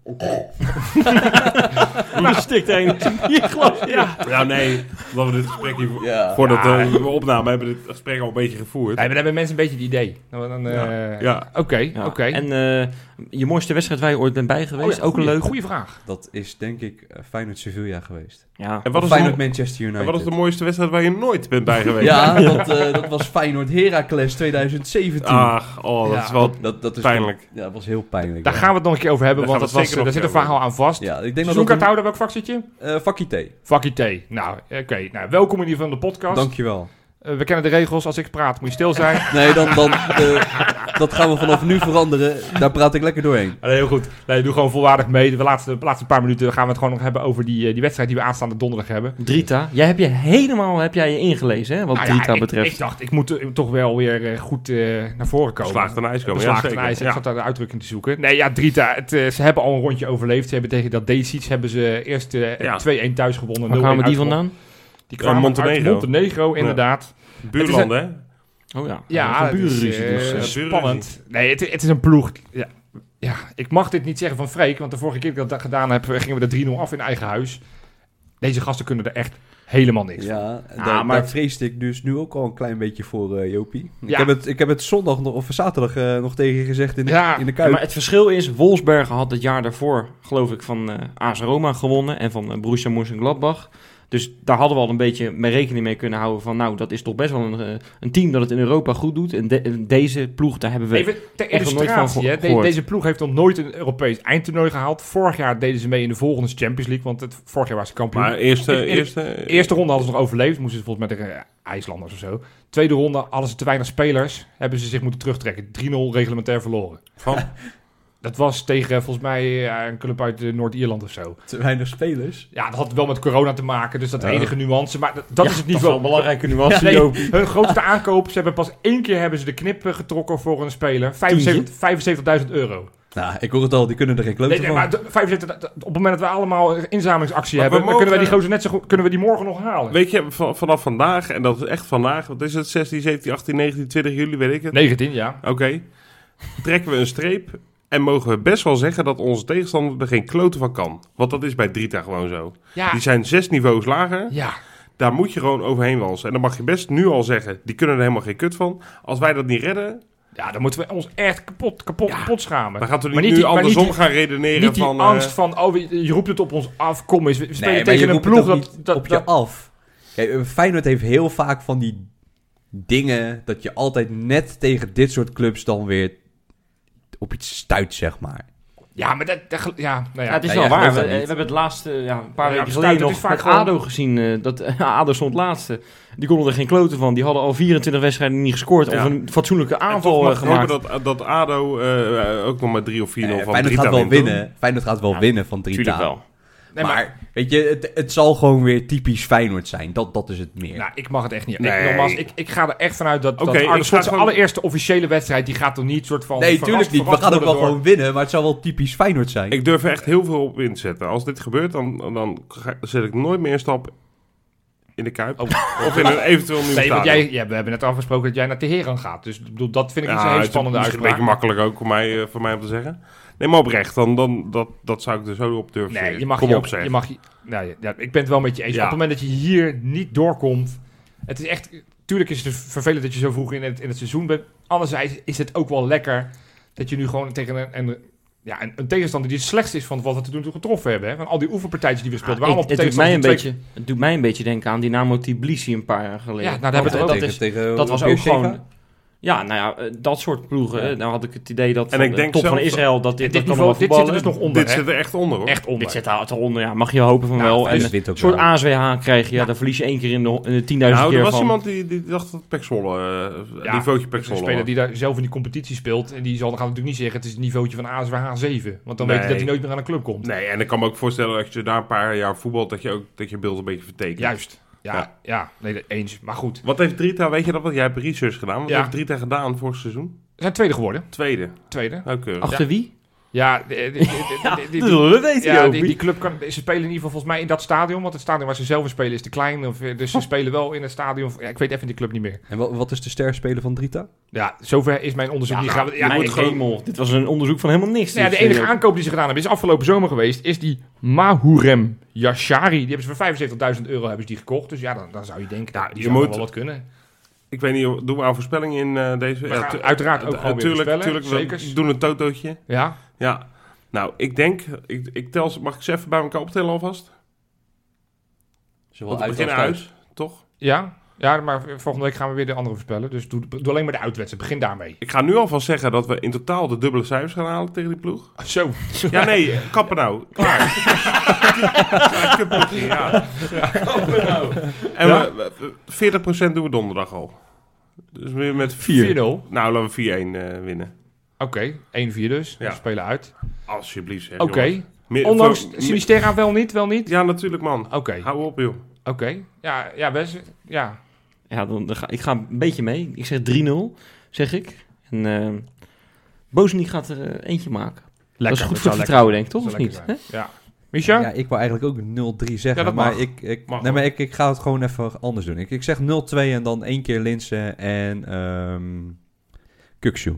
B: nou, stikt er een. Je geloof
D: Ja.
C: Ja, nee. Laten we dit gesprek hier...
F: Ja.
C: Voordat eh, we opname hebben we dit gesprek al een beetje gevoerd.
D: Nee, maar dan hebben mensen een beetje het idee. Dan, dan, eh,
C: Ja.
D: Oké,
B: Ja.
D: oké.
B: En eh, je mooiste wedstrijd waar je ooit bent bij
D: Oh ja,
B: geweest, ook een
D: goeie-
B: leuke.
D: Goeie vraag.
F: Dat is denk ik eh, Feyenoord Sevilla geweest.
B: Ja.
C: En wat, is
F: Feyenoord
C: de,
F: Manchester
C: en
F: United.
C: wat is de mooiste wedstrijd waar je nooit bent bij geweest?
F: ja, dat, eh, dat was Feyenoord Heracles 2017.
C: Ach, oh, dat
D: Ja.
C: is wel...
F: dat, dat is
C: pijnlijk.
F: Ja, dat was heel pijnlijk.
D: Ah, Daar
F: ja.
D: gaan we het nog een keer over hebben,
C: Daar
D: want dat
C: gaan we
D: was,
C: het
D: daar
C: zeker
D: zit een
C: nog over
D: verhaal aan vast.
F: Ja, ik denk dat dat... een-
D: Seizoenkaarthouder, welk vak zit je?
F: eh vakkie thee.
D: Vakkie thee. Nou, oké. Nou, welkom in ieder geval in de podcast.
F: Dankjewel.
D: Eh, we kennen de regels. Als ik praat, moet je stil zijn.
F: Nee, dan, dan, eh, dat gaan we vanaf nu veranderen. Daar praat ik lekker doorheen.
D: Ah, nee, heel goed. Nee, doe gewoon volwaardig mee. De laatste, de laatste paar minuten gaan we het gewoon nog hebben over die, eh, die wedstrijd die we aanstaande donderdag hebben.
B: Drita, jij heb je helemaal heb jij je ingelezen, hè, wat
D: Nou ja,
B: Drita
D: ik-
B: betreft.
D: Ik, dacht, ik moet eh, toch wel weer eh, goed eh, naar voren komen.
C: Slaagt een ijs komen. ja,
D: Beslaagd
C: zeker.
D: en ijs. Ik
C: Ja.
D: zat daar de uitdrukking te zoeken. Nee, ja, Drita, het, eh, ze hebben al een rondje overleefd. Ze hebben tegen dat Desiets hebben ze eerst eh,
C: Ja.
D: 2-1 thuis gewonnen.
B: Waar
D: 0-1
B: kwamen die
D: uitgewonnen.
B: vandaan?
D: Die kwamen
C: Eh,
D: Montenegro.
C: Montenegro.
D: Montenegro, inderdaad.
C: Buurlanden, hè?
B: Oh ja,
D: Ja,
B: van
D: het is,
B: burenruzie.
D: eh,
B: dus, eh,
C: burenruzie.
D: spannend. Nee, het, het is een ploeg. Ja. ja, ik mag dit niet zeggen van Freek, want de vorige keer dat ik dat gedaan heb, eh, gingen we de 3-0 af in eigen huis. Deze gasten kunnen er echt helemaal niks van.
F: Ja, daar,
D: maar-
F: daar vreesde ik dus nu ook al een klein beetje voor, eh, Jopie. Ik,
D: Ja.
F: heb het, ik heb het zondag nog, of zaterdag eh, nog tegen je gezegd in de,
D: Ja,
F: in de
B: Ja,
F: kuip.
B: maar het verschil is, Wolfsbergen had het jaar daarvoor, geloof ik, van eh AS Roma gewonnen en van eh, Borussia Mönchengladbach. Dus daar hadden we al een beetje mee rekening mee kunnen houden van, nou, dat is toch best wel een, eh, een team dat het in Europa goed doet. En, de- en deze ploeg, daar hebben we...
D: Even ter
B: heb er nooit van
D: illustratie,
B: ge-
D: hè. De-
B: gehoord.
D: deze ploeg heeft nog nooit een Europees eindtoernooi gehaald. Vorig jaar deden ze mee in de volgende Champions League, want het, vorig jaar was ze kampioen.
C: Maar eerste...
D: In- in-
C: eerste,
D: De eerste ronde hadden ze nog overleefd. Moesten ze volgens mij tegen eh, IJslanders of zo. Tweede ronde hadden ze te weinig spelers. Hebben ze zich moeten terugtrekken. 3-0 reglementair verloren.
C: Van?
D: Dat was tegen eh, volgens mij eh, een club uit eh, Noord-Ierland of zo.
F: Te weinig spelers.
D: Ja, dat had wel met corona te maken. Dus dat
F: Ja.
D: enige nuance. Maar dat, dat is het niveau.
B: belangrijke nuance,
D: Nee, hun grootste aankoop. Ze hebben pas één keer hebben ze de knip eh, getrokken voor een speler. 75 75.000 euro.
F: Nou, ik hoor het al, die kunnen er geen klote
D: Nee, nee,
F: van.
D: maar de- 75 op het moment dat we allemaal een inzamelingsactie
C: Maar we
D: hebben, dan kunnen wij
C: mogen-
D: die gozer net zo goed, kunnen we die morgen nog halen.
C: Weet je, v- vanaf vandaag, en dat is echt vandaag, wat is het, 16, 17, 18, 19, 20 juli, weet ik het.
D: 19, ja.
C: Oké, trekken we een streep en mogen we best wel zeggen dat onze tegenstander er geen klote van kan. Want dat is bij Drita gewoon zo.
D: Ja.
C: Die zijn zes niveaus lager,
D: Ja.
C: daar moet je gewoon overheen walsen. En dan mag je best nu al zeggen, die kunnen er helemaal geen kut van. Als wij dat niet redden,
D: Ja, dan moeten we ons echt kapot, kapot, kapot schamen.
C: dan gaat er
D: Maar
C: niet,
D: niet
C: nu
D: die- maar
C: andersom
D: niet die-
C: gaan redeneren
D: Niet die
C: van... eh,
D: angst van, oh, je je roept het op ons af, kom eens. We spelen
F: maar je
D: tegen een
F: roept
D: ploeg
F: het ook
D: dat...
F: niet
D: dat,
F: op je
D: dat-
F: af. Kijk, eh, Feyenoord heeft heel vaak van die dingen dat je altijd net tegen dit soort clubs dan weer op iets stuit, zeg maar.
D: ja, maar dat... dat gel- ja, nou
B: Ja,
D: ja.
B: het is
F: Ja,
B: wel
F: ja,
B: waar.
F: geloof
B: We,
F: dat
B: eh,
F: niet.
B: we hebben het laatste, ja, een paar
D: Ja,
B: weken
D: stuit,
B: geleden
D: het
B: nog
D: is vaak
B: met
D: gewoon-
B: ADO gezien. eh, dat ADO stond laatste. Die konden er geen kloten van. Die hadden al 24 wedstrijden niet gescoord.
C: Ja.
B: Of een fatsoenlijke
C: en toch
B: aanval
C: mag
B: eh,
C: ik
B: gemaakt.
C: hopen dat, dat ADO eh, eh, ook nog maar 3 of 4-0
F: Eh,
C: van
F: Feyenoord
C: Drita
F: gaat wel
C: wint, hoor.
F: winnen. Feyenoord gaat wel
B: Ja,
F: winnen van Drita.
B: Tuurlijk wel.
D: Nee,
F: maar,
D: maar-
F: weet je, het, het zal gewoon weer typisch Feyenoord zijn. Dat, dat is het meer.
D: Nou, ik mag het echt niet.
C: Nee.
D: Ik, nogmaals, ik, ik ga er echt vanuit dat,
C: Oké,
D: dat
C: ik
D: Arne
C: ga
D: Slot zijn
C: gewoon-
D: allereerste officiële wedstrijd, die gaat er niet soort van
F: nee,
D: verrast-
F: tuurlijk niet. We
D: verrast
F: gaan ook wel
D: worden door-
F: gewoon winnen, maar het zal wel typisch Feyenoord zijn.
C: Ik durf er echt heel veel op inzetten. Als dit gebeurt, dan, dan ga- zet ik nooit meer een stap in de kuip. Of in een eventueel nieuw
D: Oh. Nee, want
C: stadion.
D: jij, ja, we hebben net afgesproken dat jij naar Teheran gaat. Dus ik bedoel, dat vind ik niet
C: Ja,
D: zo'n hele
C: het is
D: spannende
C: misschien
D: uitspraak.
C: Een beetje makkelijk ook voor mij, eh, voor mij om te zeggen. Nee, maar oprecht, dan, dan, dat, dat zou ik er zo op durven
D: Nee,
C: zeggen.
D: je mag
C: Kom
D: je
C: op,
D: ook-
C: zeg.
D: Je mag, je- nou, ja, ja, ik ben het wel met je eens.
C: Ja.
D: Op het moment dat je hier niet doorkomt... Het is echt... Tuurlijk is het vervelend dat je zo vroeg in het, in het seizoen bent. Anderzijds is het ook wel lekker dat je nu gewoon tegen een... een ja, een, een tegenstander die het slechtste is van wat we tot nu toe getroffen hebben. Hè? Van al die oefenpartijtjes die we
B: Ja,
D: speelden. waren
B: ik- het,
D: allemaal
B: doet mij een
D: tegenstanders die
B: beetje, het doet mij een beetje denken aan Dynamo Tbilisi een paar jaar geleden.
D: Ja, nou, daar hebben we
B: Want
D: het
B: dat
D: ook
B: is-
F: tegen
B: dat was ook gewoon... Ja, nou ja, eh, dat soort ploegen.
D: Ja.
B: eh, Nou had ik het idee dat
C: En
B: van
C: ik
B: de
C: denk
B: top van
C: zelfs-
B: Israël dat dit,
D: dit,
B: dat kan
D: niveau,
B: wel
D: dit zit er
B: voetballen.
D: dus nog onder,
C: Dit
D: hè?
C: zit er echt onder, hoor.
D: Echt onder.
B: Dit zit daar toch onder, ja. Mag je hopen van
D: Ja,
B: wel. En
F: Dus
B: een
F: wint ook
B: soort
F: wel.
B: ASWH krijg je. Ja, dan verlies je één keer in de, in de 10.000
C: Nou,
B: keer
C: er was
B: van.
C: iemand die, die dacht dat Pexwolle, eh
D: Ja,
C: niveautje
D: Dat is Dus een
C: Pexwolle
D: speler die daar zelf in die competitie speelt. En die zal dan gaat natuurlijk niet zeggen: het is het niveautje van ASWH 7. Want dan
C: Nee.
D: weet je dat hij nooit meer aan een club komt.
C: Nee, en ik kan me ook voorstellen dat je daar een paar jaar voetbalt, dat je ook dat je beeld een beetje vertekent.
D: Juist. Ja,
C: Ja.
D: ja. nee, dat- eens. Maar goed.
C: Wat heeft Drita, weet je dat? Want jij hebt research gedaan. Wat
D: Ja.
C: heeft Drita gedaan vorig seizoen?
D: We zijn tweede geworden.
C: Tweede.
D: Tweede.
C: Nou, keurig.
B: Achter wie?
D: Ja, de- de- de- de-
B: Ja,
D: de- die-
B: dat weet
D: ja,
B: hij ook.
D: die, die club kan, ze spelen in ieder geval volgens mij in dat stadion. Want het stadion waar ze zelf in spelen is te klein. Of, eh, dus
C: Oh.
D: ze spelen wel in het stadion. Ja, ik weet even die club niet meer.
F: En wat, wat is de sterspeler van Drita?
D: Ja, zover is mijn onderzoek niet gegaan. Ja,
B: Ja,
D: ik-
B: mijn hemel. Dit was een onderzoek van helemaal niks.
D: Nou ja,
B: Dus,
D: de enige
B: eh,
D: aankoop die ze gedaan hebben is afgelopen zomer geweest. Is die Mahurem Yashari. Die hebben ze voor 75.000 euro hebben ze die gekocht. Dus ja, dan, dan zou je denken, nou, die
C: je
D: zou nog
C: moet-
D: wel wat kunnen.
C: Ik weet niet, doen we aan voorspellingen in eh, deze?
D: We
C: Ja,
D: gaan
C: tu-
D: uiteraard ook
C: eh,
D: gewoon weer
C: tuurlijk,
D: spellen.
C: tuurlijk, we
D: Zekers.
C: doen een totootje.
D: Ja,
C: Ja. Nou, ik denk, ik, ik tel ze, mag ik ze even bij elkaar optellen alvast?
F: Zowel
C: Want we beginnen uit, toch?
D: ja, ja, maar volgende week gaan we weer de andere voorspellen. Dus doe, doe alleen maar de uitwedstrijd. Begin daarmee.
C: Ik ga nu alvast zeggen dat we in totaal de dubbele cijfers gaan halen tegen die ploeg.
D: Zo.
C: Ja, nee, kappen nou. Klaar. ja, kutpotje, ja. Kappen nou. En we- we- 40% doen we donderdag al. Dus weer met
D: 4-0.
C: 4.
D: Oké,
C: Nou, laten we 4-1 eh, winnen.
D: 1-4 dus.
C: Ja.
D: We spelen uit.
C: Alsjeblieft, zeg,
D: Oké.
C: jongens. Meer-
D: Ondanks
C: voor- meer-
D: Sinisterra wel niet, wel niet?
C: Ja, natuurlijk, man.
D: Oké, oké.
C: Hou op, joh.
D: Ja, ja, best. Ja.
B: Ja, dan, dan ga, ik ga een beetje mee. Ik zeg 3-0, zeg ik. En eh Bozeniek gaat er eh, eentje maken. dat is goed voor het vertrouwen, denk ik, toch? Of niet? Hè?
D: Ja. Micha?
F: Ja, ik wou eigenlijk ook 0-3 zeggen,
D: Ja, dat
F: maar,
D: mag.
F: ik, ik,
D: Mag
F: nee, maar
D: ook.
F: ik, ik ga het gewoon even anders doen. Ik, ik zeg 0-2 en dan één keer Linsen en ehm Kukshoe.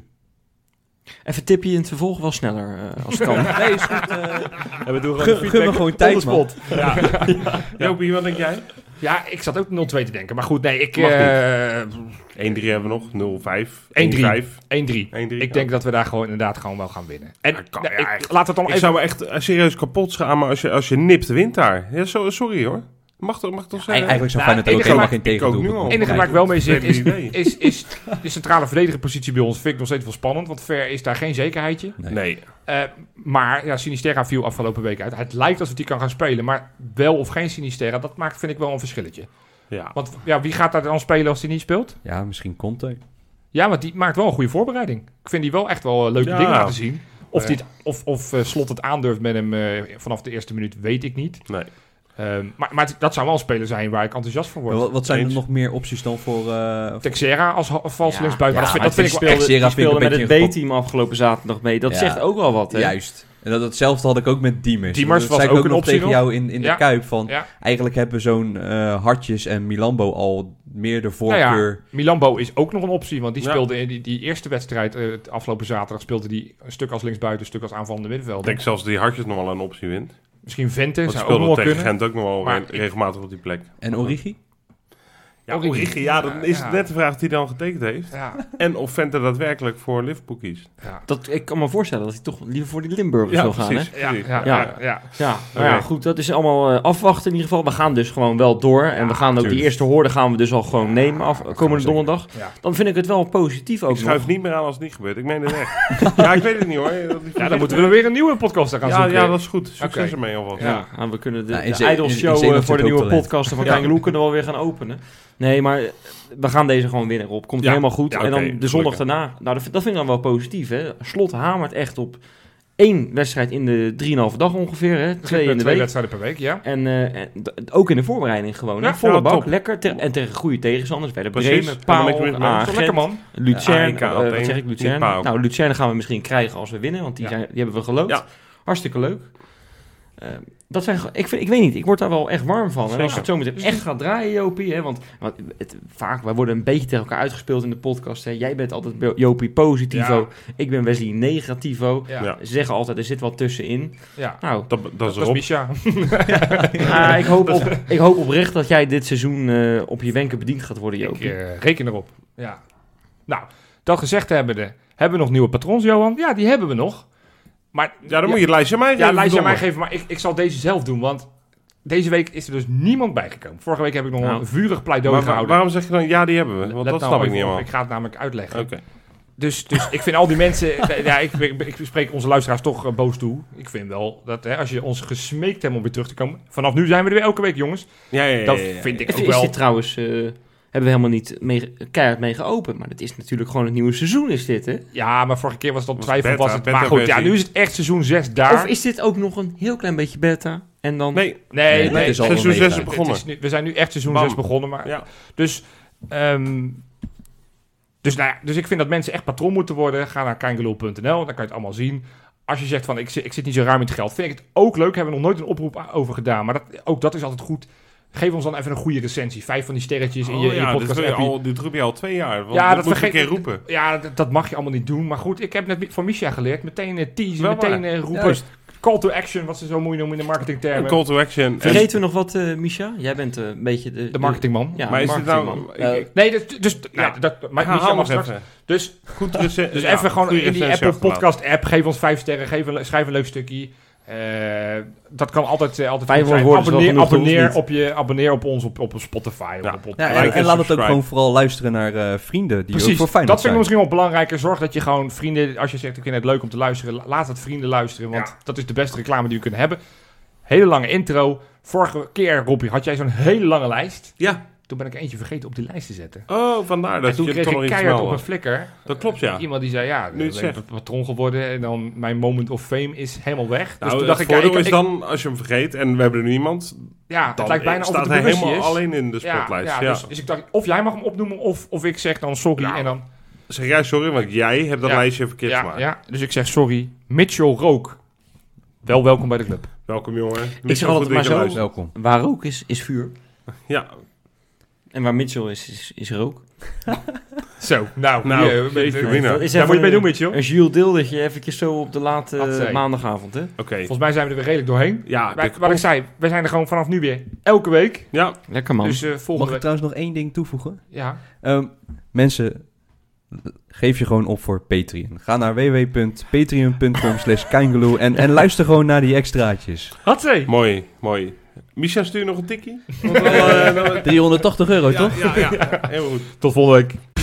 B: Even tip je in het vervolg wel sneller, eh, als het kan.
F: Nee, is goed.
G: En we doen
F: gun, gun me gewoon tijd, man.
C: Jopie, wat denk jij? 1-3
D: Ja, ik zat ook 0-2 te denken. Maar goed, nee, ik...
C: Mag niet.
D: eh, 1-3.
C: hebben we nog. 0-5.
D: 1-3.
C: 1-5. 1-3.
D: Ik denk dat we daar gewoon inderdaad gewoon wel gaan winnen. En
C: Ja, kan-
D: nou,
C: ja,
D: ik-
C: eigenlijk-
D: laat het dan
C: Ik
D: even...
C: zou me echt eh, serieus kapot schamen als je, als je nipt wint daar. Ja, zo, sorry, hoor. Mag toch, mag toch zeggen?
F: Eigenlijk zou
D: Nou,
F: Feyenoord
D: het
F: ook
D: enige
F: helemaal
D: waar-
F: geen
C: ik ook
F: tegendoel
C: nu al.
D: Het
F: moeten
D: enige waar ik wel
F: krijgen.
D: mee zit
C: Geen
D: is,
C: idee.
D: is, is de centrale verdedigerpositie bij ons. Vind ik nog steeds wel spannend, want ver is daar geen zekerheidje.
C: Nee.
D: Eh, maar ja, Sinisterra viel afgelopen week uit. Het lijkt alsof die kan gaan spelen, maar wel of geen Sinisterra, dat maakt vind ik wel een verschilletje.
C: Ja.
D: Want ja, wie gaat daar dan spelen als die niet speelt?
F: Ja, misschien Conte.
D: Ja, want die maakt wel een goede voorbereiding. Ik vind die wel echt wel eh, leuke
C: Ja.
D: dingen laten zien. Of, dit, of, of eh, Slot het aandurft met hem eh, vanaf de eerste minuut, weet ik niet.
C: Nee.
D: Ehm, maar, maar dat zou wel een speler zijn waar ik enthousiast van word.
F: Wat, wat zijn
C: Eens.
F: er nog meer opties dan voor... eh, voor-
D: Texera als ha- valse
B: Ja.
D: linksbuiten.
F: Ja,
D: dat vind, dat
F: maar
D: vind ik wel
F: echt
B: speelde, die
F: Serafin
B: speelde
F: een
B: met het
F: beetje in
B: B-team afgelopen zaterdag mee. Dat
F: Ja.
B: zegt ook wel wat, hè?
F: Juist. En dat, hetzelfde had ik ook met Diemers.
D: Diemers
F: dat
D: was
F: zei ik
D: ook
F: ook
D: een
F: nog
D: optie
F: tegen
D: nog.
F: jou in, in
D: Ja.
F: de Kuip. Van,
D: Ja.
F: Eigenlijk hebben zo'n eh Hartjes en Milambo al meer de
D: Nou ja,
F: voorkeur.
D: Milambo is ook nog een optie, want die
C: Ja.
D: speelde in die, die eerste wedstrijd eh, het afgelopen zaterdag speelde die een stuk als linksbuiten, een stuk als aanvallende middenveld.
C: Ik denk zelfs dat die Hartjes nog wel een optie wint.
D: Misschien Vente
C: Dat
D: zou ook nog wel
C: speelde tegen
D: kunnen.
C: Gent ook nog wel
D: Maar
C: re-
D: ik-
C: regelmatig op die plek.
F: En Origi?
C: Ja,
D: Origi.
C: Origi, ja, dan is het
D: Ja.
C: net de vraag die dan getekend heeft.
D: Ja,
C: En of Venter daadwerkelijk voor Liverpool kiest.
D: ja,
B: Dat, ik kan me voorstellen dat hij toch liever voor die Limburgers wil gaan, hè?
D: ja,
C: precies.
D: ja,
B: Ja.
D: ja, ja.
B: Ja, nou ja,
C: Oké.
B: goed. Dat is allemaal eh, afwachten in ieder geval. We gaan dus gewoon wel door. en we gaan ook die eerste hoorde gaan we dus al gewoon nemen af, komende donderdag.
D: Ja.
B: Dan vind ik het wel positief ook
C: Ik schuif
B: nog.
C: niet meer aan als het niet gebeurt. Ik meen het echt. ja, ik weet het niet hoor. Dat die-
D: Ja, dan moeten we weer een nieuwe podcast aan gaan
C: ja,
D: zoeken.
C: ja, dat is goed. Succes
D: Oké.
C: ermee alvast.
B: Ja, en we kunnen de,
F: Nou, in
B: de
F: zee-
B: Idols
F: in- in
B: Show eh,
F: Zeeland
B: voor de
F: zit ook
B: nieuwe
F: talent.
B: podcasten van Kangeloe kunnen we alweer gaan openen. Nee, maar eh, we gaan deze gewoon winnen, Rob. Komt
C: Ja.
B: helemaal goed.
C: Ja,
B: en dan
C: oké,
B: de zondag
C: gelukkig.
B: daarna. Nou, dat, vind- dat vind ik dan wel positief, hè. Slot hamert echt op één wedstrijd in de 3,5 dag ongeveer, hè. Twee in de
D: twee
B: week.
D: wedstrijden per week, ja.
B: En, eh, en d- ook in de voorbereiding gewoon. hè.
D: Ja,
B: Volle
C: ja, nou,
B: bak,
C: top.
B: lekker. Ter- en tegen goede tegenstanders. Bij de
C: Precies.
B: Bremen,
C: Helemaal niks mis
B: Paal,
D: eh,
C: mee.
B: AG,
C: Toch
D: Lekker man.
B: Lucerne.
C: AEK
B: eh,
C: alleen,
B: wat zeg ik,
C: niet
B: Lucerne?
C: Paal.
B: Nou, Lucerne gaan we misschien krijgen als we winnen. Want die,
D: Ja.
B: zijn, die hebben we geloofd.
C: Ja.
B: Hartstikke leuk. Eh, dat zijn, ge- ik, vind, ik weet niet, ik word daar wel echt warm van. En als
C: Zeker.
B: het zo meteen echt gaat draaien, Jopie. Hè, want want het, vaak, wij worden een beetje tegen elkaar uitgespeeld in de podcast. Hè. Jij bent altijd Be- Jopie positivo. Ik ben Wesley negativo.
D: Ja,
C: Ja.
D: ja.
B: Ze zeggen altijd, er zit wat tussenin. Nou,
C: Dat, dat is
D: Dat is
C: Rob.
D: Misha.
B: Ah, ik, hoop op, ik hoop oprecht dat jij dit seizoen eh, op je wenken bediend gaat worden,
D: Ik
B: Jopie.
D: eh, reken erop. Ja. Nou, dat gezegd hebbende, hebben we nog nieuwe patrons, Johan? Ja, die hebben we nog. Maar
C: Ja, dan moet je het lijstje aan mij geven.
D: Ja, lijstje aan mij
C: verdomme.
D: geven, maar ik, ik zal deze zelf doen, want deze week is er dus niemand bijgekomen. Vorige week heb ik nog
B: Nou,
D: een vurig pleidooi
C: Maar waar-
D: gehouden.
C: waarom zeg je dan, ja, die hebben we? Want
D: Let
C: dat
D: nou
C: snap ik
D: even
C: niet
D: op,
C: helemaal.
D: Ik ga het namelijk uitleggen.
C: Oké.
D: Dus, dus ik vind al die mensen... ja, ik, ik, ik spreek onze luisteraars toch eh, boos toe. Ik vind wel dat hè, als je ons gesmeekt hebt om weer terug te komen... Vanaf nu zijn we er weer elke week, jongens.
C: Ja, ja, ja,
D: Dat
C: ja, ja.
D: vind ik
B: Het
D: ook
B: is
D: wel...
B: dit trouwens, eh, hebben we helemaal niet mee, keihard mee geopend. Maar dat is natuurlijk gewoon het nieuwe seizoen, is dit, hè?
D: Ja, maar vorige keer was het al
C: Was
D: twijfel.
C: beta,
D: was het,
C: beta
D: maar goed, ja,
C: versie.
D: nu is het echt seizoen 6 daar.
B: Of is dit ook nog een heel klein beetje beta? En dan...
C: Nee,
D: Nee,
F: Nee,
D: nee,
F: dit is al
D: het
C: seizoen
F: Omega.
C: 6 is
D: het
C: begonnen.
D: is nu- we zijn nu echt seizoen
C: Bam.
D: 6 begonnen. Maar,
C: Ja.
D: Dus, ehm, dus, nou ja, dus ik vind dat mensen echt patroon moeten worden. Ga naar keingeloel.nl, dan kan je het allemaal zien. Als je zegt van ik, zi- ik zit niet zo ruim in het geld, vind ik het ook leuk. Hebben we nog nooit een oproep a- over gedaan. Maar dat, ook dat is altijd goed. Geef ons dan even een goede recensie. Vijf van die sterretjes in je,
C: Oh
D: in je
C: ja, dit,
D: podcast.
C: wil je al, dit roep je al twee jaar. Want
D: Ja,
C: dat,
D: dat
C: moet
D: vergeet-
C: ik een keer roepen.
D: Ja, dat, dat mag je allemaal niet doen. Maar goed, ik heb net mi- van Misha geleerd. Meteen eh, teasen,
C: Wel waar.
D: meteen eh, roepen.
F: Juist.
D: Call to action, wat ze zo mooi noemen in de marketingtermen.
C: Een call to action.
B: Vergeten we nog wat, eh Misha? Jij bent eh, een beetje de...
D: de marketingman.
B: Ja,
C: maar
B: de
C: is dit nou...
B: marketingman.
C: ik- ik-
D: Nee, dus, dus ja,
C: Ja,
D: dat, maar
C: Maar
D: Michel
C: haal
D: mag
C: nog
D: straks.
C: even.
D: Dus,
C: Goed recen-
D: dus
C: ja,
D: even gewoon
C: goede
D: in die
C: recensie
D: Apple
C: achterlaten.
D: Podcast app. Geef ons vijf sterren. Geef een, le- schrijf een leuk stukje. Eh, dat kan altijd, eh, altijd goed
B: 500
D: zijn.
B: woorden is wel
D: Abonneer,
B: genoeg,
D: abonneer,
B: hoeft niet.
D: op je, abonneer op ons op, op Spotify.
C: Ja.
D: Op, op,
F: Ja, en,
C: Like en
F: en laat het ook
C: subscribe.
F: gewoon vooral luisteren naar eh, vrienden die ook
D: Precies,
F: voor
D: dat vind
F: Feyenoord
D: ik
F: zijn.
D: misschien wel belangrijker. Zorg dat je gewoon vrienden, als je zegt ik vind het leuk om te luisteren, la- laat het vrienden luisteren. Want
C: Ja.
D: dat is de beste reclame die we kunnen hebben. Hele lange intro. Vorige keer, Robbie, had jij zo'n hele lange lijst.
C: Ja.
D: Toen ben ik eentje vergeten op die lijst te zetten.
C: Oh, vandaar
D: En
C: dat
D: toen
C: je
D: kreeg
C: toch nog
D: ik
C: iets
D: keihard op
C: melden.
D: een flikker.
C: Dat klopt, ja.
D: Iemand die zei, ja,
C: Nu
D: nu
C: Ah. het
D: ben ik
C: zegt.
D: patron geworden en dan mijn moment of fame is helemaal weg.
C: Nou,
D: dus toen
C: het
D: dacht ik, ja,
C: voordeel
D: ik,
C: is
D: ik-
C: dan, als je hem vergeet en we hebben er nu iemand,
D: ja het
C: dan
D: lijkt bijna of
C: staat
D: het
C: hij
D: een
C: helemaal
D: is.
C: alleen in de
D: Ja,
C: spotlight. Ja,
D: ja, Dus, dus ik dacht, of jij mag hem opnoemen of, of ik zeg dan sorry.
C: Nou,
D: en dan,
C: Zeg jij sorry, want jij hebt dat
D: Ja.
C: lijstje verkeerd
D: ja,
C: gemaakt.
D: ja, dus ik zeg sorry. Mitchell Rook, wel welkom bij de club.
C: Welkom jongen.
B: Ik zeg altijd maar zo.
C: luistert.
F: Welkom.
B: Eh, Waar rook is, is vuur.
C: Ja,
B: En waar Mitchell is, is, is rook.
D: Zo, nou,
C: nou,
D: hier, eh,
C: jeetje,
D: eh,
C: Mina.
B: Dat is
D: daar
B: even
D: moet je mee
B: een-
D: doen, Mitchell.
B: Een Jules Deeldertje eventjes zo op de late
D: Wat zei
B: eh,
D: je?
B: maandagavond, hè?
C: Oké.
D: Volgens mij zijn we er weer redelijk doorheen.
C: Ja,
D: Maar
C: dik-
D: wat ik zei, we zijn er gewoon vanaf nu weer elke week.
C: ja,
B: Lekker man.
D: Dus eh,
F: Mag
D: volgende
F: ik
D: week.
F: trouwens nog één ding toevoegen?
D: Ja,
F: Ehm, mensen, geef je gewoon op voor Patreon. Ga naar www.patreon.com slash keingeloe en, en luister gewoon naar die extraatjes.
D: Hatsé.
C: mooi, mooi. Micha, stuur nog een tikkie.
F: 380 euro, toch?
C: Ja, ja, heel goed.
D: Tot volgende week.